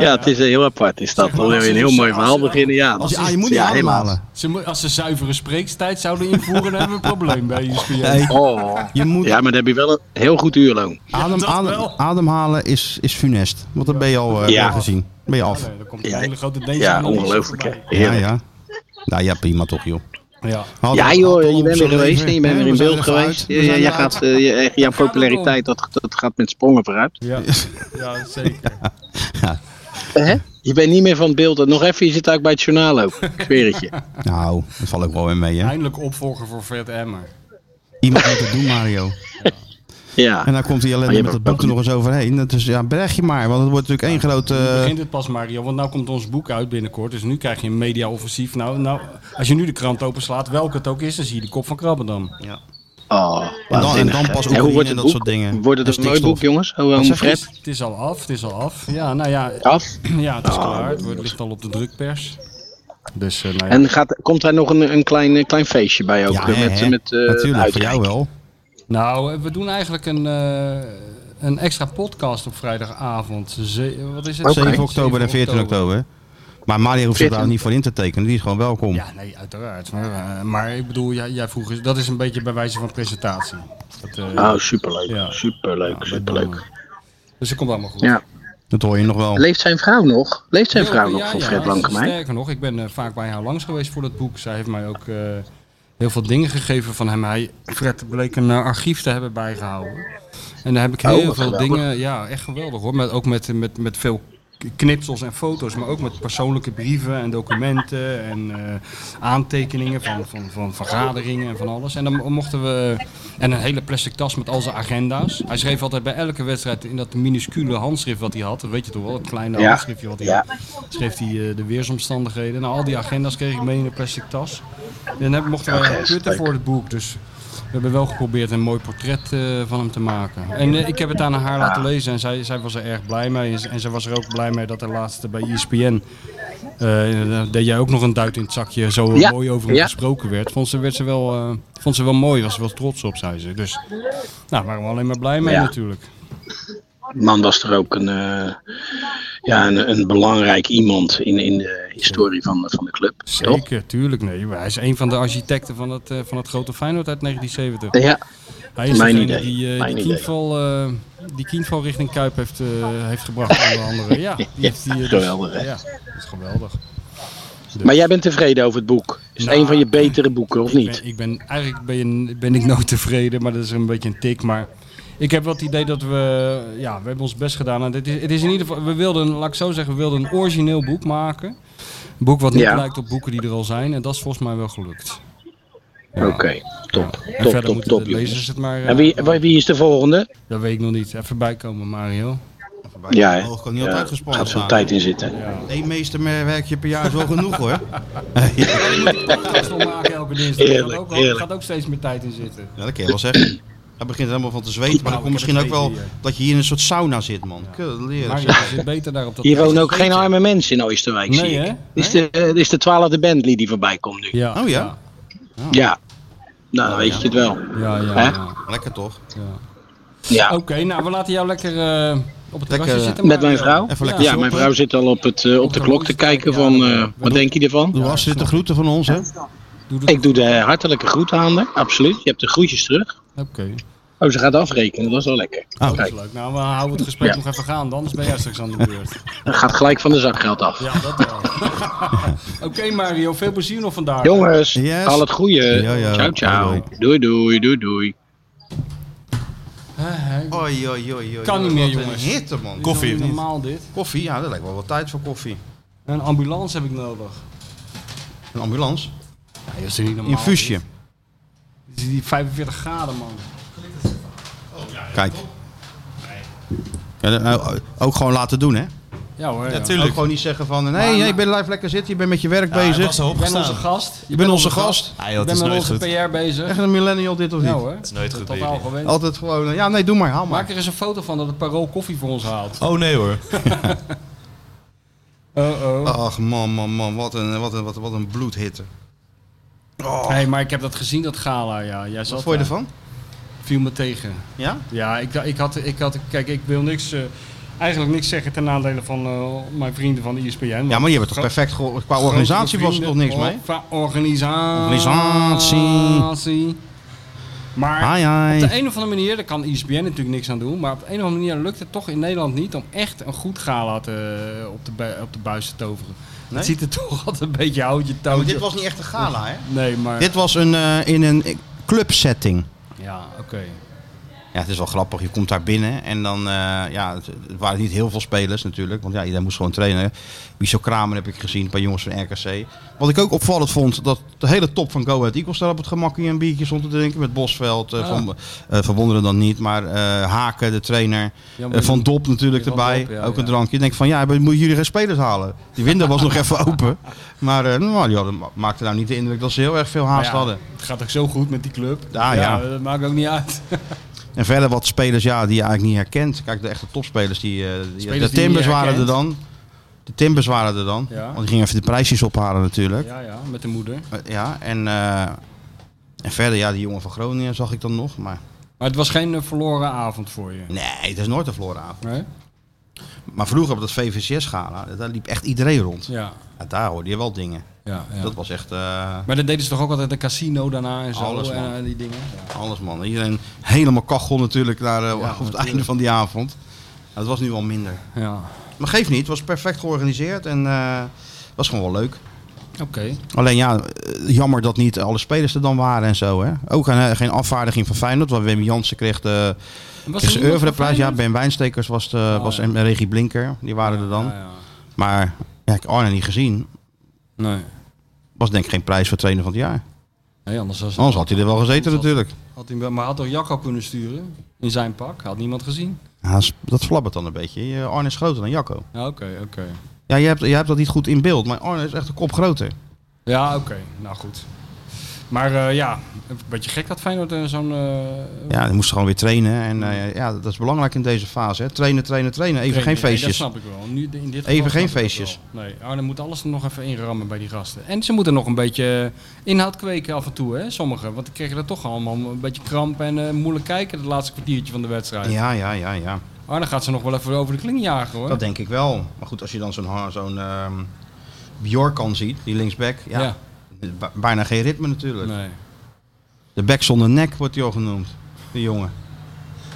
Speaker 6: Ja, het is eh, heel apart. Is dat
Speaker 3: Zeg maar,
Speaker 6: dan weer
Speaker 3: als
Speaker 6: een
Speaker 3: ze-
Speaker 6: heel mooi
Speaker 3: als
Speaker 6: verhaal
Speaker 3: ze-
Speaker 6: beginnen? Ja, dat
Speaker 2: dus Als,
Speaker 6: is-
Speaker 2: ah, je moet niet
Speaker 6: ja,
Speaker 2: ademhalen.
Speaker 3: Ze mo- als ze zuivere spreekstijd zouden invoeren, dan hebben we een probleem bij ESPN.
Speaker 2: Nee,
Speaker 6: Oh.
Speaker 2: je moet
Speaker 6: Ja, maar dan heb je wel een heel goed uurloon.
Speaker 2: adem,
Speaker 3: dat
Speaker 2: adem,
Speaker 3: wel.
Speaker 2: ademhalen is, is funest. Want dan ben je al eh,
Speaker 6: Ja.
Speaker 2: gezien. Ben je af.
Speaker 3: Nee, dan komt een
Speaker 6: Ja.
Speaker 3: hele grote deze
Speaker 6: Ja,
Speaker 3: analyse
Speaker 6: ongelooflijk, hè?
Speaker 3: voorbij.
Speaker 2: Ja,
Speaker 6: Heerlijk.
Speaker 2: ja. Nou ja, prima toch, joh.
Speaker 3: Ja.
Speaker 2: Had-
Speaker 6: Ja
Speaker 2: had
Speaker 6: joh,
Speaker 2: allemaal
Speaker 6: je bent
Speaker 2: zo'n
Speaker 6: weer geweest
Speaker 2: leven,
Speaker 6: en je bent
Speaker 2: hè?
Speaker 6: weer in
Speaker 2: We zijn
Speaker 6: beeld
Speaker 2: er
Speaker 6: geweest.
Speaker 2: vooruit. We zijn
Speaker 6: Jij
Speaker 2: eruit.
Speaker 6: gaat, eh, je- echt, jouw
Speaker 3: gaat
Speaker 6: populariteit dat, dat gaat met sprongen vooruit.
Speaker 3: Ja. ja, zeker.
Speaker 2: Eh,
Speaker 6: Hè? Je bent niet meer van het beeld. En Nog even, je zit eigenlijk bij het journaal ook. Ik zweer het je.
Speaker 2: Nou, dat valt ook wel weer mee, hè?
Speaker 3: Eindelijk opvolger voor Fred Emmer.
Speaker 2: Iemand moet het doen, Mario. En
Speaker 6: Ja.
Speaker 2: dan komt die
Speaker 6: Maar
Speaker 2: ellende
Speaker 6: Ah, je
Speaker 2: met dat
Speaker 6: hebt ook
Speaker 2: boek er nog eens overheen. Dat is, ja, berg je maar, want het wordt natuurlijk één grote...
Speaker 3: Nu
Speaker 2: eh,
Speaker 3: begint het pas, Mario, want nou komt ons boek uit binnenkort. Dus nu krijg je een media-offensief. Nou, nou, als je nu de krant openslaat, welke het ook is, dan zie je de kop van Krabbendam.
Speaker 2: Ja.
Speaker 6: Oh,
Speaker 2: En dan, en
Speaker 6: waanzinnig,
Speaker 2: dan
Speaker 6: hè.
Speaker 2: pas
Speaker 6: En hoe
Speaker 2: Oekraïne
Speaker 6: wordt
Speaker 2: en
Speaker 6: het
Speaker 2: dat
Speaker 6: boek?
Speaker 2: soort dingen.
Speaker 6: Wordt het
Speaker 2: En
Speaker 6: een mooi
Speaker 2: stikstof.
Speaker 6: boek, jongens?
Speaker 2: Wat
Speaker 6: Homo
Speaker 2: zeg je?
Speaker 6: Fred?
Speaker 3: Het is al af, het is al af. Ja, nou ja,
Speaker 6: Af.
Speaker 3: ja het is klaar. Het wordt- ligt al op de drukpers. Dus, eh, nou ja.
Speaker 6: En gaat, komt daar nog een, een klein, eh, klein feestje bij ook?
Speaker 2: Ja,
Speaker 6: eh,
Speaker 2: hè,
Speaker 6: met,
Speaker 2: hè.
Speaker 6: met, eh,
Speaker 2: Natuurlijk, voor
Speaker 6: uitreiking?
Speaker 2: jou wel.
Speaker 3: Nou, eh, we doen eigenlijk een, eh, een extra podcast op vrijdagavond. Ze- wat is het?
Speaker 6: Oké.
Speaker 2: 7 oktober en 14 oktober. Maar Maria hoeft zich
Speaker 6: 14.
Speaker 2: daar niet voor in te tekenen. Die is gewoon welkom.
Speaker 3: Ja, nee, uiteraard. Maar, eh, maar ik bedoel, jij, jij vroeg eens, dat is een beetje bij wijze van presentatie. Dat, eh,
Speaker 6: Oh, superleuk.
Speaker 3: Ja.
Speaker 6: Superleuk,
Speaker 3: Ja,
Speaker 6: superleuk.
Speaker 3: Dus dat komt allemaal goed.
Speaker 6: Ja.
Speaker 2: Dat hoor je nog wel.
Speaker 6: Leeft zijn vrouw nog? Leeft zijn vrouw
Speaker 3: Ja,
Speaker 6: nog
Speaker 3: ja,
Speaker 6: van
Speaker 3: ja,
Speaker 6: Fred Lankemeij?
Speaker 3: Sterker nog, ik ben eh, vaak bij haar langs geweest voor dat boek. Zij heeft mij ook eh, heel veel dingen gegeven van hem. Hij, Fred bleek een eh, archief te hebben bijgehouden. En daar heb ik
Speaker 6: Oh,
Speaker 3: heel veel
Speaker 6: wat geweldig.
Speaker 3: dingen, ja, echt geweldig hoor. Met, ook met, met, met veel knipsels en foto's, maar ook met persoonlijke brieven en documenten en eh, aantekeningen van, van, van vergaderingen en van alles. En dan mochten we, en een hele plastic tas met al zijn agenda's. Hij schreef altijd bij elke wedstrijd in dat minuscule handschrift wat hij had, dat weet je toch wel, dat kleine
Speaker 6: Ja.
Speaker 3: handschriftje wat hij
Speaker 6: Ja.
Speaker 3: had schreef hij eh, de weersomstandigheden. Nou, al die agenda's kreeg ik mee in een plastic tas. En dan heb- mochten wij
Speaker 6: Oké,
Speaker 3: gaan putten
Speaker 6: leuk.
Speaker 3: voor het boek. Dus we hebben wel geprobeerd een mooi portret eh, van hem te maken. En eh, ik heb het aan haar laten lezen en zij, zij was er erg blij mee. En, ze- en ze was er ook blij mee dat de laatste bij E ESPN... eh, daar deed jij ook nog een duit in het zakje, zo
Speaker 6: Ja,
Speaker 3: mooi over hem
Speaker 6: ja.
Speaker 3: gesproken werd. Vond ze, werd ze wel, eh, vond ze wel mooi, was ze wel trots op, zei ze. Dus nou, waren we alleen maar blij mee
Speaker 6: Ja.
Speaker 3: natuurlijk.
Speaker 6: Man was er ook een, eh, ja, een, een belangrijk iemand in, in de historie van, van de club. Toch?
Speaker 3: Zeker, tuurlijk. Nee, maar hij is een van de architecten van het, eh, van het grote Feyenoord uit 1970.
Speaker 6: Ja,
Speaker 3: Hij is
Speaker 6: Mijn
Speaker 3: degene
Speaker 6: idee.
Speaker 3: die, eh,
Speaker 6: Mijn
Speaker 3: die,
Speaker 6: idee.
Speaker 3: kienval, eh, die kienval richting Kuip heeft, eh, heeft gebracht, onder andere. Ja, die heeft die, eh, dus-
Speaker 6: geweldig, hè?
Speaker 3: Ja, dat is geweldig.
Speaker 6: maar jij bent tevreden over het boek. Is het
Speaker 3: Nou,
Speaker 6: een van je betere boeken, of
Speaker 3: Ik
Speaker 6: niet?
Speaker 3: ben, ik ben, eigenlijk ben, je- ben ik nooit tevreden, maar dat is een beetje een tik. Maar ik heb wel het idee dat we, ja, we hebben ons best gedaan. En het, is, het is in ieder geval, we wilden, laat ik zo zeggen, we wilden een origineel boek maken. Een boek wat niet
Speaker 6: Ja.
Speaker 3: lijkt op boeken die er al zijn. En dat is volgens mij wel gelukt.
Speaker 6: Oké, top.
Speaker 3: En
Speaker 6: Top,
Speaker 3: verder
Speaker 6: top,
Speaker 3: moeten
Speaker 6: top,
Speaker 3: de
Speaker 6: jongens.
Speaker 3: lezers het maar... eh,
Speaker 6: En wie, wie wie is de volgende?
Speaker 3: Dat weet ik nog niet. Even bijkomen, Mario.
Speaker 6: Ja, hè?
Speaker 2: Hoog kan niet
Speaker 6: Ja,
Speaker 2: altijd
Speaker 6: er
Speaker 2: gespannen
Speaker 6: gaat veel
Speaker 2: staan.
Speaker 6: tijd in zitten.
Speaker 2: Eén meesterwerkje per jaar is wel genoeg hoor.
Speaker 3: podcast wil maken elke dinsdag. Er gaat,
Speaker 6: Heerlijk,
Speaker 3: ook wel-
Speaker 6: heerlijk.
Speaker 3: gaat ook steeds meer tijd in zitten.
Speaker 2: Ja, dat kan je wel zeggen. Hij begint helemaal van te zweten, maar dan
Speaker 3: Nou,
Speaker 2: komt
Speaker 3: ik heb
Speaker 2: misschien ook
Speaker 3: het
Speaker 2: wel
Speaker 3: weten hier.
Speaker 2: dat je hier in een soort sauna zit, man. Kut, leren.
Speaker 3: Maar je zit beter daar op dat...
Speaker 6: Hier wonen ook
Speaker 2: Vergeten.
Speaker 6: geen arme mensen in Oosterwijk,
Speaker 3: Nee,
Speaker 6: zie ik.
Speaker 3: hè?
Speaker 6: Dit is de, eh, dit is de twaalfde Bentley die voorbij komt nu.
Speaker 3: Ja.
Speaker 2: Oh ja?
Speaker 6: Ja. Nou, dan weet je het wel.
Speaker 3: Ja, ja.
Speaker 6: Hè?
Speaker 3: ja.
Speaker 2: Lekker toch?
Speaker 3: Oké,
Speaker 6: Ja.
Speaker 3: nou, we laten jou lekker eh, op het terrasje
Speaker 2: Lekker,
Speaker 3: zitten.
Speaker 6: eh, Met mijn
Speaker 3: Mario.
Speaker 6: vrouw?
Speaker 2: Even lekker
Speaker 6: Ja, mijn vrouw zit al op, het, eh, op de klok te kijken van, eh, wat denk je ervan?
Speaker 2: Doe alsjeblieft de groeten van ons, hè?
Speaker 3: Doe dat-
Speaker 6: Ik doe de hartelijke groet aan haar, absoluut. Je hebt de groetjes terug.
Speaker 3: Oké,
Speaker 6: Oh, ze gaat afrekenen, dat is wel lekker.
Speaker 2: Oh.
Speaker 3: dat
Speaker 6: Kijk,
Speaker 3: is leuk. Nou, we houden het gesprek
Speaker 6: Ja.
Speaker 3: nog even gaande, anders ben jij straks aan de beurt.
Speaker 6: dat gaat gelijk van de zakgeld af.
Speaker 3: Ja, dat wel. Oké Mario, veel plezier nog vandaag.
Speaker 6: Jongens,
Speaker 2: Yes.
Speaker 6: al het goede.
Speaker 2: Ja, ja.
Speaker 6: Ciao, ciao.
Speaker 2: Hoi,
Speaker 6: Doei, doei, doei, doei.
Speaker 3: Eh, eh,
Speaker 2: Oei, oei, oei, oei.
Speaker 3: Kan niet meer,
Speaker 2: Wat een
Speaker 3: jongens.
Speaker 2: hitte, man.
Speaker 3: is toch niet normaal dit.
Speaker 2: Koffie? Ja, dat lijkt wel wat tijd voor koffie.
Speaker 3: Een ambulance heb ik nodig.
Speaker 2: Een ambulance?
Speaker 3: Ja, dat Oh, is toch niet normaal.
Speaker 2: Infuusje.
Speaker 3: Dit is die 45 graden, man.
Speaker 2: Kijk. Ja, dat- nou, ook gewoon laten doen, hè?
Speaker 3: Ja hoor. ja.
Speaker 2: Ook gewoon niet zeggen van, eh, nee, nee, ik ben live lekker zitten, je bent met je werk
Speaker 4: Hij
Speaker 2: bezig.
Speaker 4: was al
Speaker 3: Je bent onze
Speaker 4: opgestaan.
Speaker 3: gast. Je,
Speaker 2: Je bent onze gast.
Speaker 4: Ah, joh,
Speaker 3: Ik
Speaker 4: het
Speaker 3: ben
Speaker 4: is
Speaker 3: met
Speaker 4: nooit
Speaker 3: onze
Speaker 4: goed.
Speaker 3: PR bezig.
Speaker 2: Echt een millennial dit of niet?
Speaker 3: Ja hoor.
Speaker 4: Het is nooit goed bij
Speaker 3: Totaal
Speaker 4: jullie.
Speaker 3: gewend.
Speaker 2: Altijd gewoon, eh, ja nee, doe maar, haal maar.
Speaker 3: Maak er eens een foto van dat het parool koffie voor ons haalt.
Speaker 4: Oh nee hoor.
Speaker 3: Oh oh.
Speaker 2: Ach man, man, man, wat een, wat een, wat, wat een bloedhitte.
Speaker 3: Oh. Hey, maar ik heb dat gezien, dat gala. Ja. Jij zat
Speaker 2: Wat vond je
Speaker 3: daar.
Speaker 2: ervan?
Speaker 3: Viel me tegen.
Speaker 2: Ja?
Speaker 3: Ja, ik, ik, had, ik had... Kijk, ik wil niks... eh, eigenlijk niks zeggen ten nadele van eh, mijn vrienden van de ISPN.
Speaker 2: Ja, maar je hebt het toch perfect gehoord. Qua organisatie was er toch niks mee?
Speaker 3: Organisatie.
Speaker 2: Organisatie.
Speaker 3: Maar
Speaker 2: Hai,
Speaker 3: Op
Speaker 2: hai.
Speaker 3: de een of andere manier, daar kan E ISBN natuurlijk niks aan doen, maar op de een of andere manier lukt het toch in Nederland niet om echt een goed gala te, op, de, bu- op de buis te toveren.
Speaker 2: Nee?
Speaker 3: Het ziet er toch altijd een beetje houtje
Speaker 2: Maar
Speaker 3: touwtje.
Speaker 2: dit was niet echt een gala, hè?
Speaker 3: Nee, maar...
Speaker 2: Dit was een, eh, in een clubsetting.
Speaker 3: Ja, oké.
Speaker 2: Ja, het is wel grappig. Je komt daar binnen en dan... eh, ja, het, het waren niet heel veel spelers natuurlijk. Want ja, iedereen moest gewoon trainen. Michel Kramer heb ik gezien. Een paar jongens van RKC. Wat ik ook opvallend vond... dat de hele top van Go Ahead Eagles daar op het gemakkie een biertje stond te drinken. Met Bosveld. eh,
Speaker 3: Ah.
Speaker 2: van, eh, van Wonderen dan niet. Maar eh, Haken, de trainer. Eh, van Dop natuurlijk
Speaker 3: Van
Speaker 2: erbij.
Speaker 3: Dop, ja,
Speaker 2: ook een
Speaker 3: ja.
Speaker 2: drankje. Ik denk van, ja, moeten jullie geen spelers halen? Die window was nog even open. Maar eh, nou, die hadden, maakte nou niet de indruk dat ze heel erg veel haast
Speaker 3: Maar ja,
Speaker 2: hadden.
Speaker 3: Het gaat ook zo goed met die club.
Speaker 2: Ah, Ja, ja.
Speaker 3: dat maakt ook niet uit.
Speaker 2: En verder wat spelers ja, die je eigenlijk niet herkent. Kijk, de echte topspelers. Die, eh, die-
Speaker 3: Spelers
Speaker 2: de
Speaker 3: die je
Speaker 2: Timbers
Speaker 3: niet
Speaker 2: waren er
Speaker 3: herkent.
Speaker 2: dan. De Timbers waren er dan.
Speaker 3: Ja.
Speaker 2: Want die gingen even de prijsjes ophalen natuurlijk.
Speaker 3: Ja, ja, met de moeder.
Speaker 2: Eh, Ja, en, eh, en verder, ja, die jongen van Groningen zag ik dan nog. Maar
Speaker 3: Maar het was geen eh, verloren avond voor je.
Speaker 2: nee, het is nooit een Floraavond.
Speaker 3: Nee?
Speaker 2: Maar vroeger op dat VVCS-gala, daar liep echt iedereen rond.
Speaker 3: Ja,
Speaker 2: Ja, daar hoorde je wel dingen.
Speaker 3: ja, ja.
Speaker 2: Dat was echt eh,
Speaker 3: Maar dat deden ze toch ook altijd een casino daarna en zo
Speaker 2: Alles,
Speaker 3: en,
Speaker 2: man.
Speaker 3: eh, die dingen.
Speaker 2: alles, man. Iedereen helemaal kachel natuurlijk naar, eh, op het einde van die avond. Nou, dat was nu al minder.
Speaker 3: Ja, ja.
Speaker 2: Maar geeft niet, het was perfect georganiseerd en eh, was gewoon wel leuk.
Speaker 3: oké.
Speaker 2: Alleen ja, eh, jammer dat niet alle spelers er dan waren en zo. Hè? Ook aan, eh, geen afvaardiging van Feyenoord, want Wim Jansen kreeg de, kreeg de
Speaker 3: Was iemand van
Speaker 2: Euvreprijs. Ja,
Speaker 3: Feyenoord? Oh,
Speaker 2: Ben Wijnstekers was, de, was
Speaker 3: ja.
Speaker 2: en Regie Blinker, die waren er dan.
Speaker 3: Ja, ja.
Speaker 2: Maar ja, ik heb Arne niet gezien.
Speaker 3: Nee.
Speaker 2: Was denk ik geen prijs voor trainer van het jaar.
Speaker 3: nee, anders was
Speaker 2: Anders had hij er wel gezeten natuurlijk.
Speaker 3: Had hij, maar had toch Jacco kunnen sturen? In zijn pak? Had niemand gezien?
Speaker 2: Ja, dat is- dat flabbert dan een beetje. Je- Arne is groter dan Jacco.
Speaker 3: Ja, Oké, oké.
Speaker 2: Ja, jij hebt, jij hebt dat niet goed in beeld, maar Arne is echt een kop groter.
Speaker 3: Ja, oké. Nou goed. Maar eh, ja, een beetje gek dat Feyenoord eh, zo'n... eh,
Speaker 2: Ja, hij moest gewoon weer trainen. En eh, ja, dat is belangrijk in deze fase. Hè. Trainen, trainen, trainen. Even geen
Speaker 3: training. Nee,
Speaker 2: feestjes.
Speaker 3: dat snap ik wel. Nu, in dit
Speaker 2: Even
Speaker 3: geval
Speaker 2: geen
Speaker 3: snap ik dat
Speaker 2: feestjes.
Speaker 3: wel. Nee, Arne moet alles er nog even inrammen bij die gasten. En ze moeten nog een beetje eh, inhoud kweken af en toe, hè, sommigen. Want die kregen er toch allemaal een beetje kramp en eh, moeilijk kijken het laatste kwartiertje van de wedstrijd.
Speaker 2: Ja, ja, ja, ja.
Speaker 3: Arne gaat ze nog wel even over de kling jagen, hoor.
Speaker 2: Dat denk ik wel. Maar goed, als je dan zo'n ha- zo'n ehm, Bjorkan ziet, die linksback, ja,
Speaker 3: Ja.
Speaker 2: ba- bijna geen ritme natuurlijk.
Speaker 3: Nee,
Speaker 2: De back zonder nek wordt hij al genoemd, de jongen.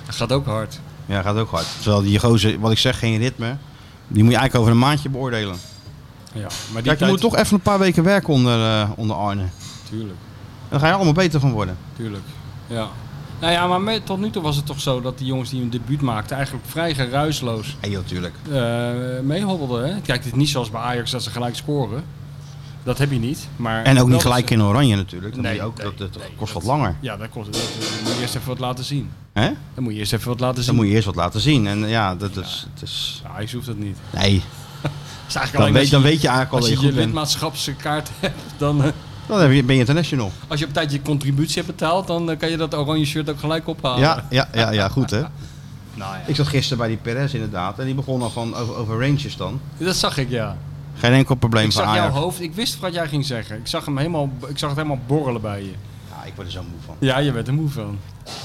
Speaker 3: dat gaat ook hard.
Speaker 2: Ja, gaat ook hard. Terwijl die gozer, wat ik zeg, geen ritme, die moet je eigenlijk over een maandje beoordelen.
Speaker 3: Ja, maar die
Speaker 2: Kijk, je
Speaker 3: tijd-
Speaker 2: moet toch even een paar weken werken onder, eh, onder Arne.
Speaker 3: Tuurlijk,
Speaker 2: En Daar ga je allemaal beter van worden.
Speaker 3: tuurlijk. Ja. Nou ja, maar met- tot nu toe was het toch zo dat die jongens die hun debuut maakten eigenlijk vrij geruisloos
Speaker 2: Ja, natuurlijk.
Speaker 3: eh meehobbelden. hè. Kijk, het is niet zoals bij Ajax dat ze gelijk scoren. Dat heb je niet. Maar
Speaker 2: En ook
Speaker 3: wel
Speaker 2: niet
Speaker 3: dat
Speaker 2: gelijk
Speaker 3: ze-
Speaker 2: in oranje natuurlijk. Dan
Speaker 3: Nee,
Speaker 2: moet je ook,
Speaker 3: nee,
Speaker 2: dat, dat
Speaker 3: nee,
Speaker 2: kost
Speaker 3: dat-
Speaker 2: wat langer.
Speaker 3: Ja, dat kost dat- dat moet je eerst even wat laten zien.
Speaker 2: Hè?
Speaker 3: Dan moet je eerst even wat laten zien.
Speaker 2: Dan moet je eerst wat laten zien. En eh, ja, dat is... Het is
Speaker 3: Ajax hoeft dat niet.
Speaker 2: nee,
Speaker 3: Dat is eigenlijk
Speaker 2: dan
Speaker 3: alleen
Speaker 2: weet,
Speaker 3: als
Speaker 2: dan
Speaker 3: je,
Speaker 2: weet je eigenlijk al
Speaker 3: als
Speaker 2: dat je
Speaker 3: je je
Speaker 2: goed bent.
Speaker 3: lidmaatschapskaart hebt, dan, eh,
Speaker 2: Dan heb je- ben je international.
Speaker 3: als je op tijd je contributie hebt betaald, dan eh, kan je dat oranje shirt ook gelijk ophalen.
Speaker 2: Ja, ja, ja, ja, goed hè.
Speaker 3: Nou ja.
Speaker 2: Ik zat gisteren bij die Perez inderdaad. En die begon al van over, over Rangers dan.
Speaker 3: Dat zag ik, ja.
Speaker 2: Geen enkel probleem
Speaker 3: Ik
Speaker 2: voor
Speaker 3: zag jouw
Speaker 2: Ajax.
Speaker 3: hoofd. Ik wist wat jij ging zeggen. Ik zag, hem helemaal, ik zag het helemaal borrelen bij je.
Speaker 2: Ja, ik word er zo moe van.
Speaker 3: Ja, je werd er moe van.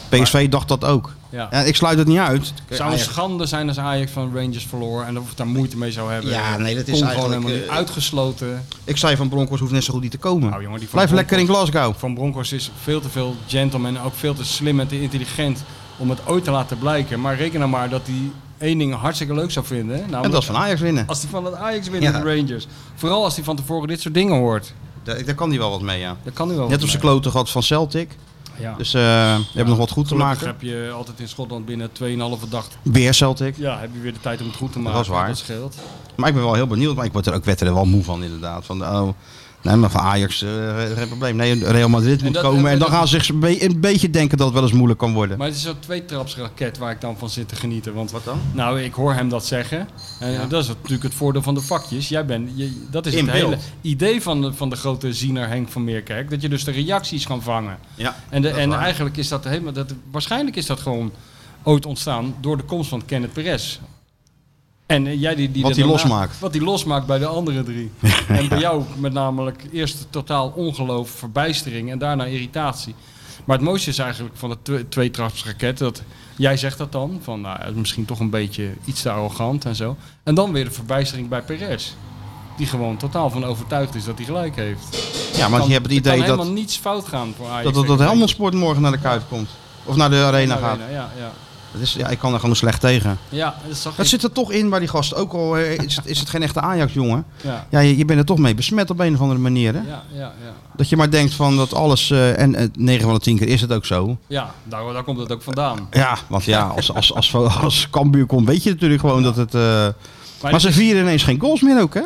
Speaker 2: PSV dacht dat ook.
Speaker 3: Ja.
Speaker 2: En ik sluit het niet uit. Kijk,
Speaker 3: zou een
Speaker 2: Ajax-
Speaker 3: schande zijn als Ajax van Rangers verloor en of het daar moeite mee zou hebben.
Speaker 2: Ja, nee, dat is
Speaker 3: Kon
Speaker 2: eigenlijk,
Speaker 3: gewoon helemaal niet
Speaker 2: eh,
Speaker 3: uitgesloten.
Speaker 2: ik zei van Broncos hoeft net zo goed niet te komen.
Speaker 3: Nou, jongen, die van
Speaker 2: Blijf lekker in
Speaker 3: Bronckhorst-
Speaker 2: Glasgow.
Speaker 3: Van Bronckhorst is veel te veel gentleman en ook veel te slim en te intelligent om het ooit te laten blijken. Maar reken nou maar dat hij één ding hartstikke leuk zou vinden. hè. Namelijk
Speaker 2: En dat is van Ajax winnen.
Speaker 3: Als hij van het Ajax wint
Speaker 2: Ja.
Speaker 3: met de Rangers. Vooral als hij van tevoren dit soort dingen hoort.
Speaker 2: Daar, daar kan hij wel wat mee, ja.
Speaker 3: Dat kan nu wel.
Speaker 2: Net
Speaker 3: wat
Speaker 2: op zijn
Speaker 3: mee.
Speaker 2: kloten gehad van Celtic.
Speaker 3: Ja.
Speaker 2: Dus eh we hebben nog wat goed te
Speaker 3: Gelukkig
Speaker 2: maken.
Speaker 3: heb je altijd in Schotland binnen 2,5 dag.
Speaker 2: Weer Celtic.
Speaker 3: Ja, heb je weer de tijd om het goed te maken.
Speaker 2: is waar.
Speaker 3: Dat scheelt.
Speaker 2: Maar ik ben wel heel benieuwd. Maar ik word er ook werd er wel moe van inderdaad. Van, oh, nee, maar van Ajax, eh, geen probleem. Nee, Real Madrid moet
Speaker 3: dat-
Speaker 2: komen. En
Speaker 3: en
Speaker 2: dan
Speaker 3: dat-
Speaker 2: gaan ze zich een be- een beetje denken dat het wel eens moeilijk kan worden.
Speaker 3: Maar het is zo'n tweetrapsraket waar ik dan van zit te genieten. Want
Speaker 2: Wat dan?
Speaker 3: Nou, ik hoor hem dat zeggen. En dat is natuurlijk het voordeel van de vakjes. Jij bent, je, dat is
Speaker 2: In
Speaker 3: het hele
Speaker 2: beeld.
Speaker 3: idee van de, van de grote ziener Henk van Meerkerk. Dat je dus de reacties kan vangen.
Speaker 2: Ja,
Speaker 3: En, de,
Speaker 2: dat is
Speaker 3: en
Speaker 2: waar.
Speaker 3: eigenlijk is dat helemaal... Dat, waarschijnlijk is dat gewoon ooit ontstaan door de komst van Kenneth Perez. En eh, jij die, die
Speaker 2: Wat
Speaker 3: er
Speaker 2: die
Speaker 3: daarna-
Speaker 2: losmaakt.
Speaker 3: Wat die losmaakt bij de andere drie. En bij jou met namelijk eerst totaal ongeloof, verbijstering en daarna irritatie. Maar het mooiste is eigenlijk van het twe- tweetrapsraket dat jij zegt dat dan van nou, het is misschien toch een beetje iets te arrogant en zo. En dan weer de verbijstering bij Perez. Die gewoon totaal van overtuigd is dat hij gelijk heeft.
Speaker 2: ja, maar je hebt het idee
Speaker 3: kan
Speaker 2: dat...
Speaker 3: helemaal niets fout gaan voor Ajax.
Speaker 2: Dat, dat, dat Helmond Sport morgen naar de Kuip komt. Of naar de Arena gaat.
Speaker 3: Ja, ja.
Speaker 2: Dat is, ja, ik kan er gewoon slecht tegen.
Speaker 3: Ja, dat zag
Speaker 2: Dat
Speaker 3: ik.
Speaker 2: zit er toch in bij die gast. Ook al eh, is het, is het geen echte Ajax-jongen.
Speaker 3: Ja,
Speaker 2: Ja, je, je bent er toch mee besmet op een of andere manier. Hè?
Speaker 3: ja, ja. ja.
Speaker 2: Dat je maar denkt van dat alles... eh, en eh, 9 van de 10 keer is het ook zo.
Speaker 3: Ja, daar, daar komt het ook vandaan.
Speaker 2: Ja, want ja, als, als, als, als, Cambuur komt weet je natuurlijk gewoon dat het... eh, maar
Speaker 3: dat
Speaker 2: ze vieren ineens geen goals meer ook, hè?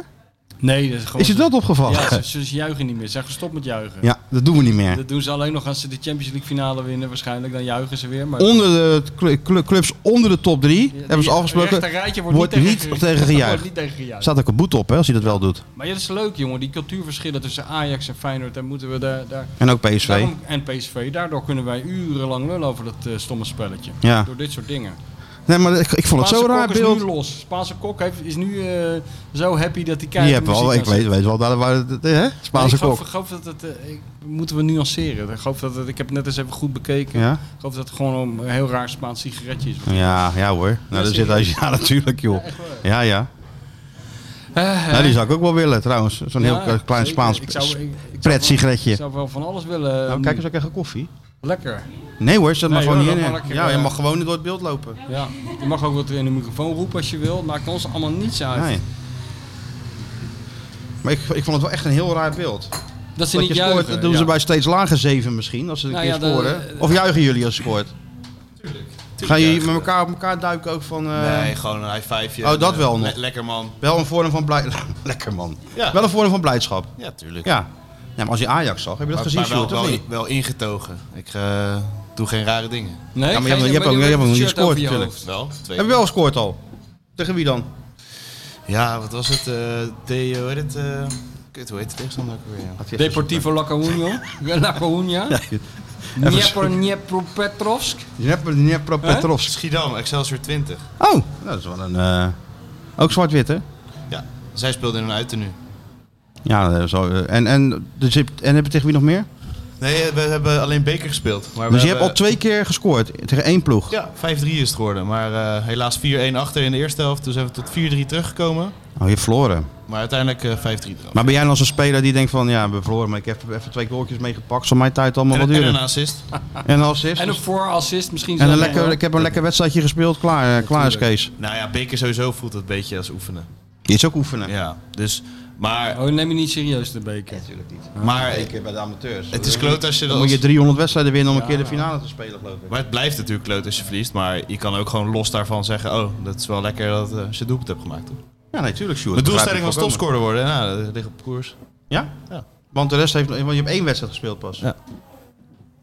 Speaker 3: Nee, dat is gewoon...
Speaker 2: Is het dat opgevallen?
Speaker 3: Ja, ze, ze- ze juichen niet meer. Ze zijn gestopt met juichen.
Speaker 2: Ja, dat doen we niet meer.
Speaker 3: Dat doen ze alleen nog als ze de Champions League finale winnen waarschijnlijk. Dan juichen ze weer. Maar
Speaker 2: Onder de cl- cl- clubs onder de top 3 hebben ze afgesproken.
Speaker 3: Het rijtje wordt,
Speaker 2: wordt
Speaker 3: niet
Speaker 2: niet
Speaker 3: tegen,
Speaker 2: tegen
Speaker 3: Daar
Speaker 2: gejuicht.
Speaker 3: wordt niet tegen gejuicht.
Speaker 2: Staat ook een boete op hè, als hij dat wel doet.
Speaker 3: Maar ja, dat is leuk jongen. Die cultuurverschillen tussen Ajax en Feyenoord. Daar moeten we daar... daar
Speaker 2: En ook PSV.
Speaker 3: daarom- en PSV. Daardoor kunnen wij urenlang lullen over dat eh, stomme spelletje.
Speaker 2: Ja.
Speaker 3: Door dit soort dingen.
Speaker 2: Nee, maar ik, ik vond het zo
Speaker 3: Spaanse
Speaker 2: raar
Speaker 3: kok is
Speaker 2: beeld.
Speaker 3: nu los. Spaanse kok heeft, is nu eh, zo happy dat hij
Speaker 2: Die
Speaker 3: kijkt.
Speaker 2: hebben we al, ik weet, weet wel daar waar het- hè? Spaanse
Speaker 3: ik geloof,
Speaker 2: kok.
Speaker 3: ik geloof dat het, eh, ik- moeten we nuanceren. Ik, geloof dat het, ik heb het net eens even goed bekeken.
Speaker 2: Ja?
Speaker 3: Ik geloof dat het gewoon een heel raar Spaans sigaretje is.
Speaker 2: Ja, ja hoor. Nou, daar zit hij. Ja, natuurlijk joh. Ja, ja.
Speaker 3: Eh,
Speaker 2: Nou, die zou ik ook wel willen trouwens. Zo'n
Speaker 3: ja,
Speaker 2: heel klein
Speaker 3: zeker.
Speaker 2: Spaans
Speaker 3: Ik zou- ik- ik zou wel- Ik
Speaker 2: pretsigaretje.
Speaker 3: zou wel van alles willen. ehm,
Speaker 2: Nou, kijk eens ook echt een koffie.
Speaker 3: Lekker.
Speaker 2: Nee hoor, zet maar
Speaker 3: Nee,
Speaker 2: gewoon
Speaker 3: hoor, dat
Speaker 2: hierin.
Speaker 3: mag lekker,
Speaker 2: Ja, je
Speaker 3: eh,
Speaker 2: mag gewoon door het beeld lopen.
Speaker 3: Ja. Je mag ook wat in de microfoon roepen als je wil. Het maakt ons allemaal niets uit.
Speaker 2: Nee. Maar ik, ik vond het wel echt een heel raar beeld.
Speaker 3: Dat ze
Speaker 2: Dat je
Speaker 3: niet
Speaker 2: scoort,
Speaker 3: juichen.
Speaker 2: dat doen ze
Speaker 3: ja.
Speaker 2: bij steeds lager zeven misschien, als ze een
Speaker 3: Nou
Speaker 2: keer
Speaker 3: ja, de-
Speaker 2: scoren. of juichen jullie als je scoort? Tuurlijk. Gaan jullie met elkaar op elkaar duiken ook van... eh,
Speaker 4: nee, gewoon een high fiveje.
Speaker 2: oh, dat
Speaker 4: Eh,
Speaker 2: wel
Speaker 4: le-
Speaker 2: nog.
Speaker 4: lekker man.
Speaker 2: Wel een vorm van blijdschap. Lekker man.
Speaker 4: Ja.
Speaker 2: Wel een vorm van blijdschap.
Speaker 4: Ja, tuurlijk.
Speaker 2: Ja. ja. Maar als je Ajax zag, heb je dat
Speaker 4: Maar-
Speaker 2: gezien,
Speaker 4: maar wel,
Speaker 2: Sjoerd, of
Speaker 4: wel,
Speaker 2: niet?
Speaker 4: wel ingetogen. Ik eh, doe geen rare dingen.
Speaker 3: Nee,
Speaker 2: Ja, maar je
Speaker 3: geen-
Speaker 2: hebt- je hebt
Speaker 3: maar
Speaker 2: ook- je
Speaker 3: doe
Speaker 2: hebt
Speaker 3: even
Speaker 2: ook
Speaker 3: het
Speaker 2: niet
Speaker 3: shirt over je
Speaker 2: gescoord,
Speaker 3: hoofd.
Speaker 4: Wel, twee.
Speaker 2: Heb je wel gescoord al? Tegen wie dan?
Speaker 4: Ja, wat was het? eh de, hoe heet het? eh, kut, hoe heet de tegenstander ook weer?
Speaker 3: Deportivo La Coruña. La Coruña. Dniepro, Dniepro Petrovsk.
Speaker 2: Dnepro- Dnepro Petrovsk.
Speaker 4: Schiedam, Excelsior 20.
Speaker 2: Oh, nou, dat is wel een... eh, ook zwart-wit, hè?
Speaker 4: Ja, zij speelden in een uiternu.
Speaker 2: Ja, eh, zo, eh, en, en, dus je hebt- en heb je tegen wie nog meer?
Speaker 4: Nee, eh, we hebben alleen beker gespeeld. Maar
Speaker 2: Dus
Speaker 4: we
Speaker 2: je hebt al
Speaker 4: hebben-
Speaker 2: twee keer gescoord tegen één ploeg.
Speaker 4: Ja, 5-3 is het geworden. Maar eh, helaas 4-1 achter in de eerste helft. Toen zijn we tot 4-3 teruggekomen.
Speaker 2: Oh, je verloren.
Speaker 4: Maar uiteindelijk eh 5-3 eraf.
Speaker 2: Maar ben jij dan zo'n speler die denkt van, ja, we verloren, maar ik heb even twee goaltjes meegepakt, zal mijn tijd allemaal
Speaker 4: en,
Speaker 2: wat
Speaker 4: en
Speaker 2: duren.
Speaker 4: een assist.
Speaker 2: En een assist.
Speaker 3: En
Speaker 2: En
Speaker 3: een
Speaker 2: een,
Speaker 3: voorassist misschien. zo.
Speaker 2: lekker, ik heb een lekker wedstrijdje gespeeld, klaar, eh, klaar is Kees.
Speaker 4: Nou ja, beker sowieso voelt het een beetje als oefenen.
Speaker 2: Die is ook oefenen.
Speaker 4: Ja, dus... Maar,
Speaker 3: Oh, neem je niet serieus de beker.
Speaker 2: natuurlijk niet.
Speaker 4: maar
Speaker 2: keer bij de amateurs.
Speaker 4: het is kloot als je
Speaker 2: Dan
Speaker 4: dat...
Speaker 2: moet je 300 wedstrijden winnen om een keer de finale te spelen, geloof ik.
Speaker 4: Maar het blijft natuurlijk kloot als je verliest. Maar je kan ook gewoon los daarvan zeggen... Oh, dat is wel lekker dat eh, als je doelpunt hebt gemaakt. Toch?
Speaker 2: Ja, natuurlijk, tuurlijk, Sjoerd.
Speaker 4: De
Speaker 2: Dat begrijp
Speaker 4: doelstelling
Speaker 2: ik
Speaker 4: was
Speaker 2: volkomen.
Speaker 4: topscorer worden. Nou, dat ligt op koers.
Speaker 2: Ja?
Speaker 4: Ja.
Speaker 2: Want de rest heeft, want je hebt één wedstrijd gespeeld pas.
Speaker 4: Ja.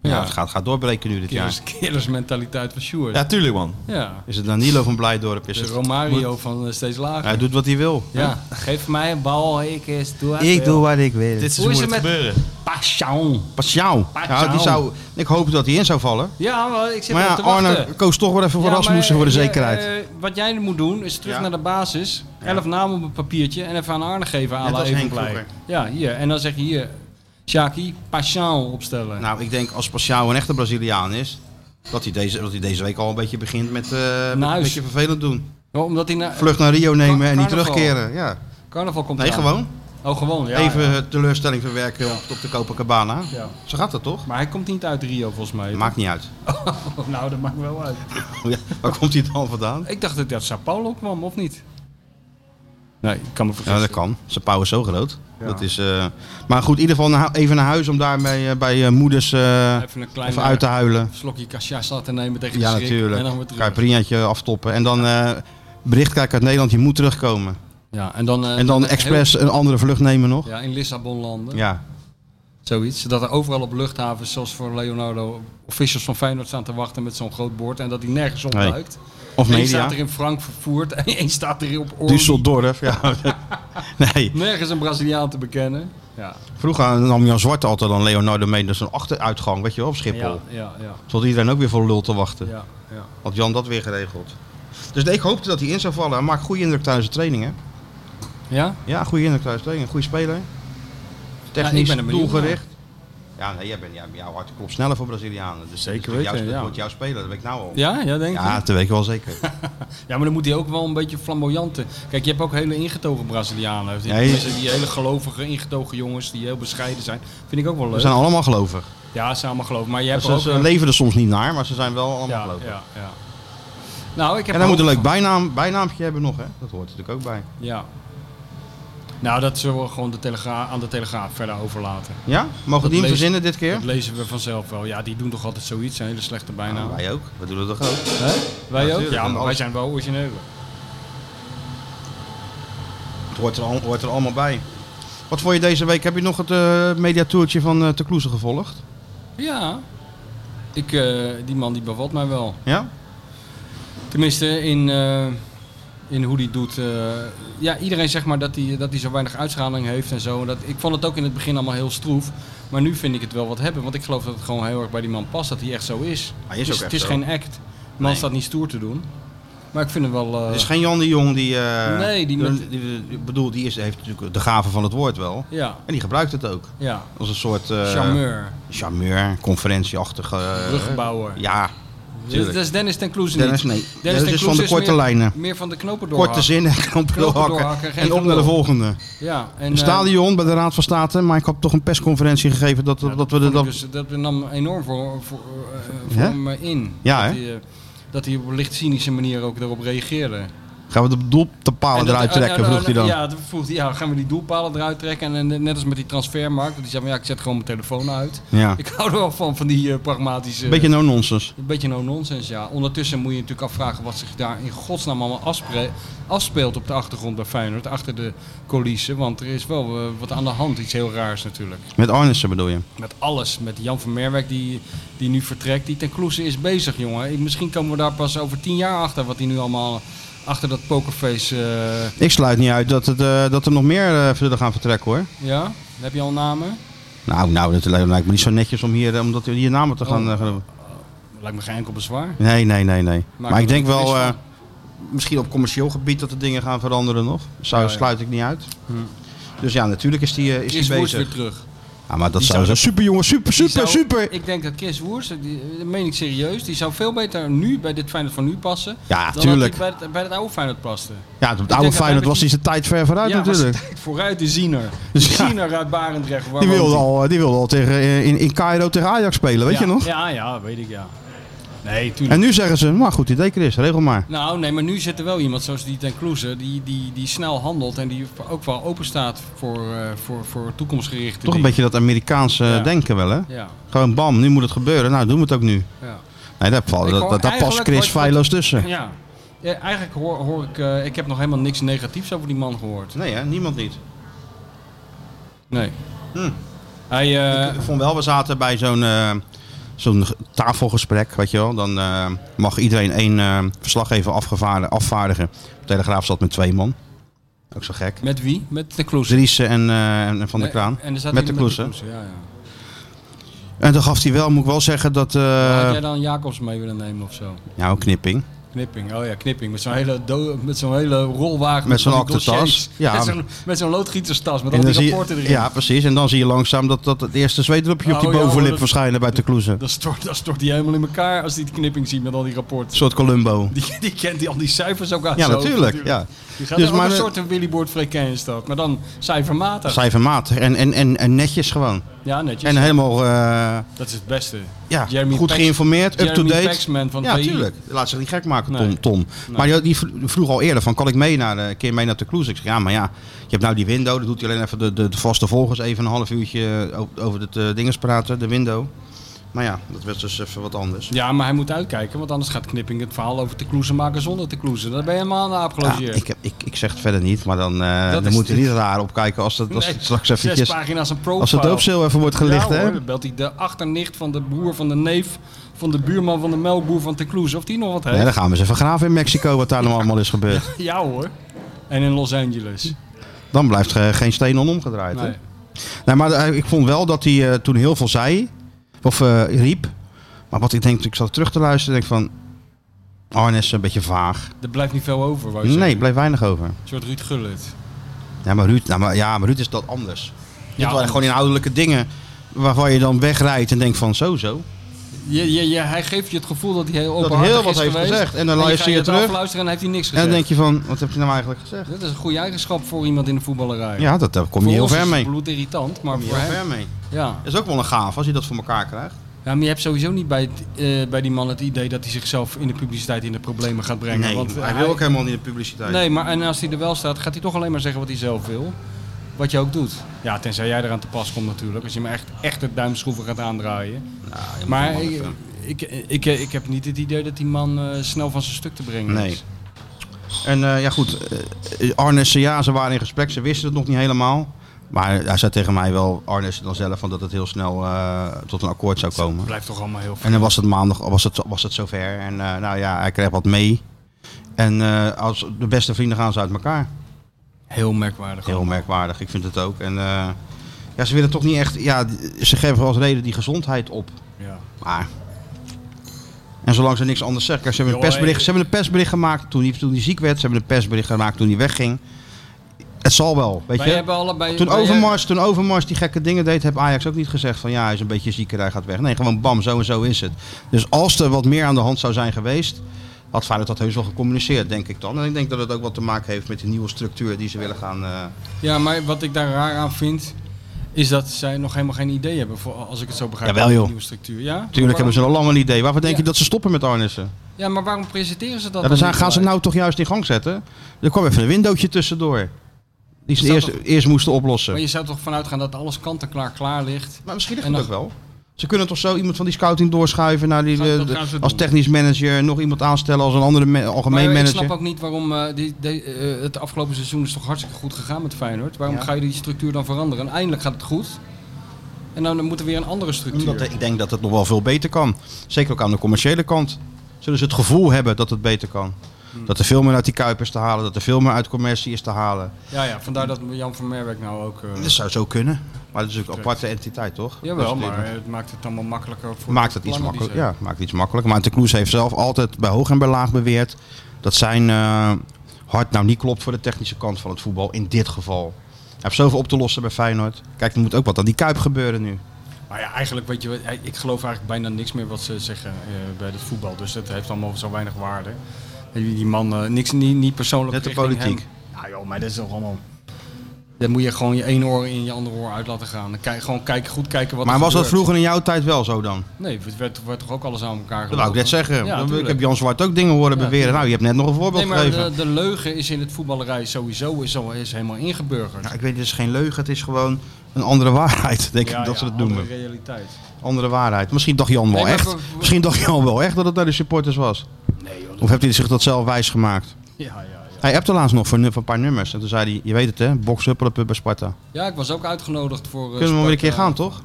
Speaker 2: Ja, het gaat, gaat doorbreken nu dit jaar.
Speaker 3: Killers, killersmentaliteit van Sjoerd.
Speaker 4: Ja, tuurlijk man.
Speaker 3: Ja.
Speaker 2: Is het Danilo van Blijdorp? Is
Speaker 3: De
Speaker 2: het...
Speaker 3: Romario van eh, steeds lager.
Speaker 2: Hij doet wat hij wil.
Speaker 3: Ja, geef mij een bal, ik is doe het
Speaker 2: Ik
Speaker 3: wel.
Speaker 2: doe wat ik wil.
Speaker 4: Dit
Speaker 3: Hoe
Speaker 4: seizoen
Speaker 3: is
Speaker 4: moet
Speaker 3: het
Speaker 4: het
Speaker 3: met-
Speaker 4: gebeuren.
Speaker 3: Passion.
Speaker 2: Paschal. Ja, die
Speaker 3: Paschal.
Speaker 2: zou, ik hoop dat hij in zou vallen.
Speaker 3: Ja, maar ik zit
Speaker 2: Maar
Speaker 3: wel
Speaker 2: ja,
Speaker 3: te wachten.
Speaker 2: Arne koos toch wel even voor
Speaker 3: Ja,
Speaker 2: Rasmussen voor
Speaker 3: maar,
Speaker 2: de
Speaker 3: eh,
Speaker 2: zekerheid.
Speaker 3: ja, eh, wat jij moet doen, is terug
Speaker 2: Ja.
Speaker 3: naar de basis. Elf namen op een papiertje en even aan Arne geven. à
Speaker 2: Net
Speaker 3: la
Speaker 2: als
Speaker 3: even
Speaker 2: Henk
Speaker 3: blij.
Speaker 2: vroeger.
Speaker 3: Ja, hier. En dan zeg je hier, Shaki, Passion opstellen.
Speaker 2: nou, ik denk als Paschal een echte Braziliaan is, dat hij deze, dat hij deze week al een beetje begint met, eh, met een
Speaker 3: huis.
Speaker 2: beetje vervelend doen.
Speaker 3: Oh, Omdat hij naar
Speaker 2: Eh, Vlucht naar Rio nemen en niet
Speaker 3: carnaval.
Speaker 2: terugkeren. Ja.
Speaker 3: carnaval komt
Speaker 2: Nee,
Speaker 3: eraan.
Speaker 2: gewoon.
Speaker 3: Oh, gewoon, ja.
Speaker 2: Even
Speaker 3: ja.
Speaker 2: eh, teleurstelling verwerken op, op de Copacabana.
Speaker 3: Ja.
Speaker 2: Zo gaat dat toch?
Speaker 3: Maar hij komt niet uit Rio volgens mij.
Speaker 2: Maakt niet uit.
Speaker 3: Oh, nou, dat maakt wel uit.
Speaker 2: Ja, Waar komt hij dan vandaan?
Speaker 3: Ik dacht dat hij uit Sao Paulo kwam, of niet? Nee, ik kan me
Speaker 2: Ja,
Speaker 3: vergissen.
Speaker 2: dat kan. Zijn pauw is zo groot. Dat is, eh, maar goed, in ieder geval naar- even naar huis om daarmee eh, bij eh, moeders eh,
Speaker 3: Even een klein
Speaker 2: even uit te huilen.
Speaker 3: slokje cachaça te nemen tegen de
Speaker 2: Ja,
Speaker 3: schrik.
Speaker 2: natuurlijk.
Speaker 3: En dan weer terug.
Speaker 2: Kan je een priaatje aftoppen. En dan eh bericht krijgen uit Nederland, je moet terugkomen.
Speaker 3: Ja, en dan, eh,
Speaker 2: En dan
Speaker 3: heel-
Speaker 2: expres een andere vlucht nemen nog.
Speaker 3: ja, in Lissabon landen.
Speaker 2: Ja.
Speaker 3: Zoiets. Zodat er overal op luchthavens, zoals voor Leonardo, officials van Feyenoord staan te wachten met zo'n groot bord. En dat die nergens
Speaker 2: Nee.
Speaker 3: opduikt.
Speaker 2: Of
Speaker 3: Eén
Speaker 2: media.
Speaker 3: staat er in Frankfurt en één staat er op Orly.
Speaker 2: Düsseldorf. Ja. nee.
Speaker 3: Nergens een Braziliaan te bekennen. Ja,
Speaker 2: Vroeger nam Jan Zwart altijd dan Leonardo mee naar zo'n achteruitgang, weet je wel, op Schiphol.
Speaker 3: ja, ja, ja,
Speaker 2: Tot iedereen ook weer voor lul te wachten.
Speaker 3: ja, ja.
Speaker 2: Had Jan dat weer geregeld. Dus ik hoopte dat hij in zou vallen. Hij maakt goede indruk tijdens de training, hè?
Speaker 3: Ja?
Speaker 2: Ja, goede indruk tijdens de training. Goede speler.
Speaker 3: Ja, ik
Speaker 2: Technisch,
Speaker 3: ben er benieuwd
Speaker 2: doelgericht. Ja, nee, jij bent, jij, jouw hart klopt sneller voor Brazilianen. Dus
Speaker 3: Zeker
Speaker 2: dat is jouw-
Speaker 3: weten,
Speaker 2: dat
Speaker 3: ja.
Speaker 2: wordt jouw speler, dat weet ik nou al.
Speaker 3: Ja, ja denk ik.
Speaker 2: Ja, dat weet ik wel zeker.
Speaker 3: Ja, maar dan moet hij ook wel een beetje flamboyante. Kijk, je hebt ook hele ingetogen Brazilianen. Die,
Speaker 2: Ja, je-
Speaker 3: mensen die hele gelovige, ingetogen jongens die heel bescheiden zijn. Vind ik ook wel
Speaker 2: We
Speaker 3: leuk.
Speaker 2: zijn allemaal gelovig.
Speaker 3: Ja, samen geloof. Maar je hebt
Speaker 2: Ze,
Speaker 3: ook.
Speaker 2: ze
Speaker 3: eh,
Speaker 2: leven er soms niet naar, maar ze zijn wel allemaal
Speaker 3: ja,
Speaker 2: gelovig.
Speaker 3: ja, ja. Nou, ik heb
Speaker 2: En hij moet een
Speaker 3: hoop-
Speaker 2: leuk bijnaam, bijnaampje hebben nog, hè? Dat hoort er natuurlijk ook bij.
Speaker 3: Ja. Nou, dat zullen we gewoon de telegra- aan de Telegraaf verder overlaten.
Speaker 2: Ja? Mogen we die hem
Speaker 3: leest-
Speaker 2: verzinnen dit keer?
Speaker 3: Dat lezen we vanzelf wel. Ja, die doen toch altijd zoiets, een hele slechte bijnaam.
Speaker 2: Nou, wij ook. We doen het toch ook?
Speaker 3: Hè? Wij ook?
Speaker 2: Natuurlijk,
Speaker 3: Ja,
Speaker 2: en
Speaker 3: maar wij
Speaker 2: alles-
Speaker 3: zijn wel origineel.
Speaker 2: Het hoort er, al- hoort er allemaal bij. Wat vond je deze week? Heb je nog het eh mediatoertje van eh Te Kloeze gevolgd?
Speaker 3: Ja. Ik, eh, die man die bevalt mij wel.
Speaker 2: Ja?
Speaker 3: Tenminste, in, eh, in hoe die doet. eh, ja, iedereen zegt maar dat hij dat die zo weinig uitschaling heeft en zo. En Dat, ik vond het ook in het begin allemaal heel stroef. Maar nu vind ik het wel wat hebben. Want ik geloof dat het gewoon heel erg bij die man past. Dat hij echt zo is.
Speaker 2: Hij
Speaker 3: het
Speaker 2: is
Speaker 3: is,
Speaker 2: ook echt
Speaker 3: het is
Speaker 2: zo.
Speaker 3: geen act. De man
Speaker 2: Nee.
Speaker 3: staat niet stoer te doen. Maar ik vind hem wel... eh,
Speaker 2: Het is geen Jan de Jong die... eh,
Speaker 3: Nee, die met-
Speaker 2: die- Ik bedoel, die is, heeft natuurlijk de gave van het woord wel.
Speaker 3: Ja,
Speaker 2: En die gebruikt het ook.
Speaker 3: ja.
Speaker 2: Als een soort... eh,
Speaker 3: Charmeur.
Speaker 2: Charmeur, conferentieachtige... eh,
Speaker 3: Ruggenbouwer.
Speaker 2: Ja,
Speaker 3: dat,
Speaker 2: natuurlijk.
Speaker 3: dat is Dennis ten Kloeze niet.
Speaker 2: Dennis, nee.
Speaker 3: Dennis
Speaker 2: Dennis
Speaker 3: ten
Speaker 2: is van de
Speaker 3: Kloeze
Speaker 2: korte
Speaker 3: meer,
Speaker 2: lijnen.
Speaker 3: Meer van de knopen doorhakken.
Speaker 2: Korte zinnen, knopen
Speaker 3: doorhakken,
Speaker 2: doorhakken.
Speaker 3: geen
Speaker 2: En op naar de
Speaker 3: gelul.
Speaker 2: volgende.
Speaker 3: Ja, en...
Speaker 2: Een
Speaker 3: eh,
Speaker 2: stadion bij de Raad van State, maar ik had toch een persconferentie gegeven dat, dat we er
Speaker 3: vond ik
Speaker 2: dan...
Speaker 3: Dus, dat nam enorm voor, voor, eh, voor
Speaker 2: Hè?
Speaker 3: hem in.
Speaker 2: Ja,
Speaker 3: dat,
Speaker 2: hè?
Speaker 3: hij, eh, dat hij op een licht cynische manier ook daarop reageerde.
Speaker 2: Gaan we de doel te palen
Speaker 3: En dat-
Speaker 2: eruit
Speaker 3: eh,
Speaker 2: trekken,
Speaker 3: eh,
Speaker 2: vroeg hij dan.
Speaker 3: Ja, dat vroeg hij, ja, gaan we die doelpalen eruit trekken? En, eh, net als met die transfermarkt. Dat hij zei, van, ja, ik zet gewoon mijn telefoon uit.
Speaker 2: Ja.
Speaker 3: Ik hou er wel van, van die eh, pragmatische...
Speaker 2: Beetje no nonsense.
Speaker 3: Een beetje no-nonsense, ja. Ondertussen moet je natuurlijk afvragen wat zich daar in godsnaam allemaal afspre- afspeelt op de achtergrond bij Feyenoord, achter de coulissen. Want er is wel eh, wat aan de hand, iets heel raars natuurlijk.
Speaker 2: Met Arnissen bedoel je?
Speaker 3: Met alles, met Jan van Merwijk die, die nu vertrekt. Die ten Kloeze is bezig, jongen. Ik- Misschien komen we daar pas over tien jaar achter wat hij nu allemaal achter dat pokerface... eh,
Speaker 2: Ik sluit niet uit dat, het, eh, dat er nog meer eh, zullen gaan vertrekken hoor.
Speaker 3: ja, heb je al namen?
Speaker 2: Nou, nou, dat li- lijkt me niet zo netjes om hier, eh, omdat we hier namen te gaan...
Speaker 3: Oh.
Speaker 2: eh, gaan-
Speaker 3: Lijkt me geen enkel bezwaar.
Speaker 2: nee, nee, nee, nee.
Speaker 3: Maak
Speaker 2: maar
Speaker 3: er
Speaker 2: ik denk
Speaker 3: een feest
Speaker 2: wel, eh,
Speaker 3: van.
Speaker 2: misschien op commercieel gebied dat de dingen gaan veranderen nog. Zou,
Speaker 3: Ja, Hm. ja.
Speaker 2: Sluit ik niet uit. Dus ja, natuurlijk is die, eh, is
Speaker 3: Chris
Speaker 2: die
Speaker 3: Woerts weer
Speaker 2: bezig.
Speaker 3: terug.
Speaker 2: Ja, maar dat
Speaker 3: Die
Speaker 2: zou
Speaker 3: zou-
Speaker 2: zo... Super jongen, super,
Speaker 3: Die
Speaker 2: super,
Speaker 3: zou-
Speaker 2: super!
Speaker 3: Ik denk dat Chris Woers, die, dat meen ik serieus, die zou veel beter nu bij dit Feyenoord van nu passen.
Speaker 2: Ja,
Speaker 3: dan
Speaker 2: tuurlijk.
Speaker 3: dat hij bij het, bij het oude Feyenoord paste.
Speaker 2: Ja, het
Speaker 3: denk
Speaker 2: oude
Speaker 3: dat wij
Speaker 2: Feyenoord
Speaker 3: met
Speaker 2: was
Speaker 3: die-
Speaker 2: die zijn tijd ver vooruit
Speaker 3: ja, was
Speaker 2: natuurlijk.
Speaker 3: de tijd vooruit de Ziener. De
Speaker 2: Dus ja.
Speaker 3: Ziener uit Barendrecht. waar
Speaker 2: Die
Speaker 3: woont
Speaker 2: wilde,
Speaker 3: hij?
Speaker 2: al, eh, die wilde al tegen, eh, in, in Cairo tegen Ajax spelen, weet
Speaker 3: Ja,
Speaker 2: je nog?
Speaker 3: Ja, ja, weet ik ja. Nee, tuurlijk.
Speaker 2: En nu zeggen ze, maar goed idee Chris, regel maar.
Speaker 3: Nou, nee, maar nu zit er wel iemand zoals die ten Kloeze, die, die, die snel handelt en die ook wel open staat voor, eh, voor, voor toekomstgerichte
Speaker 2: Toch een
Speaker 3: dingen.
Speaker 2: beetje dat Amerikaanse eh,
Speaker 3: Ja.
Speaker 2: denken wel hè?
Speaker 3: Ja,
Speaker 2: Gewoon bam, nu moet het gebeuren, nou doen we het ook nu.
Speaker 3: ja.
Speaker 2: Nee, daar, valt-
Speaker 3: Ik
Speaker 2: dat,
Speaker 3: hoor
Speaker 2: dat- daar past
Speaker 3: eigenlijk
Speaker 2: Chris
Speaker 3: wordt-
Speaker 2: feilloos tussen.
Speaker 3: ja. Ja, Eigenlijk hoor, hoor ik, eh, ik heb nog helemaal niks negatiefs over die man gehoord.
Speaker 2: Nee hè, niemand niet.
Speaker 3: Nee.
Speaker 2: Hm.
Speaker 3: Hij, eh,
Speaker 2: Ik vond wel, we zaten bij zo'n eh, zo'n g- tafelgesprek, weet je wel. Dan eh, mag iedereen één eh, verslaggever afgevaardi- afvaardigen. De Telegraaf zat met twee man. Ook zo gek.
Speaker 3: met wie? Met de Kloeze.
Speaker 2: Driessen en, eh, en Van der Kraan.
Speaker 3: En er zat
Speaker 2: Met
Speaker 3: hij
Speaker 2: de Kloeze.
Speaker 3: Ja, ja.
Speaker 2: En dan gaf hij wel, moet ik wel zeggen, dat... eh,
Speaker 3: eh. Had jij dan Jacobs mee willen nemen of zo?
Speaker 2: Nou, knipping.
Speaker 3: Knipping, oh ja, knipping. Met zo'n hele, do- met zo'n hele rolwagen.
Speaker 2: Met zo'n
Speaker 3: van die
Speaker 2: aktentas.
Speaker 3: dossiers.
Speaker 2: Ja.
Speaker 3: Met zo'n, met zo'n loodgieterstas met
Speaker 2: En
Speaker 3: al
Speaker 2: dan
Speaker 3: die
Speaker 2: zie je-
Speaker 3: rapporten erin.
Speaker 2: ja, precies. En dan zie je langzaam dat, dat het eerste zweetdrupje op die
Speaker 3: Oh, ja,
Speaker 2: bovenlip
Speaker 3: hoor, dat-
Speaker 2: verschijnen bij de kloezen. Een
Speaker 3: Dan stort, dan stort hij helemaal in elkaar als hij die knipping ziet met al die rapporten.
Speaker 2: soort Columbo.
Speaker 3: Die, die kent die, al die cijfers ook uit
Speaker 2: Ja,
Speaker 3: zijn hoofd
Speaker 2: natuurlijk. Ja.
Speaker 3: Die gaat
Speaker 2: Dus
Speaker 3: dus maar
Speaker 2: maar de-
Speaker 3: een soort een Willyboard frequent is dat. Maar dan cijfermatig.
Speaker 2: Cijfermatig. En, en, en, en netjes gewoon.
Speaker 3: ja, netjes.
Speaker 2: En helemaal eh,
Speaker 3: dat is het beste.
Speaker 2: ja,
Speaker 3: Jeremy
Speaker 2: goed
Speaker 3: Pax-
Speaker 2: geïnformeerd,
Speaker 3: Jeremy
Speaker 2: up-to-date.
Speaker 3: Paxman van
Speaker 2: Ja,
Speaker 3: VI.
Speaker 2: tuurlijk. Laat zich niet gek maken, Tom.
Speaker 3: Nee.
Speaker 2: Tom. Maar die, die vro- vroeg al eerder van, kan ik mee naar, de- een keer mee naar de Kloes? Ik zeg, ja, maar ja, je hebt nou die window. Dan doet hij alleen even de, de, de vaste volgers even een half uurtje o- over het eh, dinges praten, de window. Maar ja, dat was dus even wat anders.
Speaker 3: Ja, maar hij moet uitkijken, want anders gaat Knipping het verhaal over te kloezen maken zonder te kloezen. Daar ben je helemaal aan de aap
Speaker 2: Ja,
Speaker 3: gelogeerd.
Speaker 2: ik, heb- ik, ik zeg het verder niet, maar dan, eh,
Speaker 3: Dat
Speaker 2: dan
Speaker 3: is
Speaker 2: moet je
Speaker 3: dit.
Speaker 2: niet raar opkijken als, dat, als
Speaker 3: Nee,
Speaker 2: het straks
Speaker 3: Zes
Speaker 2: eventjes...
Speaker 3: pagina's een profile.
Speaker 2: Als de doopseel even wordt gelicht,
Speaker 3: ja,
Speaker 2: hè?
Speaker 3: hoor, Dan belt hij de achternicht van de broer van de neef van de buurman van de melkboer van te kloezen. Of die nog wat heeft.
Speaker 2: Nee, dan gaan we eens even graven in Mexico wat daar nou allemaal is gebeurd.
Speaker 3: Ja hoor. En in Los Angeles.
Speaker 2: Dan blijft er geen steen onomgedraaid. hè?
Speaker 3: Nee.
Speaker 2: Nee, maar eh, ik vond wel dat hij eh, toen heel veel zei. Of eh, riep. Maar wat ik denk, ik zat terug te luisteren. denk van, Arne is een beetje vaag.
Speaker 3: Er blijft niet veel over, wou je
Speaker 2: Nee,
Speaker 3: zeggen.
Speaker 2: bleef weinig over.
Speaker 3: Een soort Ruud Gullit.
Speaker 2: Ja, maar Ruud, nou, maar, ja, maar Ruud is dat anders. Ja,
Speaker 3: anders.
Speaker 2: gewoon inhoudelijke dingen waarvan je dan wegrijdt en denkt van, zo zo.
Speaker 3: Je, je, je, hij geeft je het gevoel dat hij heel openhartig
Speaker 2: heel wat
Speaker 3: is
Speaker 2: heeft
Speaker 3: geweest.
Speaker 2: gezegd. En dan
Speaker 3: ga
Speaker 2: luister je
Speaker 3: het
Speaker 2: terug.
Speaker 3: afluisteren en heeft hij niks
Speaker 2: En
Speaker 3: gezegd.
Speaker 2: dan denk je van, wat heb je nou eigenlijk gezegd?
Speaker 3: Dat is een goede eigenschap voor iemand in de voetballerij.
Speaker 2: Ja, dat, daar kom je
Speaker 3: Voor
Speaker 2: heel
Speaker 3: ons
Speaker 2: ver
Speaker 3: is het
Speaker 2: mee.
Speaker 3: bloedirritant, maar
Speaker 2: Kom je
Speaker 3: voor
Speaker 2: heel
Speaker 3: hem...
Speaker 2: ver mee.
Speaker 3: Ja.
Speaker 2: Dat is ook wel een gaaf als je dat voor elkaar krijgt.
Speaker 3: Ja, maar je hebt sowieso niet bij, het, eh, bij die man het idee dat hij zichzelf in de publiciteit in de problemen gaat brengen.
Speaker 2: Nee,
Speaker 3: want
Speaker 2: hij wil ook helemaal niet in de publiciteit.
Speaker 3: Nee, maar en als hij er wel staat, gaat hij toch alleen maar zeggen wat hij zelf wil. Wat je ook doet. Ja, tenzij jij eraan te pas komt natuurlijk. Als je hem echt, echt de duimschroeven gaat aandraaien. maar
Speaker 2: wel
Speaker 3: ik,
Speaker 2: even.
Speaker 3: ik, ik, eh, ik heb niet het idee dat die man eh, snel van zijn stuk te brengen
Speaker 2: Nee.
Speaker 3: is.
Speaker 2: En eh, ja goed, eh, Arne en Sea, ze waren in gesprek, ze wisten het nog niet helemaal. Maar hij zei tegen mij wel, Arne dan zelf, van dat het heel snel eh, tot een akkoord zou komen.
Speaker 3: Blijft toch allemaal heel
Speaker 2: En dan was het maandag, was het, was het zover. En eh, nou ja, hij kreeg wat mee. En eh, als de beste vrienden gaan ze uit elkaar.
Speaker 3: heel merkwaardig.
Speaker 2: Heel merkwaardig, ik vind het ook. En eh, ja, ze willen toch niet echt, ja, ze geven als reden die gezondheid op.
Speaker 3: Ja.
Speaker 2: Maar. En zolang ze niks anders zeggen. Kijk, ze, hebben een
Speaker 3: Joh,
Speaker 2: persbericht,
Speaker 3: hey.
Speaker 2: ze hebben een persbericht gemaakt toen hij, toen hij ziek werd. Ze hebben een persbericht gemaakt toen hij wegging. Het zal wel, weet
Speaker 3: Wij
Speaker 2: je.
Speaker 3: hebben allebei.
Speaker 2: Toen
Speaker 3: wij-
Speaker 2: Overmars, toen Overmars die gekke dingen deed, heb Ajax ook niet gezegd van ja, hij is een beetje ziek en hij gaat weg. Nee, gewoon bam, zo en zo is het. Dus als er wat meer aan de hand zou zijn geweest, had Feyenoord dat heus wel gecommuniceerd, denk ik dan. En ik denk dat het ook wat te maken heeft met de nieuwe structuur die ze willen gaan... eh,
Speaker 3: Ja, maar wat ik daar raar aan vind. Is dat zij nog helemaal geen idee hebben. Voor, als ik het zo begrijp.
Speaker 2: Jawel,
Speaker 3: van die
Speaker 2: joh.
Speaker 3: Nieuwe structuur. Ja?
Speaker 2: Tuurlijk hebben ze al lang een idee. Waarvoor denk
Speaker 3: Ja.
Speaker 2: je dat ze stoppen met Arnissen?
Speaker 3: Ja, maar waarom presenteren ze dat?
Speaker 2: Ja,
Speaker 3: dan
Speaker 2: dan zijn,
Speaker 3: niet
Speaker 2: gaan ze
Speaker 3: gelijk?
Speaker 2: nou toch juist in gang zetten? Er kwam even een windowtje tussendoor. Die ze
Speaker 3: Is dat
Speaker 2: eerst, eerst moesten oplossen.
Speaker 3: Maar
Speaker 2: Maar,
Speaker 3: je zou toch vanuit gaan dat alles kant-en-klaar klaar ligt.
Speaker 2: misschien ligt
Speaker 3: en
Speaker 2: het ook
Speaker 3: dan-
Speaker 2: wel. Ze kunnen toch zo iemand van die scouting doorschuiven naar die,
Speaker 3: Gaan-
Speaker 2: eh,
Speaker 3: dat
Speaker 2: de-
Speaker 3: gaan ze
Speaker 2: als
Speaker 3: doen.
Speaker 2: technisch manager. Nog iemand aanstellen als een andere ma- algemeen
Speaker 3: maar
Speaker 2: manager.
Speaker 3: Ik snap ook niet waarom eh, die, de- eh, het afgelopen seizoen is toch hartstikke goed gegaan met Feyenoord. Waarom
Speaker 2: Ja.
Speaker 3: ga je die structuur dan veranderen? En eindelijk gaat het goed. En dan moet er weer een andere structuur.
Speaker 2: Omdat ik denk dat het nog wel veel beter kan. Zeker ook aan de commerciële kant. Zullen ze het gevoel hebben dat het beter kan.
Speaker 3: Hmm.
Speaker 2: Dat er veel meer uit die Kuipers te halen. Dat er veel meer uit commercie is te halen.
Speaker 3: Ja, ja, vandaar dat Jan van Merwijk nou ook. eh,
Speaker 2: Dat zou zo kunnen. Maar dat is ook een aparte entiteit, toch?
Speaker 3: jawel,
Speaker 2: Dus dit-
Speaker 3: maar het maakt het allemaal makkelijker voor.
Speaker 2: Maakt
Speaker 3: de
Speaker 2: het iets
Speaker 3: plannen die
Speaker 2: makkelijker.
Speaker 3: ze
Speaker 2: Ja, maakt het iets makkelijker. Maar de Kloes heeft zelf altijd bij hoog en bij laag beweerd dat zijn eh, hart nou niet klopt voor de technische kant van het voetbal. In dit geval. Hij heeft zoveel op te lossen bij Feyenoord. Kijk, er moet ook wat aan die Kuip gebeuren nu.
Speaker 3: hebben. Maar ja, eigenlijk weet je, wat, eh, ik geloof eigenlijk bijna niks meer wat ze zeggen eh, bij het voetbal. Dus dat heeft allemaal zo weinig waarde. Die die man, eh, niks, niet, niet persoonlijk.
Speaker 2: Net de
Speaker 3: richting
Speaker 2: politiek.
Speaker 3: hem. Ja, joh, maar dat is toch allemaal. Dan moet je gewoon je ene oor in je andere oor uit laten gaan. Dan kijk, gewoon kijken, goed kijken wat
Speaker 2: maar
Speaker 3: er
Speaker 2: was dat
Speaker 3: gebeurt.
Speaker 2: vroeger in jouw tijd wel zo dan?
Speaker 3: Nee, het werd, werd toch ook alles aan elkaar
Speaker 2: Dat wou ik net zeggen.
Speaker 3: Ja,
Speaker 2: ik
Speaker 3: tuurlijk.
Speaker 2: heb Jan Zwart ook dingen horen
Speaker 3: Ja,
Speaker 2: beweren.
Speaker 3: tuurlijk.
Speaker 2: Nou, je hebt net nog een voorbeeld
Speaker 3: Nee, maar eh,
Speaker 2: gegeven.
Speaker 3: de, de leugen is in het voetballerij sowieso is, al- is helemaal ingeburgerd.
Speaker 2: Nou, ik weet, het is geen leugen. Het is gewoon een andere waarheid, denk ik, dat ze dat
Speaker 3: andere
Speaker 2: noemen.
Speaker 3: realiteit.
Speaker 2: Andere waarheid. Misschien dacht Jan wel
Speaker 3: Nee, maar
Speaker 2: echt.
Speaker 3: we- we-
Speaker 2: Misschien dacht Jan wel echt dat het naar de supporters was.
Speaker 3: Nee, joh.
Speaker 2: Of heeft hij zich dat zelf wijs gemaakt?
Speaker 3: Ja, ja, ja.
Speaker 2: Hij appte laatst nog voor, nu- voor een paar nummers. En toen zei hij, je weet het hè, box huppelepup bij Sparta.
Speaker 3: ja, ik was ook uitgenodigd voor. eh,
Speaker 2: Kunnen we maar weer een keer
Speaker 3: Sparta.
Speaker 2: gaan, toch?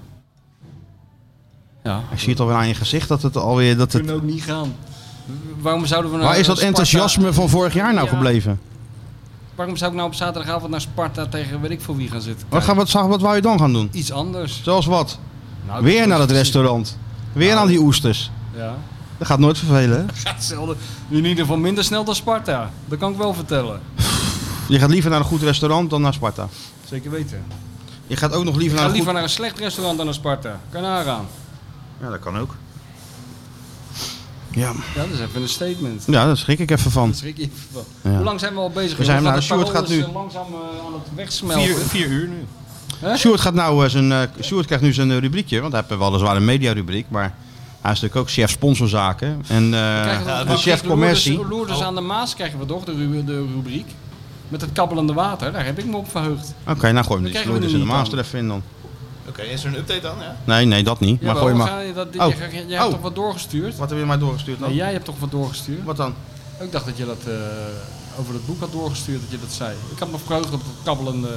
Speaker 3: Ja.
Speaker 2: Ik zie het alweer aan je gezicht dat het alweer... Dat
Speaker 3: We
Speaker 2: het...
Speaker 3: kunnen ook niet gaan. Waarom zouden we nou
Speaker 2: Waar is
Speaker 3: naar
Speaker 2: dat
Speaker 3: Sparta-
Speaker 2: enthousiasme van vorig jaar nou
Speaker 3: Ja.
Speaker 2: gebleven?
Speaker 3: Waarom zou ik nou op zaterdagavond naar Sparta tegen weet ik voor wie gaan zitten?
Speaker 2: Wat, gaan, wat, zou- wat wou je dan gaan doen?
Speaker 3: Iets anders.
Speaker 2: Zoals wat?
Speaker 3: Nou,
Speaker 2: Weer
Speaker 3: dat
Speaker 2: naar
Speaker 3: is
Speaker 2: het
Speaker 3: precies-
Speaker 2: restaurant. Weer aan die oesters.
Speaker 3: Ja.
Speaker 2: Dat gaat nooit vervelen. hè?
Speaker 3: Hetzelfde. In ieder geval minder snel dan Sparta. Dat kan ik wel vertellen.
Speaker 2: Je gaat liever naar een goed restaurant dan naar Sparta.
Speaker 3: Zeker weten.
Speaker 2: Je gaat ook nog liever
Speaker 3: Ik
Speaker 2: naar
Speaker 3: ga
Speaker 2: een
Speaker 3: liever
Speaker 2: goed...
Speaker 3: naar een slecht restaurant dan naar Sparta. Kan nagaan.
Speaker 2: Ja, dat kan ook. Ja,
Speaker 3: Ja, dat is even een statement.
Speaker 2: ja daar schrik ik even van.
Speaker 3: Daar schrik je even van.
Speaker 2: Ja.
Speaker 3: Hoe lang zijn we al bezig?
Speaker 2: We zijn-
Speaker 3: Jongens?
Speaker 2: nou,
Speaker 3: Want
Speaker 2: Sjoerd
Speaker 3: het parool is, eh, langzaam eh, aan het wegsmelten.
Speaker 4: Vier, vier uur nu.
Speaker 2: Sjoerd, gaat nou, eh, zijn, eh, Sjoerd krijgt nu zijn eh, rubriekje, want hij heeft weliswaar een mediarubriek, maar hij is natuurlijk ook chef sponsorzaken en eh,
Speaker 3: Krijgen we- Nou,
Speaker 2: en chef commercie.
Speaker 3: Loerders, Loerders aan de Maas krijgen we toch, de, ru- de rubriek. Met het kabbelende water, daar heb ik me op verheugd.
Speaker 2: Oké, nou gooi hem die
Speaker 3: Dan krijgen we
Speaker 2: Loerders
Speaker 3: die
Speaker 2: in de
Speaker 3: niet
Speaker 2: Maas er even in dan.
Speaker 4: Oké, is er een update dan? Ja?
Speaker 2: Nee, nee, dat niet, maar
Speaker 3: Jawel,
Speaker 2: gooi maar.
Speaker 3: ga je dat,
Speaker 2: Oh.
Speaker 3: jij, jij hebt
Speaker 2: Oh.
Speaker 3: toch wat doorgestuurd?
Speaker 2: Wat heb je mij doorgestuurd dan?
Speaker 3: Nee, jij hebt toch wat doorgestuurd?
Speaker 2: Wat dan?
Speaker 3: Ik dacht dat je dat eh, over dat boek had doorgestuurd, dat je dat zei. Ik had me verheugd op het kabbelende...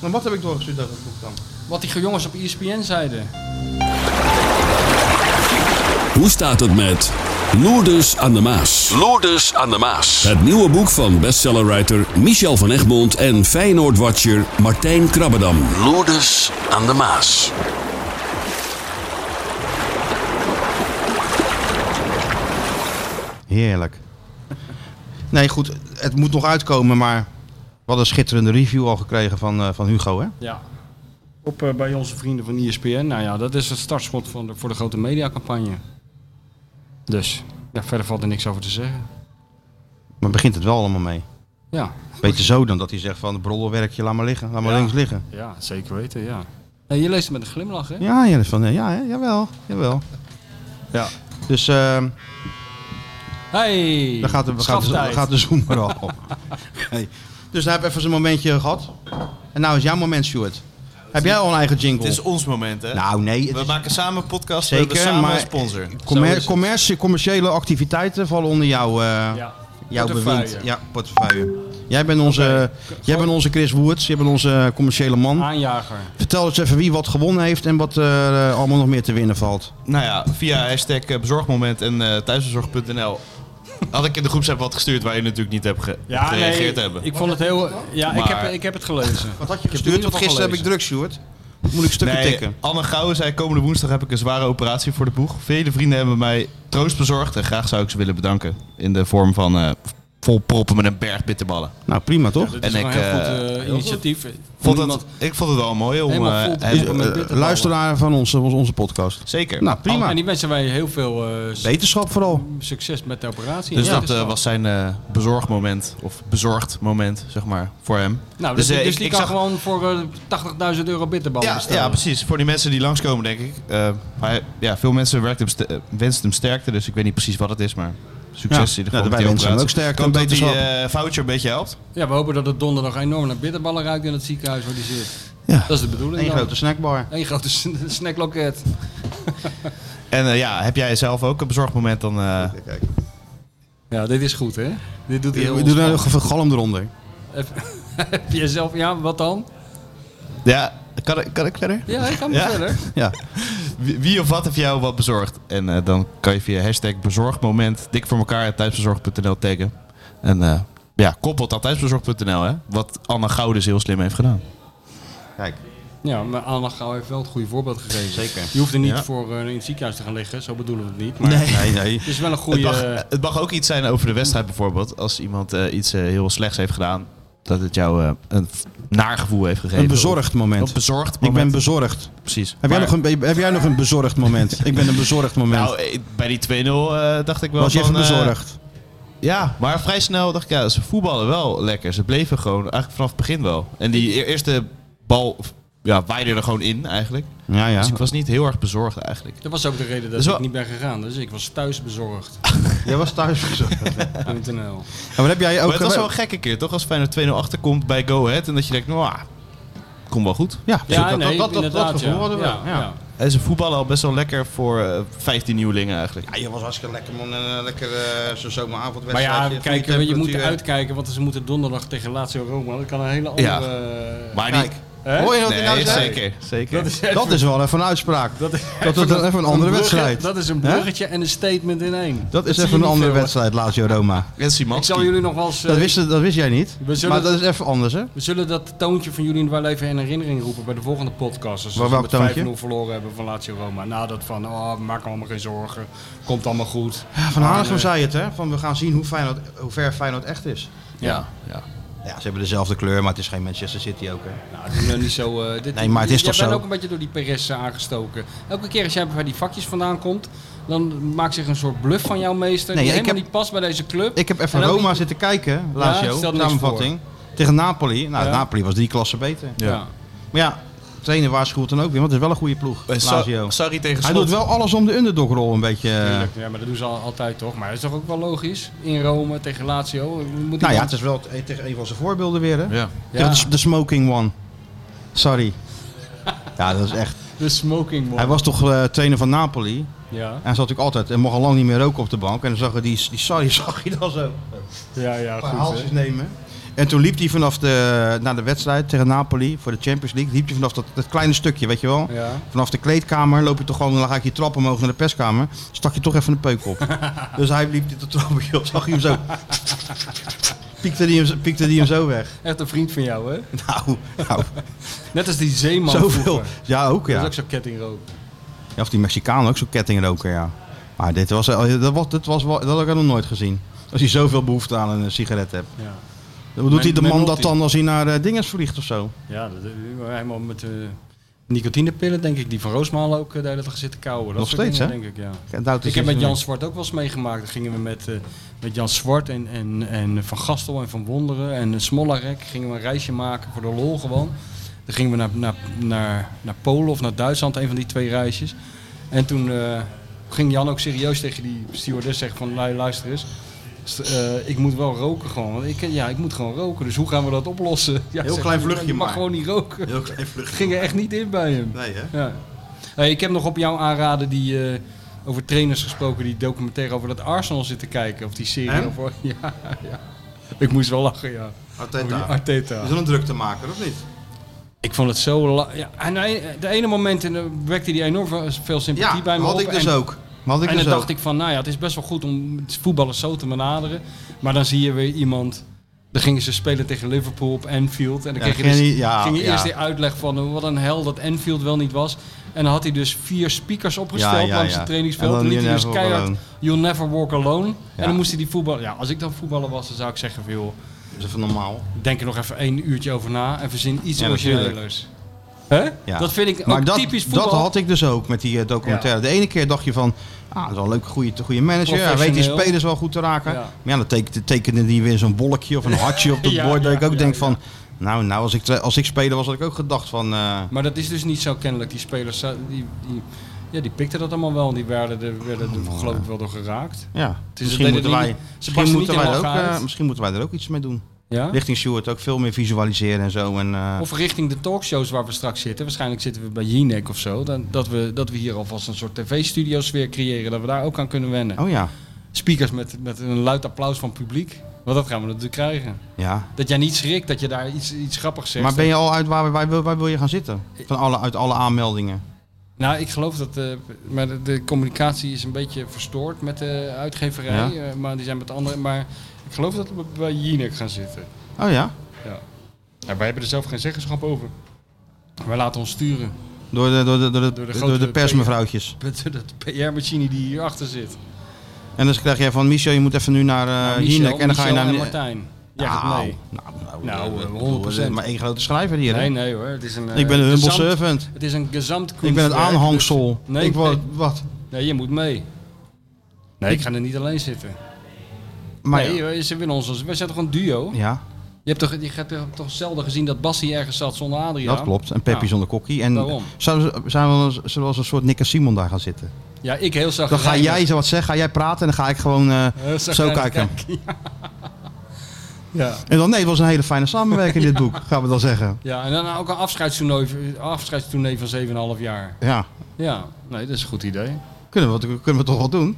Speaker 2: Nou, wat heb ik doorgestuurd over het boek dan?
Speaker 3: Wat die jongens op E ESPN zeiden.
Speaker 8: Hoe staat het met Loerders aan de Maas? Loerders aan de Maas. Het nieuwe boek van bestsellerwriter Michel van Egmond en Feyenoord-watcher Martijn Krabbedam. Loerders aan de Maas.
Speaker 2: Heerlijk. Nee, goed, het moet nog uitkomen, maar wat een schitterende review al gekregen van, eh, van Hugo, hè?
Speaker 3: Ja. Op eh, bij onze vrienden van ESPN. Nou ja, dat is het startschot van de, voor de grote mediacampagne. Dus, ja, verder valt er niks over te zeggen.
Speaker 2: Maar begint het wel allemaal mee.
Speaker 3: Ja,
Speaker 2: Beter zo dan dat hij zegt van, brollenwerkje, laat maar liggen, laat maar
Speaker 3: Ja.
Speaker 2: links liggen.
Speaker 3: ja zeker weten, ja. Nee, je leest het met een glimlach, hè?
Speaker 2: Ja, ja, van, eh, ja hè, jawel, jawel.
Speaker 3: Ja.
Speaker 2: Dus ehm
Speaker 3: Hey,
Speaker 2: daar gaat de, gaat, de,
Speaker 3: schaftijd.
Speaker 2: gaat de zoen er al op. Hey. Dus daar heb ik even zo'n momentje gehad. En nou is jouw moment, Stuart. Heb jij al een eigen jingle?
Speaker 4: Het is ons moment, hè?
Speaker 2: Nou, nee. het
Speaker 4: we
Speaker 2: is-
Speaker 4: maken samen een podcast, we hebben
Speaker 2: Zeker,
Speaker 4: samen
Speaker 2: maar
Speaker 4: een sponsor.
Speaker 2: commer-
Speaker 3: Zo is het.
Speaker 2: commercie, commerciële activiteiten vallen onder jouw, eh,
Speaker 3: Ja.
Speaker 2: jouw
Speaker 3: Portefeuille.
Speaker 2: bewind. Ja, portefeuille. Jij bent onze, jij bent onze Chris Woerts, jij bent onze commerciële man.
Speaker 3: Aanjager.
Speaker 2: Vertel eens even wie wat gewonnen heeft en wat er allemaal nog meer te winnen valt.
Speaker 4: Nou ja, via hashtag eh, bezorgmoment en eh, thuisbezorg.nl had ik in de groepsapp wat gestuurd waar je natuurlijk niet hebt ge-
Speaker 3: Ja,
Speaker 4: gereageerd
Speaker 3: nee,
Speaker 4: hebben.
Speaker 3: ik vond het heel... Ja, ik,
Speaker 4: Maar-
Speaker 3: heb, ik heb het gelezen.
Speaker 2: Wat had je
Speaker 3: in
Speaker 2: gestuurd?
Speaker 3: ieder
Speaker 2: Want
Speaker 3: geval
Speaker 2: gisteren heb ik
Speaker 3: gelezen.
Speaker 2: druk, Stuart. Moet ik stukken
Speaker 4: Nee,
Speaker 2: tikken?
Speaker 4: Anne Gouwen zei komende woensdag heb ik een zware operatie voor de boeg. Vele vrienden hebben mij troost bezorgd en graag zou ik ze willen bedanken. In de vorm van eh vol proppen met een berg bitterballen.
Speaker 2: Nou, prima toch?
Speaker 3: Dat is
Speaker 4: En
Speaker 3: wel
Speaker 4: ik,
Speaker 3: een heel
Speaker 4: eh,
Speaker 3: goed eh, initiatief.
Speaker 4: Vond
Speaker 3: Om
Speaker 4: het, ik vond het wel mooi om...
Speaker 3: Helemaal
Speaker 4: eh,
Speaker 3: vol
Speaker 4: hem-
Speaker 2: Is-
Speaker 3: proppen met
Speaker 2: eh,
Speaker 3: bitterballen.
Speaker 2: luisteraar van onze, van onze podcast.
Speaker 4: Zeker.
Speaker 2: Nou,
Speaker 3: iemand-
Speaker 2: prima.
Speaker 3: Oh, En die mensen wij heel veel eh,
Speaker 2: Wetenschap vooral.
Speaker 3: succes met de operatie.
Speaker 4: Dus
Speaker 3: Ja.
Speaker 4: dat eh, was zijn eh, bezorgmoment, of bezorgd moment, zeg maar, voor hem.
Speaker 3: Nou, dus,
Speaker 4: eh,
Speaker 3: dus
Speaker 4: ik-
Speaker 3: die
Speaker 4: ik
Speaker 3: kan
Speaker 4: zag-
Speaker 3: gewoon voor eh, 80.000 euro bitterballen
Speaker 4: ja,
Speaker 3: bestellen.
Speaker 4: ja, precies. Voor die mensen die langskomen, denk ik. Eh, hij, ja, veel mensen werkt hem st- eh, wensen hem sterkte, dus ik weet niet precies wat het is, maar succes
Speaker 2: Ja,
Speaker 4: in ieder
Speaker 2: nou, wij
Speaker 4: geval. met die
Speaker 2: wensen hem
Speaker 4: operatie.
Speaker 2: ook sterkte
Speaker 4: Ik hoop
Speaker 2: en
Speaker 4: dat die
Speaker 2: beterschap.
Speaker 4: eh, voucher een beetje helpt.
Speaker 3: Ja, we hopen dat het donderdag enorm naar bitterballen ruikt in het ziekenhuis waar die zit.
Speaker 2: Ja.
Speaker 3: Dat is de bedoeling
Speaker 2: Eén
Speaker 3: dan.
Speaker 2: grote snackbar.
Speaker 3: Eén grote sn- snackloket.
Speaker 4: En eh, ja, heb jij zelf ook een bezorgmoment, dan eh,
Speaker 3: Ja, dit is goed, hè? Dit doet hij heel
Speaker 2: We doen er
Speaker 3: ontspannen.
Speaker 2: een galm eronder.
Speaker 3: Heb jij zelf... Ja, wat dan?
Speaker 4: ja, kan, ik- kan ik verder?
Speaker 3: Ja, ik ga maar
Speaker 4: Ja.
Speaker 3: verder.
Speaker 2: Ja.
Speaker 4: Wie, wie of wat heeft jou wat bezorgd? En eh, dan kan je via hashtag bezorgmoment dik voor elkaar thuisbezorg.nl taggen. En eh, ja, koppelt aan thuisbezorg.nl, hè? Wat Anna Goudens heel slim heeft gedaan.
Speaker 2: Kijk.
Speaker 3: Ja, maar Anna Gauw heeft wel het goede voorbeeld gegeven.
Speaker 2: Zeker.
Speaker 3: Je hoeft er niet
Speaker 4: Ja.
Speaker 3: voor eh, in het ziekenhuis te gaan liggen, zo bedoelen we het niet. Maar
Speaker 2: Nee, nee. eh,
Speaker 3: het is wel een
Speaker 4: Het
Speaker 3: goede...
Speaker 4: mag, het mag ook iets zijn over de wedstrijd bijvoorbeeld. Als iemand eh, iets eh, heel slechts heeft gedaan, dat het jou eh, een f- naar gevoel heeft gegeven.
Speaker 2: Een bezorgd
Speaker 4: Of- Een
Speaker 2: moment.
Speaker 4: bezorgd
Speaker 2: Ik ben
Speaker 4: moment.
Speaker 2: bezorgd.
Speaker 4: Precies.
Speaker 2: Heb jij,
Speaker 4: Maar-
Speaker 2: nog een, heb jij nog een bezorgd moment? Ik ben een bezorgd moment.
Speaker 4: Nou, eh, bij die 2-0 eh, dacht ik wel
Speaker 2: Was je even
Speaker 4: van, eh,
Speaker 2: bezorgd?
Speaker 4: Ja, maar vrij snel dacht ik, ja, ze voetballen wel lekker. Ze bleven gewoon eigenlijk vanaf het begin wel. En die e- eerste bal ja, waaide er gewoon in eigenlijk.
Speaker 2: ja, ja.
Speaker 4: Dus ik was niet heel erg bezorgd eigenlijk.
Speaker 3: Dat was ook de reden dat
Speaker 4: Dus wel-
Speaker 3: ik niet ben gegaan. Dus ik was thuis bezorgd.
Speaker 2: Jij was thuis bezorgd.
Speaker 3: .nl.
Speaker 2: Maar heb jij ook...
Speaker 4: maar het was wel een gekke keer, toch? Als Feyenoord 2-0 achterkomt bij Go Ahead en dat je denkt, nou, ah, komt wel goed.
Speaker 2: Ja, precies.
Speaker 3: Ja, nee,
Speaker 2: dat, dat, dat, dat
Speaker 3: inderdaad.
Speaker 2: gevoel
Speaker 3: ja.
Speaker 2: hadden we.
Speaker 3: Ja, ja.
Speaker 4: En ze voetballen al best wel lekker voor eh, 15 nieuwelingen eigenlijk.
Speaker 2: Ja, Ah, je was hartstikke lekker man. Een eh, lekker eh, zo'n
Speaker 3: Maar
Speaker 2: zomeravondwedstrijd.
Speaker 3: ja, kijk, eh, je, moet
Speaker 2: uitkijken.
Speaker 3: uitkijken, want ze moeten donderdag tegen Lazio Roma. Dat kan een hele andere... eh,
Speaker 4: Ja. Maar die...
Speaker 2: Kijk. Hoor je wat ik nou
Speaker 4: Nee,
Speaker 2: zeg?
Speaker 4: zeker. zeker.
Speaker 3: Dat is,
Speaker 2: Dat is wel even een uitspraak. Dat, dat is even een andere
Speaker 3: brugge-
Speaker 2: wedstrijd.
Speaker 3: Dat is een
Speaker 2: Hè?
Speaker 3: bruggetje en een statement in één.
Speaker 2: Dat is
Speaker 3: zie
Speaker 2: even
Speaker 3: je
Speaker 2: een
Speaker 3: niet
Speaker 2: andere
Speaker 3: veel, hè?
Speaker 2: wedstrijd, Lazio Roma.
Speaker 4: En
Speaker 3: Ik
Speaker 4: Simanski.
Speaker 3: zal jullie nog wel eens... eh,
Speaker 2: Dat wist, dat wist jij niet.
Speaker 3: we zullen-
Speaker 2: Maar dat is even anders, hè?
Speaker 3: We zullen dat toontje van jullie wel even in herinnering roepen bij de volgende podcast. Als
Speaker 2: Waar-
Speaker 3: we
Speaker 2: welk
Speaker 3: met
Speaker 2: toontje?
Speaker 3: 5-0 verloren hebben van Lazio Roma. Nou, dat van, oh, maak me allemaal geen zorgen. Komt allemaal goed.
Speaker 2: Van Hanegem
Speaker 3: eh,
Speaker 2: zei het, hè? Van we gaan zien hoe, Feyenoord, hoe ver Feyenoord echt is.
Speaker 3: Ja.
Speaker 2: Ja, ze hebben dezelfde kleur, maar het is geen Manchester City ook, hè?
Speaker 3: Nou, doe nou niet zo... eh, dit,
Speaker 2: Nee, maar het is
Speaker 3: jij
Speaker 2: toch
Speaker 3: bent
Speaker 2: zo?
Speaker 3: ook een beetje door die Perez eh, aangestoken. Elke keer als jij bij die vakjes vandaan komt, dan maakt zich een soort bluff van jouw meester.
Speaker 2: Nee,
Speaker 3: die
Speaker 2: ik
Speaker 3: helemaal
Speaker 2: heb-
Speaker 3: niet past bij deze club.
Speaker 2: Ik heb even
Speaker 3: En ook
Speaker 2: Roma
Speaker 3: niet-
Speaker 2: zitten kijken,
Speaker 3: Ja,
Speaker 2: Lazio,
Speaker 3: stel niks
Speaker 2: samenvatting. Tegen Napoli. Nou,
Speaker 3: Ja.
Speaker 2: Napoli was drie klassen beter.
Speaker 3: Ja.
Speaker 2: Maar ja, de trainer waarschuwt dan ook weer, want het is wel een goede ploeg,
Speaker 4: Eh, Sa-
Speaker 2: Lazio.
Speaker 4: Sarri tegen
Speaker 2: Hij
Speaker 4: Slot.
Speaker 2: doet wel alles om de underdogrol een beetje... eh,
Speaker 3: Tuurlijk, ja, maar dat doen ze al, altijd toch. Maar dat is toch ook wel logisch? In Rome tegen Lazio. Moet
Speaker 2: Nou ja,
Speaker 3: iemand-
Speaker 2: het is wel t- tegen een van zijn voorbeelden weer, hè?
Speaker 4: Ja.
Speaker 2: Tegen
Speaker 3: Ja,
Speaker 2: de s- de smoking one. Sorry. Ja, dat is echt...
Speaker 3: de smoking man.
Speaker 2: Hij was toch eh, trainer van Napoli?
Speaker 3: Ja.
Speaker 2: En hij zat natuurlijk altijd en mocht al lang niet meer roken op de bank. En dan zag je die, die Sarri zag je dan zo
Speaker 3: ja, ja,
Speaker 2: een paar
Speaker 3: goed. hè.
Speaker 2: haaltjes nemen. En toen liep hij vanaf de, naar de wedstrijd tegen Napoli voor de Champions League. Liep hij vanaf dat, dat kleine stukje, weet je wel.
Speaker 3: Ja.
Speaker 2: Vanaf de kleedkamer loop je toch gewoon, dan ga ik je trap omhoog naar de perskamer. Stak je toch even een peuk op. dus hij liep dit trappetje op, zag je hem zo. Piekte die hem, piekte die hem zo weg.
Speaker 3: Echt een vriend van jou, hè?
Speaker 2: Nou, nou
Speaker 3: Net als die zeeman
Speaker 2: zoveel.
Speaker 3: vroeger.
Speaker 2: Ja, ook
Speaker 3: Dat
Speaker 2: ja.
Speaker 3: is ook zo'n kettingrook.
Speaker 2: Ja, of die Mexicaan ook zo'n kettingroker, ja. Maar dit was, eh, dat, was, dat, was, wel- dat had ik nog nooit gezien. Als hij zoveel behoefte aan een sigaret hebt.
Speaker 3: Ja.
Speaker 2: Hoe doet
Speaker 3: Men-
Speaker 2: hij de man dat
Speaker 3: Menotti.
Speaker 2: dan als hij naar eh, dinges vliegt of zo?
Speaker 3: Ja, dat, helemaal met eh, nicotinepillen, denk ik. Die van Roosmaal ook eh, daar dat zitten kouwen. Dat
Speaker 2: Nog
Speaker 3: soort
Speaker 2: steeds,
Speaker 3: dingen,
Speaker 2: hè?
Speaker 3: Denk ik, ja.
Speaker 2: Kijk, Doubt is
Speaker 3: Ik heb
Speaker 2: iets
Speaker 3: met Jan
Speaker 2: meer.
Speaker 3: Zwart ook wel eens meegemaakt. Dan gingen we met, eh, met Jan Zwart en, en, en Van Gastel en Van Wonderen en Smollarek gingen we een reisje maken voor de lol gewoon. Dan gingen we naar, naar, naar, naar Polen of naar Duitsland, een van die twee reisjes. En toen eh, ging Jan ook serieus tegen die stewardess zeggen van "Lui, luister eens. st- eh, ik moet wel roken gewoon. Want ik, ja, ik moet gewoon roken. Dus hoe gaan we dat oplossen? Ja,
Speaker 2: Heel
Speaker 3: zegt
Speaker 2: klein
Speaker 3: hij,
Speaker 2: vluchtje
Speaker 3: Je mag
Speaker 2: maar."
Speaker 3: gewoon niet roken.
Speaker 2: Heel klein vluchtje.
Speaker 3: Ging er echt niet in bij hem.
Speaker 2: Nee, hè?
Speaker 3: Ja. Hey, ik heb nog op jou aanraden die eh, over trainers gesproken die documentaire over dat Arsenal zitten kijken. Of die serie.
Speaker 2: Hè?
Speaker 3: Of, ja, ja. Ik moest wel lachen, ja. Over die
Speaker 2: Arteta.
Speaker 3: Arteta.
Speaker 2: Is dat een druktemaker, of niet?
Speaker 3: Ik vond het zo... la- Ja, en hij- de ene moment eh, wekte hij enorm veel- veel sympathie
Speaker 2: Ja,
Speaker 3: bij me
Speaker 2: had
Speaker 3: op.
Speaker 2: ik dus
Speaker 3: en,
Speaker 2: ook. Had ik
Speaker 3: en
Speaker 2: dus
Speaker 3: dan dacht
Speaker 2: ook.
Speaker 3: ik van, nou ja, het is best wel goed om voetballers zo te benaderen. Maar dan zie je weer iemand... Dan gingen ze spelen tegen Liverpool op Anfield. En dan
Speaker 2: Ja,
Speaker 3: kreeg je dus-
Speaker 2: ging hij- ja,
Speaker 3: ging je
Speaker 2: ja.
Speaker 3: eerst die uitleg van eh, wat een hel dat Anfield wel niet was. En dan had hij dus vier speakers opgesteld
Speaker 2: Ja, ja,
Speaker 3: langs
Speaker 2: ja.
Speaker 3: het trainingsveld.
Speaker 2: En
Speaker 3: En
Speaker 2: dan
Speaker 3: liet hij
Speaker 2: You'll
Speaker 3: dus
Speaker 2: Never Walk
Speaker 3: keihard
Speaker 2: Alone.
Speaker 3: You'll Never Walk Alone.
Speaker 2: Ja.
Speaker 3: En dan moest hij die voetballer... Ja, als ik dan voetballer was, dan zou ik zeggen veel...
Speaker 2: Dat is even normaal.
Speaker 3: Denk er nog even één uurtje over na en verzin iets
Speaker 2: Ja, natuurlijk.
Speaker 3: origineels. Hè?
Speaker 2: Ja.
Speaker 3: Dat vind ik ook
Speaker 2: dat,
Speaker 3: typisch voetbal.
Speaker 2: dat had ik dus ook met die eh, documentaire. De ene keer dacht je van, ah, dat is wel een leuke goede, goede manager. Hij weet die
Speaker 3: Professioneel.
Speaker 2: spelers wel goed te raken.
Speaker 3: Ja.
Speaker 2: Maar ja, dan teken- tekende die weer zo'n bolletje of een hartje op het
Speaker 3: Ja,
Speaker 2: bord. Dat
Speaker 3: ja,
Speaker 2: ik ook
Speaker 3: ja,
Speaker 2: denk
Speaker 3: ja.
Speaker 2: van, nou, nou als, ik, tra- als ik speler was, had ik ook gedacht van... eh,
Speaker 3: Maar dat is dus niet zo kennelijk. Die spelers eh, die, die, ja, die pikten dat allemaal wel en die werden er, werden
Speaker 2: Oh,
Speaker 3: er geloof ik wel door geraakt.
Speaker 2: ja,
Speaker 3: is-
Speaker 2: misschien
Speaker 3: het
Speaker 2: moeten
Speaker 3: deden
Speaker 2: wij,
Speaker 3: niet- ze
Speaker 2: misschien,
Speaker 3: passen
Speaker 2: moeten
Speaker 3: niet
Speaker 2: wij er ook,
Speaker 3: helemaal
Speaker 2: eh,
Speaker 3: uit.
Speaker 2: misschien moeten wij er ook iets mee doen.
Speaker 3: Ja?
Speaker 2: Richting Stuart ook veel meer visualiseren en zo. En, eh,
Speaker 3: Of richting de talkshows waar we straks zitten. Waarschijnlijk zitten we bij Jinek of zo. Dan, dat, we, dat we hier alvast een soort tv-studio sfeer creëren. Dat we daar ook aan kunnen wennen.
Speaker 2: oh ja,
Speaker 3: Speakers met, met een luid applaus van het publiek. Want dat gaan we natuurlijk krijgen.
Speaker 2: ja.
Speaker 3: Dat jij niet schrikt dat je daar iets, iets grappigs zegt.
Speaker 2: Maar ben je al uit waar, waar, wil, waar wil je gaan zitten? Van alle, uit alle aanmeldingen.
Speaker 3: Nou, ik geloof dat. eh, maar de, de communicatie is een beetje verstoord met de
Speaker 2: Ja.
Speaker 3: uitgeverij. eh, maar die zijn met andere. Maar ik geloof dat we bij Jinek gaan zitten.
Speaker 2: Oh ja,
Speaker 3: Ja. Nou, wij hebben er zelf geen zeggenschap over. Wij laten ons sturen
Speaker 2: door de, door de, door de,
Speaker 3: Door de
Speaker 2: door
Speaker 3: grote
Speaker 2: de persmevrouwtjes.
Speaker 3: met dat PR-machine die hierachter zit.
Speaker 2: En dan krijg jij van Michel, je moet even nu naar eh
Speaker 3: Nou, Michel,
Speaker 2: Jinek. En dan ga je
Speaker 3: Michel
Speaker 2: naar...
Speaker 3: en Martijn. Jij gaat
Speaker 2: nou,
Speaker 3: mee.
Speaker 2: nou, nou,
Speaker 3: Nou,
Speaker 2: eh, ik
Speaker 3: eh, 100%.
Speaker 2: bedoel, er is Maar één grote schrijver hier. hè?
Speaker 3: Nee, nee hoor. Het is een, eh,
Speaker 2: ik ben een humble
Speaker 3: gezamt-
Speaker 2: servant.
Speaker 3: Het is een gezamt
Speaker 2: Ik ben het aanhangsel.
Speaker 3: Nee,
Speaker 2: ik, word,
Speaker 3: nee.
Speaker 2: wat?
Speaker 3: Nee, je moet mee. Nee, ik ga er niet alleen zitten.
Speaker 2: Maar
Speaker 3: nee,
Speaker 2: ja.
Speaker 3: joh, ze willen ons. als- Wij zijn toch een duo?
Speaker 2: Ja,
Speaker 3: Je hebt toch, je hebt toch zelden gezien dat Bassie ergens zat zonder Adriaan?
Speaker 2: dat klopt. En Peppi
Speaker 3: Nou,
Speaker 2: zonder kokkie. En
Speaker 3: daarom.
Speaker 2: zouden we- zijn we, als- zullen we als een soort Nick en Simon daar gaan zitten?
Speaker 3: Ja, ik heel zacht.
Speaker 2: Dan ga jij zo wat zeggen, ga jij praten en dan ga ik gewoon eh, zo kijken.
Speaker 3: Ja.
Speaker 2: En dan, nee, het was een hele fijne samenwerking in dit boek, gaan we dan zeggen.
Speaker 3: ja, en dan ook een afscheidstoernooi, afscheidstoernooi van 7,5 jaar.
Speaker 2: Ja,
Speaker 3: Ja, nee, dat is een goed idee.
Speaker 2: kunnen we, kunnen we toch wel doen?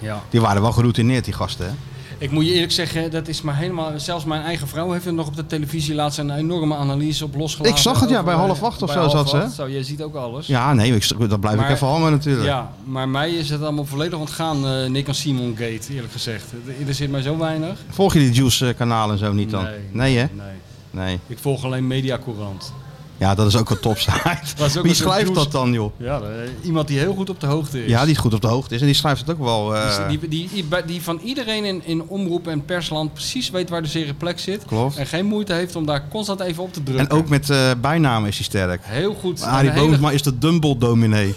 Speaker 3: Ja.
Speaker 2: Die waren wel geroutineerd, die gasten. Hè?
Speaker 3: Ik moet je eerlijk zeggen, dat is maar helemaal. Zelfs mijn eigen vrouw heeft er nog op de televisie laatst een enorme analyse op losgelaten.
Speaker 2: Ik zag het, ja,
Speaker 3: over-
Speaker 2: bij half acht of
Speaker 3: bij
Speaker 2: zo
Speaker 3: half
Speaker 2: zat ze, hè?
Speaker 3: acht. Zo, jij ziet ook alles.
Speaker 2: Ja, nee, ik, dat blijf
Speaker 3: Maar-
Speaker 2: ik even hangen natuurlijk.
Speaker 3: Ja, maar mij is het allemaal volledig ontgaan, eh, Nick en Simon Gate, eerlijk gezegd. Er- Er zit mij zo weinig.
Speaker 2: Volg je die Juice-kanaal en zo niet dan?
Speaker 3: Nee.
Speaker 2: Nee, hè?
Speaker 3: Nee.
Speaker 2: Nee.
Speaker 3: Ik volg alleen Mediacourant.
Speaker 2: Ja, dat is ook een topsite.
Speaker 3: Dat is ook
Speaker 2: Wie
Speaker 3: een soort
Speaker 2: schrijft
Speaker 3: Juice-
Speaker 2: dat dan, joh?
Speaker 3: Ja, eh, iemand die heel goed op de hoogte is.
Speaker 2: Ja, die goed op de hoogte is. En die schrijft het ook wel. eh,
Speaker 3: Dus Die, die, die, die van iedereen in, in omroep en persland precies weet waar de zere plek zit.
Speaker 2: Klopt.
Speaker 3: En geen moeite heeft om daar constant even op te drukken.
Speaker 2: En ook Ah, met eh, bijnamen is hij sterk.
Speaker 3: heel goed.
Speaker 2: Arie
Speaker 3: En een hele-
Speaker 2: Boomsma is de Dumble-dominee.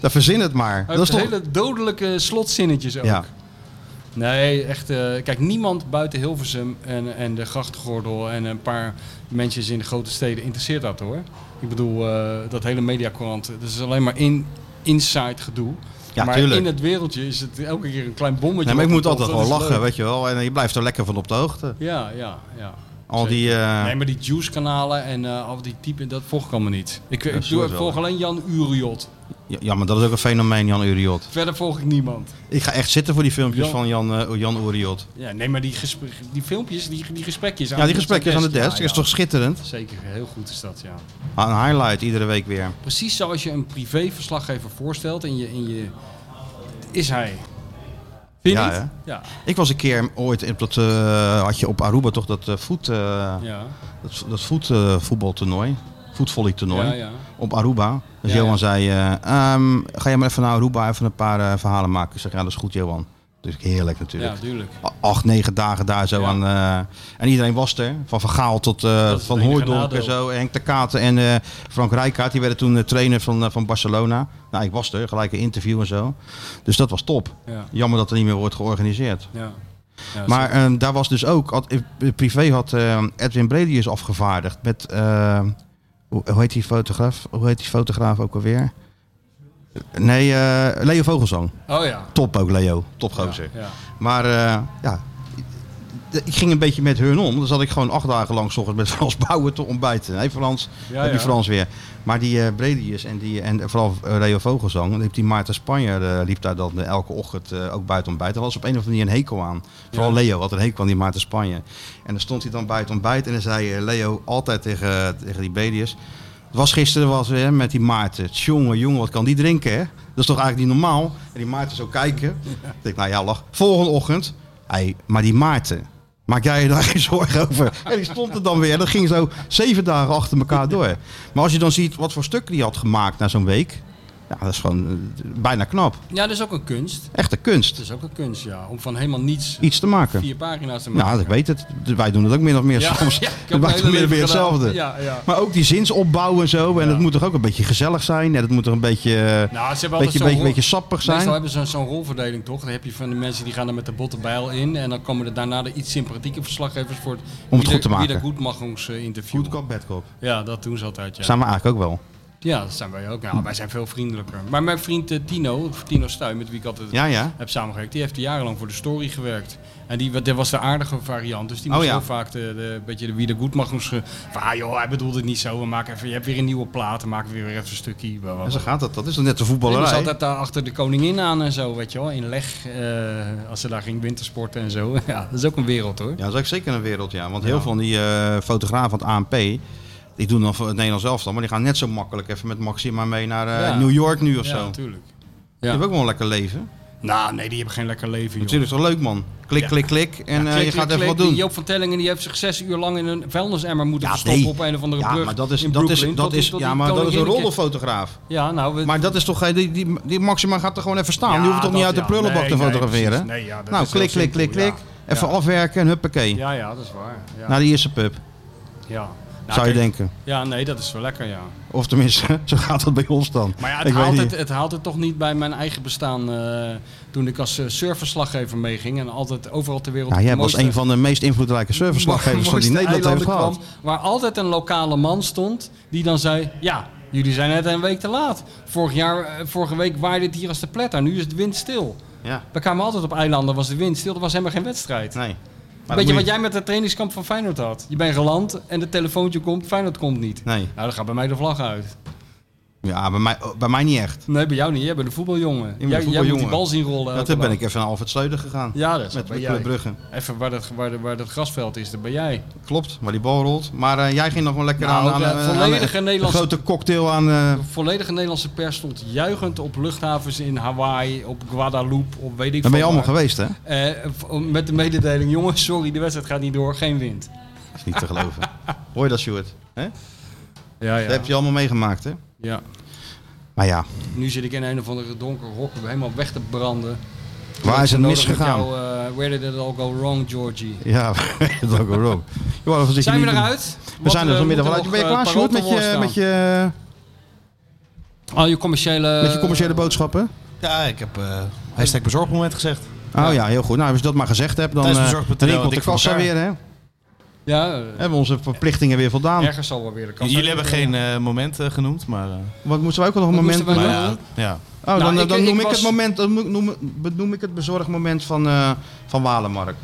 Speaker 2: dat verzin het maar.
Speaker 3: Hij
Speaker 2: Dat is
Speaker 3: heeft
Speaker 2: toch...
Speaker 3: hele dodelijke slotzinnetjes ook.
Speaker 2: Ja.
Speaker 3: Nee, echt. eh, kijk, niemand buiten Hilversum en, en de grachtgordel en een paar mensen in de grote steden interesseert dat hoor. Ik bedoel, eh, dat hele mediacourant, dat is alleen maar in, inside gedoe.
Speaker 2: Ja,
Speaker 3: maar
Speaker 2: tuurlijk.
Speaker 3: in het wereldje is het elke keer een klein bommetje.
Speaker 2: Nee, maar ik
Speaker 3: wat
Speaker 2: moet
Speaker 3: er
Speaker 2: altijd
Speaker 3: komt. Dat
Speaker 2: gewoon
Speaker 3: is
Speaker 2: lachen,
Speaker 3: leuk.
Speaker 2: weet je wel. En je blijft er lekker van op de hoogte.
Speaker 3: Ja, ja, ja.
Speaker 2: Al die... eh,
Speaker 3: Nee, maar die juice-kanalen en eh, al die typen, dat volg ik allemaal niet. Ik,
Speaker 2: Ja,
Speaker 3: ik
Speaker 2: soort
Speaker 3: doe, ik
Speaker 2: wel,
Speaker 3: volg
Speaker 2: hè.
Speaker 3: alleen Jan Uriot.
Speaker 2: ja, Ja, maar dat is ook een fenomeen, Jan Uriot.
Speaker 3: Verder volg ik niemand.
Speaker 2: Ik ga echt zitten voor die filmpjes
Speaker 3: Jan-
Speaker 2: van Jan, eh, Jan Uriot.
Speaker 3: Ja, nee, maar die, gesprek, die filmpjes, die, die gesprekjes.
Speaker 2: Ja, die gesprekjes aan de desk
Speaker 3: ja,
Speaker 2: is
Speaker 3: ja.
Speaker 2: toch schitterend?
Speaker 3: Zeker, heel goed is dat, ja.
Speaker 2: Een highlight iedere week weer.
Speaker 3: Precies zoals je een privéverslaggever voorstelt en je, in je... Is hij. Vind je
Speaker 2: Ja,
Speaker 3: niet?
Speaker 2: hè?
Speaker 3: Ja,
Speaker 2: Ik was een keer ooit op dat, eh, had je op Aruba toch dat eh voet, eh,
Speaker 3: ja.
Speaker 2: dat, dat voet, eh, voetbaltoernooi, voetvolleytoernooi
Speaker 3: Ja, ja.
Speaker 2: op Aruba. Dus
Speaker 3: Ja,
Speaker 2: Johan
Speaker 3: ja.
Speaker 2: zei, eh, ehm, ga jij maar even naar Aruba even een paar eh, verhalen maken. Ik zeg, ja dat is goed Johan. Dus ik, heerlijk
Speaker 3: Ja,
Speaker 2: natuurlijk.
Speaker 3: tuurlijk.
Speaker 2: A- Acht, negen dagen daar zo
Speaker 3: Ja.
Speaker 2: aan. eh, en iedereen was er. Van Van Gaal tot eh,
Speaker 3: Dat is
Speaker 2: Van
Speaker 3: het enige
Speaker 2: Hooijdonk en
Speaker 3: nadeel.
Speaker 2: zo. Henk de Katen en eh, Frank Rijkaard. Die werden toen eh, trainer van, eh, van Barcelona. Nou, ik was er. Gelijk een interview en zo. Dus dat was top.
Speaker 3: Ja,
Speaker 2: Jammer dat er niet meer wordt georganiseerd.
Speaker 3: ja. Ja,
Speaker 2: Maar ehm, daar was dus ook, had, eh, privé had ehm, Edwin Bredius afgevaardigd met, ehm, Hoe, hoe heet die fotograaf? Hoe heet die fotograaf ook alweer? Nee, eh, Leo Vogelsang.
Speaker 3: Oh ja.
Speaker 2: Top ook, Leo. Topgozer.
Speaker 3: ja.
Speaker 2: Maar eh, ja, ik ging een beetje met hun om. Dan zat ik gewoon acht dagen lang 's ochtends met Frans Bouwen te ontbijten. Hé Frans,
Speaker 3: Ja,
Speaker 2: heb je
Speaker 3: ja.
Speaker 2: Frans weer. Maar die eh Bredius en, die, en vooral eh, Leo Vogelsang, dan liep die Maarten Spanjer eh, liep daar dan eh, elke ochtend eh, ook buiten ontbijt. Daar was op een of andere manier een hekel aan. Vooral Leo had een hekel aan die Maarten Spanjer. En dan stond hij dan buiten ontbijt en dan zei eh, Leo altijd tegen, tegen die Bredius... Het was gisteren was, hè, met die Maarten. Jongen, jongen, wat kan die drinken, hè? Dat is toch eigenlijk niet normaal? En die Maarten zo kijken. Ik denk, nou ja, lach. Volgende ochtend. Hé, maar die Maarten. Maak jij je daar geen zorgen over? En die stond er dan weer. Dat ging zo zeven dagen achter elkaar door. Maar als je dan ziet wat voor stukken die had gemaakt na zo'n week. Ja, dat is gewoon eh, bijna knap.
Speaker 3: ja, dat is ook een kunst.
Speaker 2: Echte kunst.
Speaker 3: Dat is ook een kunst, ja. Om van helemaal niets
Speaker 2: Iets te maken.
Speaker 3: vier pagina's te maken.
Speaker 2: Ja, ik weet het. Wij doen het ook min of meer
Speaker 3: Ja,
Speaker 2: soms.
Speaker 3: ja, ik heb
Speaker 2: Wij
Speaker 3: mijn
Speaker 2: doen
Speaker 3: hele
Speaker 2: min of meer
Speaker 3: leven gedaan.
Speaker 2: hetzelfde.
Speaker 3: Ja, ja.
Speaker 2: Maar ook die zinsopbouw en zo. En dat moet toch ook een beetje gezellig zijn. En dat moet toch een beetje, eh,
Speaker 3: Nou, ze hebben altijd
Speaker 2: beetje,
Speaker 3: zo'n
Speaker 2: beetje,
Speaker 3: rol-
Speaker 2: beetje sappig
Speaker 3: Meestal
Speaker 2: zijn.
Speaker 3: hebben ze zo'n rolverdeling toch? Dan heb je van de mensen die gaan er met de botte bijl in. En dan komen er daarna de iets sympathieke verslaggevers voor.
Speaker 2: het goed te maken.
Speaker 3: Wie er goed mag ons eh, interviewen.
Speaker 2: Goed kop, bad kop.
Speaker 3: Ja, dat doen ze altijd. Ja,
Speaker 2: Zijn we eigenlijk ook wel.
Speaker 3: ja dat zijn wij ook. Nou, wij zijn veel vriendelijker. Maar mijn vriend eh, Tino, of Tino Stuy, met wie ik altijd
Speaker 2: Ja, ja.
Speaker 3: heb samengewerkt, die heeft jarenlang voor de story gewerkt. En die, dat was de aardige variant. Dus die
Speaker 2: Oh,
Speaker 3: moest
Speaker 2: ja.
Speaker 3: heel vaak de, de, beetje de wie de goed mag ons. ge- Van, ah joh, hij bedoelt het niet zo. We maken even, je hebt weer een nieuwe plaat. Dan maken we weer even een stukje. bla, bla,
Speaker 2: En zo
Speaker 3: bla.
Speaker 2: gaat dat. Dat is dan net de
Speaker 3: Ik was
Speaker 2: voetballerij.
Speaker 3: altijd daar achter de koningin aan en zo, weet je wel. In leg, eh, als ze daar ging wintersporten en zo. Ja, dat is ook een wereld hoor.
Speaker 2: Ja, dat is ook zeker een wereld, ja. Want heel veel van die eh, fotografen van het ANP... Die doen dan voor het Nederlands elftal, maar die gaan net zo makkelijk even met Maxima mee naar eh,
Speaker 3: Ja.
Speaker 2: New York nu of
Speaker 3: ja,
Speaker 2: zo. Die
Speaker 3: natuurlijk.
Speaker 2: hebben ook wel een lekker leven.
Speaker 3: Nou, nee, die hebben geen lekker leven, joh.
Speaker 2: Natuurlijk is toch leuk, man. Klik,
Speaker 3: Ja.
Speaker 2: klik, klik. En eh,
Speaker 3: Klik,
Speaker 2: je
Speaker 3: klik,
Speaker 2: gaat even
Speaker 3: klik.
Speaker 2: wat doen.
Speaker 3: Die Joop van Tellingen die heeft zich zes uur lang in een vuilnisemmer moeten verstoppen
Speaker 2: nee.
Speaker 3: op een of andere
Speaker 2: ja,
Speaker 3: brug
Speaker 2: maar dat is,
Speaker 3: in
Speaker 2: dat is,
Speaker 3: Brooklyn,
Speaker 2: dat
Speaker 3: tot die-
Speaker 2: is,
Speaker 3: tot
Speaker 2: ja,
Speaker 3: die
Speaker 2: maar dat is een
Speaker 3: koningin-
Speaker 2: rollenfotograaf.
Speaker 3: Ja, nou... we-
Speaker 2: Maar dat is toch, eh, die, die, die Maxima gaat er gewoon even staan.
Speaker 3: Ja,
Speaker 2: Ah, die hoeft toch niet
Speaker 3: dat
Speaker 2: uit de
Speaker 3: ja.
Speaker 2: prullenbak
Speaker 3: Nee,
Speaker 2: te
Speaker 3: nee,
Speaker 2: fotograferen?
Speaker 3: precies. Nee, ja, dat
Speaker 2: nou,
Speaker 3: is heel
Speaker 2: klik, klik, klik,
Speaker 3: simpel,
Speaker 2: klik.
Speaker 3: ja.
Speaker 2: Even
Speaker 3: Ja.
Speaker 2: afwerken en huppakee.
Speaker 3: ja, ja, dat is waar. Ja.
Speaker 2: Naar de eerste pub,
Speaker 3: ja. Nou,
Speaker 2: zou je
Speaker 3: kijk,
Speaker 2: denken.
Speaker 3: Ja, nee, dat is wel lekker, ja.
Speaker 2: Of tenminste, zo gaat dat bij ons dan.
Speaker 3: Maar ja,
Speaker 2: Ik
Speaker 3: het,
Speaker 2: weet
Speaker 3: haalt
Speaker 2: niet.
Speaker 3: het, het haalt het toch niet bij mijn eigen bestaan. eh, toen ik als eh, surferslaggever meeging en altijd overal ter wereld...
Speaker 2: Nou,
Speaker 3: de
Speaker 2: jij was
Speaker 3: mooiste-
Speaker 2: een van de meest invloedrijke serviceslaggevers
Speaker 3: mooiste
Speaker 2: die Nederland heeft
Speaker 3: eilanden
Speaker 2: gehad.
Speaker 3: kwam, Waar altijd een lokale man stond die dan zei: Ja, jullie zijn net een week te laat. Vorig jaar, eh, vorige week waaide het hier als de pletter. Nu is het wind stil.
Speaker 2: Ja,
Speaker 3: We kwamen altijd op eilanden, was de wind stil. Er was helemaal geen wedstrijd.
Speaker 2: nee. Maar
Speaker 3: Weet je
Speaker 2: dat
Speaker 3: wat
Speaker 2: moet
Speaker 3: jij met het trainingskamp van Feyenoord had? Je bent geland en het telefoontje komt, Feyenoord komt niet.
Speaker 2: Nee.
Speaker 3: Nou, dan gaat bij mij de vlag uit.
Speaker 2: Ja, bij mij, bij mij niet echt.
Speaker 3: Nee, bij jou niet. Jij bent een voetbaljongen.
Speaker 2: ben een
Speaker 3: jij, jij moet
Speaker 2: voetbaljongen.
Speaker 3: die bal zien rollen.
Speaker 2: Ja,
Speaker 3: elke
Speaker 2: toen ben
Speaker 3: dag.
Speaker 2: ik even naar Alfred Sleuder gegaan.
Speaker 3: Ja, dat is
Speaker 2: met,
Speaker 3: bij
Speaker 2: met
Speaker 3: jij.
Speaker 2: Club Brugge.
Speaker 3: Even waar dat, waar, dat- waar dat grasveld is, daar ben jij.
Speaker 2: Klopt, maar die bal rolt. Maar eh, jij ging nog wel lekker
Speaker 3: Nou,
Speaker 2: aan, aan,
Speaker 3: de
Speaker 2: aan- aan-
Speaker 3: volledige
Speaker 2: aan-
Speaker 3: Nederlandse-
Speaker 2: een grote cocktail aan... eh,
Speaker 3: De volledige Nederlandse pers stond juichend op luchthavens in Hawaii, op Guadeloupe, op weet ik
Speaker 2: daar ben je allemaal
Speaker 3: veel waar.
Speaker 2: geweest, hè?
Speaker 3: Eh, v- met de mededeling, jongens, sorry, de wedstrijd gaat niet door, geen wind.
Speaker 2: Dat is niet te geloven. Hoor je dat, Stuart? hè?
Speaker 3: Ja,
Speaker 2: Dat heb je allemaal meegemaakt, hè?
Speaker 3: ja.
Speaker 2: Maar ja,
Speaker 3: Nu zit ik in een of andere donker hok, helemaal weg te branden.
Speaker 2: waar is het
Speaker 3: Nodig met
Speaker 2: misgegaan?
Speaker 3: jou, eh, where did it all go wrong, Georgie?
Speaker 2: Ja, dat ook wel. Johan, wat zit
Speaker 3: Zijn
Speaker 2: je
Speaker 3: we
Speaker 2: nu-
Speaker 3: eruit? eh,
Speaker 2: We zijn er vanmiddag wel uit. Ben je klaar, Sjoerd, met je, met, je,
Speaker 3: Al Oh, je commerciële...
Speaker 2: met je commerciële boodschappen?
Speaker 4: Ja, ik heb eh hashtag bezorgmoment gezegd.
Speaker 2: Oh ja, heel goed. Nou, als je dat maar gezegd hebt, dan
Speaker 4: Thuis
Speaker 2: eh,
Speaker 4: bezorgd.nl,
Speaker 2: rinkelt de
Speaker 4: dik voor
Speaker 2: kassa
Speaker 4: elkaar.
Speaker 2: weer, hè?
Speaker 3: Ja, eh,
Speaker 2: Hebben we onze verplichtingen weer voldaan.
Speaker 3: ergens zal wel weer de kans
Speaker 4: Jullie hebben geen eh, moment eh, genoemd, maar... eh,
Speaker 2: Wat moesten wij ook wel nog een
Speaker 3: Wat
Speaker 2: moment...
Speaker 3: moesten wij
Speaker 4: maar
Speaker 3: Ja.
Speaker 4: ja, ja.
Speaker 2: Oh, dan,
Speaker 3: Nou, ik-
Speaker 2: dan
Speaker 3: ik
Speaker 2: noem ik,
Speaker 3: was-
Speaker 2: het moment, dan noem, noem- benoem ik het bezorgmoment van, eh, van Walenmark.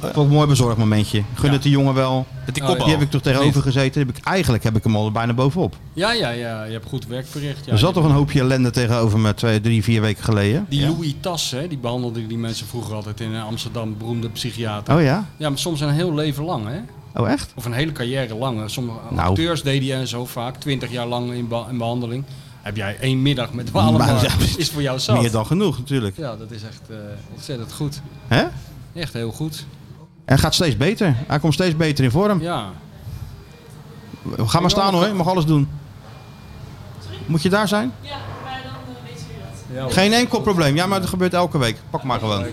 Speaker 2: Vond ik een mooi bezorgmomentje. Gun het die jongen wel.
Speaker 4: Met die
Speaker 3: Oh,
Speaker 4: kopbal.
Speaker 2: Die heb ik toch tegenover gezeten. Heb ik, eigenlijk heb ik hem al er bijna bovenop.
Speaker 3: Ja, ja, ja, je hebt goed werk verricht. Ja,
Speaker 2: er zat toch een hoopje ellende tegenover me twee, drie, vier weken geleden.
Speaker 3: Die Louis Tas, hè, die behandelde die mensen vroeger altijd in eh, Amsterdam, beroemde psychiater.
Speaker 2: Oh ja?
Speaker 3: Ja, maar soms een heel leven lang, hè?
Speaker 2: Oh echt?
Speaker 3: Of een hele carrière lang. hè. Sommige
Speaker 2: Nou.
Speaker 3: acteurs deden je en zo vaak, twintig jaar lang in, be- in behandeling. Heb jij één middag met
Speaker 2: Maar
Speaker 3: Walenmark,
Speaker 2: ja,
Speaker 3: is voor jou zat.
Speaker 2: Meer dan genoeg natuurlijk.
Speaker 3: Ja, dat is echt eh, ontzettend goed.
Speaker 2: Hè?
Speaker 3: Echt heel goed.
Speaker 2: En gaat steeds beter. Hij komt steeds beter in vorm.
Speaker 3: Ja,
Speaker 2: Ga maar staan hoor, je mag alles doen. Moet je daar zijn?
Speaker 3: ja hoor.
Speaker 2: Geen enkel probleem. Ja, maar dat gebeurt elke week. Pak maar gewoon.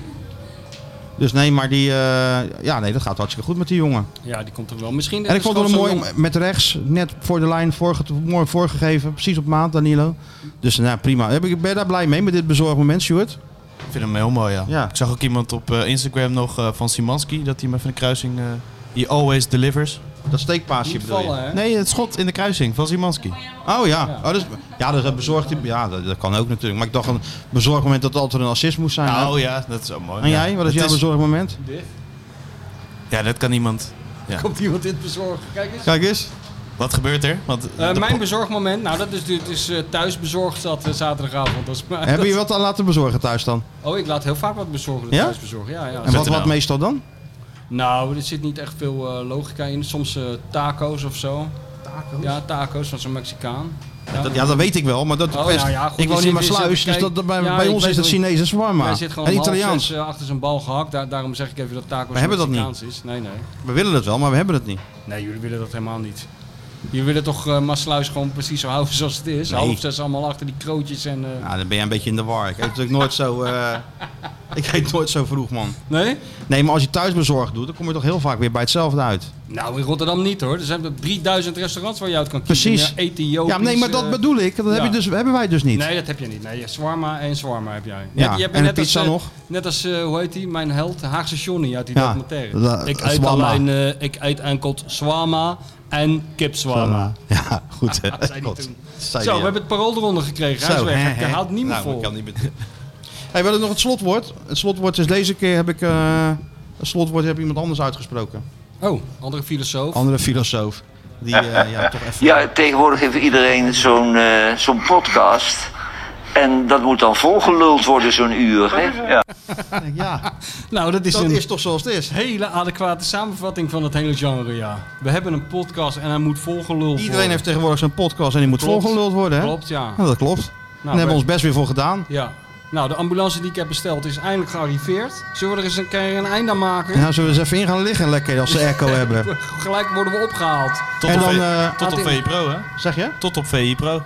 Speaker 2: Dus nee, maar die... eh, ja, nee, dat gaat hartstikke goed met die jongen.
Speaker 3: ja die komt er wel. Misschien
Speaker 2: En ik vond het
Speaker 3: wel
Speaker 2: wel mooi om- met rechts, net voor de lijn, voorge- mooi voorgegeven. Precies op maat, Danilo. Dus nou, prima. Heb ik- Ben je daar blij mee met dit bezorgd moment, Stuart?
Speaker 4: Ik vind hem heel mooi, ja.
Speaker 2: Ja.
Speaker 4: Ik zag ook iemand op eh, Instagram nog eh, van Simanski, dat hij me van de kruising... eh he always delivers.
Speaker 2: Dat steekpaasje
Speaker 3: Niet
Speaker 2: bedoel
Speaker 3: vallen, hè?
Speaker 2: je?
Speaker 4: Nee, het schot in de kruising van Simanski.
Speaker 2: Oh ja. Oh, dat is, ja, dat is een bezorgd. Ja, dat, dat kan ook natuurlijk. Maar ik dacht een bezorgd moment dat het altijd een assist moest zijn. hè?
Speaker 4: Oh ja, dat is ook mooi.
Speaker 2: en
Speaker 4: Ja.
Speaker 2: jij? Wat Nou, is
Speaker 4: Het
Speaker 2: jouw bezorgd moment?
Speaker 4: Ja, dat kan niemand.
Speaker 3: Komt iemand dit bezorgen? Kijk eens.
Speaker 2: Kijk eens.
Speaker 4: Wat gebeurt er? Want de
Speaker 3: Eh,
Speaker 4: po-
Speaker 3: mijn bezorgmoment, nou dat is, dit is eh, thuis bezorgd zat eh, zaterdagavond. Dat is, maar
Speaker 2: Heb
Speaker 3: dat-
Speaker 2: je wat aan laten bezorgen thuis dan?
Speaker 3: Oh, ik laat heel vaak wat bezorgen,
Speaker 2: Ja?
Speaker 3: thuis bezorgen. Ja, ja.
Speaker 2: En wat, wat
Speaker 4: nou.
Speaker 2: meestal dan?
Speaker 3: Nou, er zit niet echt veel eh, logica in. Soms eh, taco's of zo. Taco's? Ja, taco's van zo'n Mexicaan. Ja,
Speaker 2: Ja, dat weet ik wel, maar dat
Speaker 3: Oh,
Speaker 2: best-
Speaker 3: nou ja, goed,
Speaker 2: ik woon
Speaker 3: je
Speaker 2: in
Speaker 3: zit- je
Speaker 2: Maasluis,
Speaker 3: zit-
Speaker 2: dus dat, dat- bij,
Speaker 3: kijk,
Speaker 2: bij
Speaker 3: ik
Speaker 2: ons
Speaker 3: weet
Speaker 2: is het
Speaker 3: wel-
Speaker 2: Chinees en
Speaker 3: Jij
Speaker 2: shawarma.
Speaker 3: zit gewoon
Speaker 2: En
Speaker 3: om half
Speaker 2: Italiaans.
Speaker 3: zes, eh, achter zijn bal gehakt. Daar- daarom zeg ik even dat taco's
Speaker 2: We hebben dat niet.
Speaker 3: Mexicaans is. Nee, nee.
Speaker 2: We willen het wel, maar we hebben het niet.
Speaker 3: Nee, jullie willen dat helemaal niet. Jullie willen toch eh Maasluis gewoon precies zo houden zoals het is?
Speaker 2: Nee.
Speaker 3: Half zes allemaal achter die krootjes en... eh,
Speaker 2: Nou, dan ben jij een beetje in de war. Ik eet natuurlijk nooit zo, eh, ik eet nooit zo vroeg, man.
Speaker 3: Nee?
Speaker 2: Nee, maar als je thuis bezorgd doet, dan kom je toch heel vaak weer bij hetzelfde uit.
Speaker 3: Nou, in Rotterdam niet hoor. Er zijn er 3000 restaurants waar je uit kan kiezen.
Speaker 2: Precies.
Speaker 3: Ja, Ethiopisch.
Speaker 2: Ja, nee, maar dat
Speaker 3: eh,
Speaker 2: bedoel ik. Dat heb je
Speaker 3: ja.
Speaker 2: dus, hebben wij dus niet.
Speaker 3: Nee, dat heb je niet. Nee, Swarma en Swarma heb jij.
Speaker 2: Ja, en een pizza
Speaker 3: als, eh,
Speaker 2: nog.
Speaker 3: Net als, eh, hoe heet die, mijn held, Haagse Johnny uit die
Speaker 2: Ja,
Speaker 3: documentaire.
Speaker 2: da-
Speaker 3: ik, eet
Speaker 2: Swarma.
Speaker 3: alleen, eh, ik eet enkel Swarma en kip Swarma.
Speaker 2: Ja, goed. hè.
Speaker 3: Dat zei die
Speaker 2: God.
Speaker 3: toen.
Speaker 2: Zei die,
Speaker 3: Zo, we
Speaker 2: ja.
Speaker 3: hebben het parool eronder gekregen. Hij is
Speaker 2: Zo, hè,
Speaker 3: weg.
Speaker 2: hè.
Speaker 3: Hij haalt niet meer
Speaker 2: Nou,
Speaker 3: vol.
Speaker 2: ik kan niet meer- hey, we hadden nog het slotwoord. Het slotwoord is deze keer heb ik... eh, het slotwoord heb iemand anders uitgesproken.
Speaker 3: Oh, andere filosoof.
Speaker 2: Andere filosoof. Die eh, ja, toch even...
Speaker 9: Ja, tegenwoordig heeft iedereen zo'n eh, zo'n podcast. En dat moet dan volgeluld worden, zo'n uur. Hè? Ja.
Speaker 2: ja.
Speaker 3: nou, dat is
Speaker 2: Dat
Speaker 3: een
Speaker 2: is toch zoals het is.
Speaker 3: hele adequate samenvatting van het hele genre, ja. We hebben een podcast en hij moet volgeluld
Speaker 2: Iedereen
Speaker 3: worden.
Speaker 2: heeft tegenwoordig zijn podcast en die moet
Speaker 3: Klopt.
Speaker 2: volgeluld worden. Hè?
Speaker 3: Klopt, ja. Nou,
Speaker 2: Ja, dat klopt. Daar
Speaker 4: Nou,
Speaker 3: we-
Speaker 2: hebben we ons best weer voor gedaan.
Speaker 3: Ja. Nou, de ambulance die ik heb besteld is eindelijk gearriveerd. Zullen we er eens een keer een eind aan maken?
Speaker 2: Nou, zullen we eens even in gaan liggen lekker als ze airco hebben.
Speaker 3: Gelijk worden we opgehaald.
Speaker 4: tot,
Speaker 2: en
Speaker 4: op
Speaker 2: dan,
Speaker 4: V-
Speaker 2: eh,
Speaker 4: tot op
Speaker 3: had-
Speaker 4: VI Pro, hè?
Speaker 2: Zeg je?
Speaker 4: Tot op VI Pro.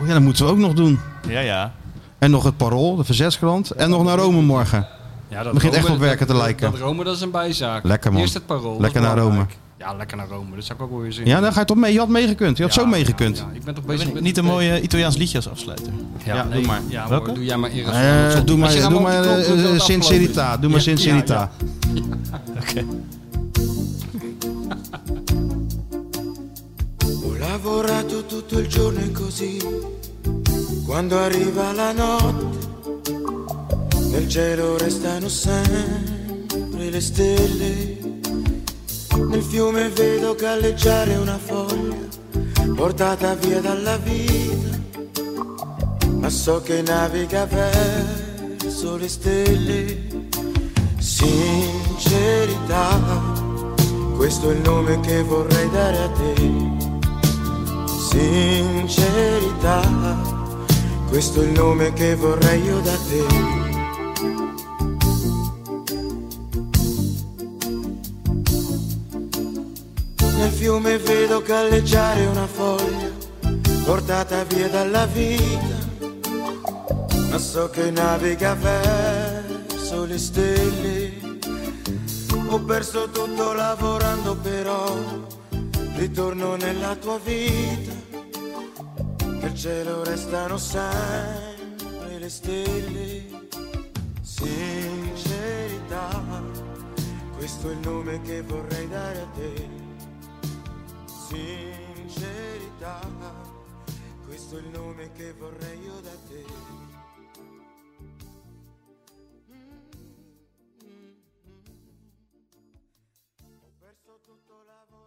Speaker 2: Oh ja, dat moeten we ook nog doen.
Speaker 4: Ja, ja.
Speaker 2: En nog het Parool, de Verzetskrant. En nog naar Rome morgen.
Speaker 3: Ja, dat
Speaker 2: Begint echt op werken te
Speaker 3: dat-
Speaker 2: lijken.
Speaker 3: Dat Rome, dat is een bijzaak.
Speaker 2: Lekker, man.
Speaker 3: Eerst het parool. dat
Speaker 2: Lekker
Speaker 3: is
Speaker 2: naar
Speaker 3: belangrijk.
Speaker 2: Rome.
Speaker 3: Ja, lekker naar Rome. Dat zou ik ook wel weer zien.
Speaker 2: Ja, daar ga je toch mee. Je had meegekund. Je had zo meegekund.
Speaker 3: Ja, ik ben toch bezig met... eh,
Speaker 4: Niet een mooie Italiaans liedje als afsluiter.
Speaker 3: Ja,
Speaker 2: Ja,
Speaker 3: nee,
Speaker 2: doe maar.
Speaker 3: Ja,
Speaker 4: Welke?
Speaker 3: hoor, doe jij maar Eros.
Speaker 2: Eh, doe maar, doe maar eh, eh, Sincerita. Doe maar Sincerita.
Speaker 10: Ho lavorato tutto il giorno e così, quando arriva la notte, nel cielo restano sempre le stelle. Nel fiume vedo galleggiare una foglia, portata via dalla vita, ma so che naviga verso le stelle. Sincerità, questo è il nome che vorrei dare a te sincerità, questo è il nome che vorrei io da te. Nel fiume vedo galleggiare una foglia, portata via dalla vita, ma so che naviga verso le stelle. Ho perso tutto lavorando però ritorno nella tua vita, nel cielo restano sempre le stelle, sincerità, questo è il nome che vorrei dare a te, sincerità, questo è il nome che vorrei io da te. Ho perso tutto lavoro.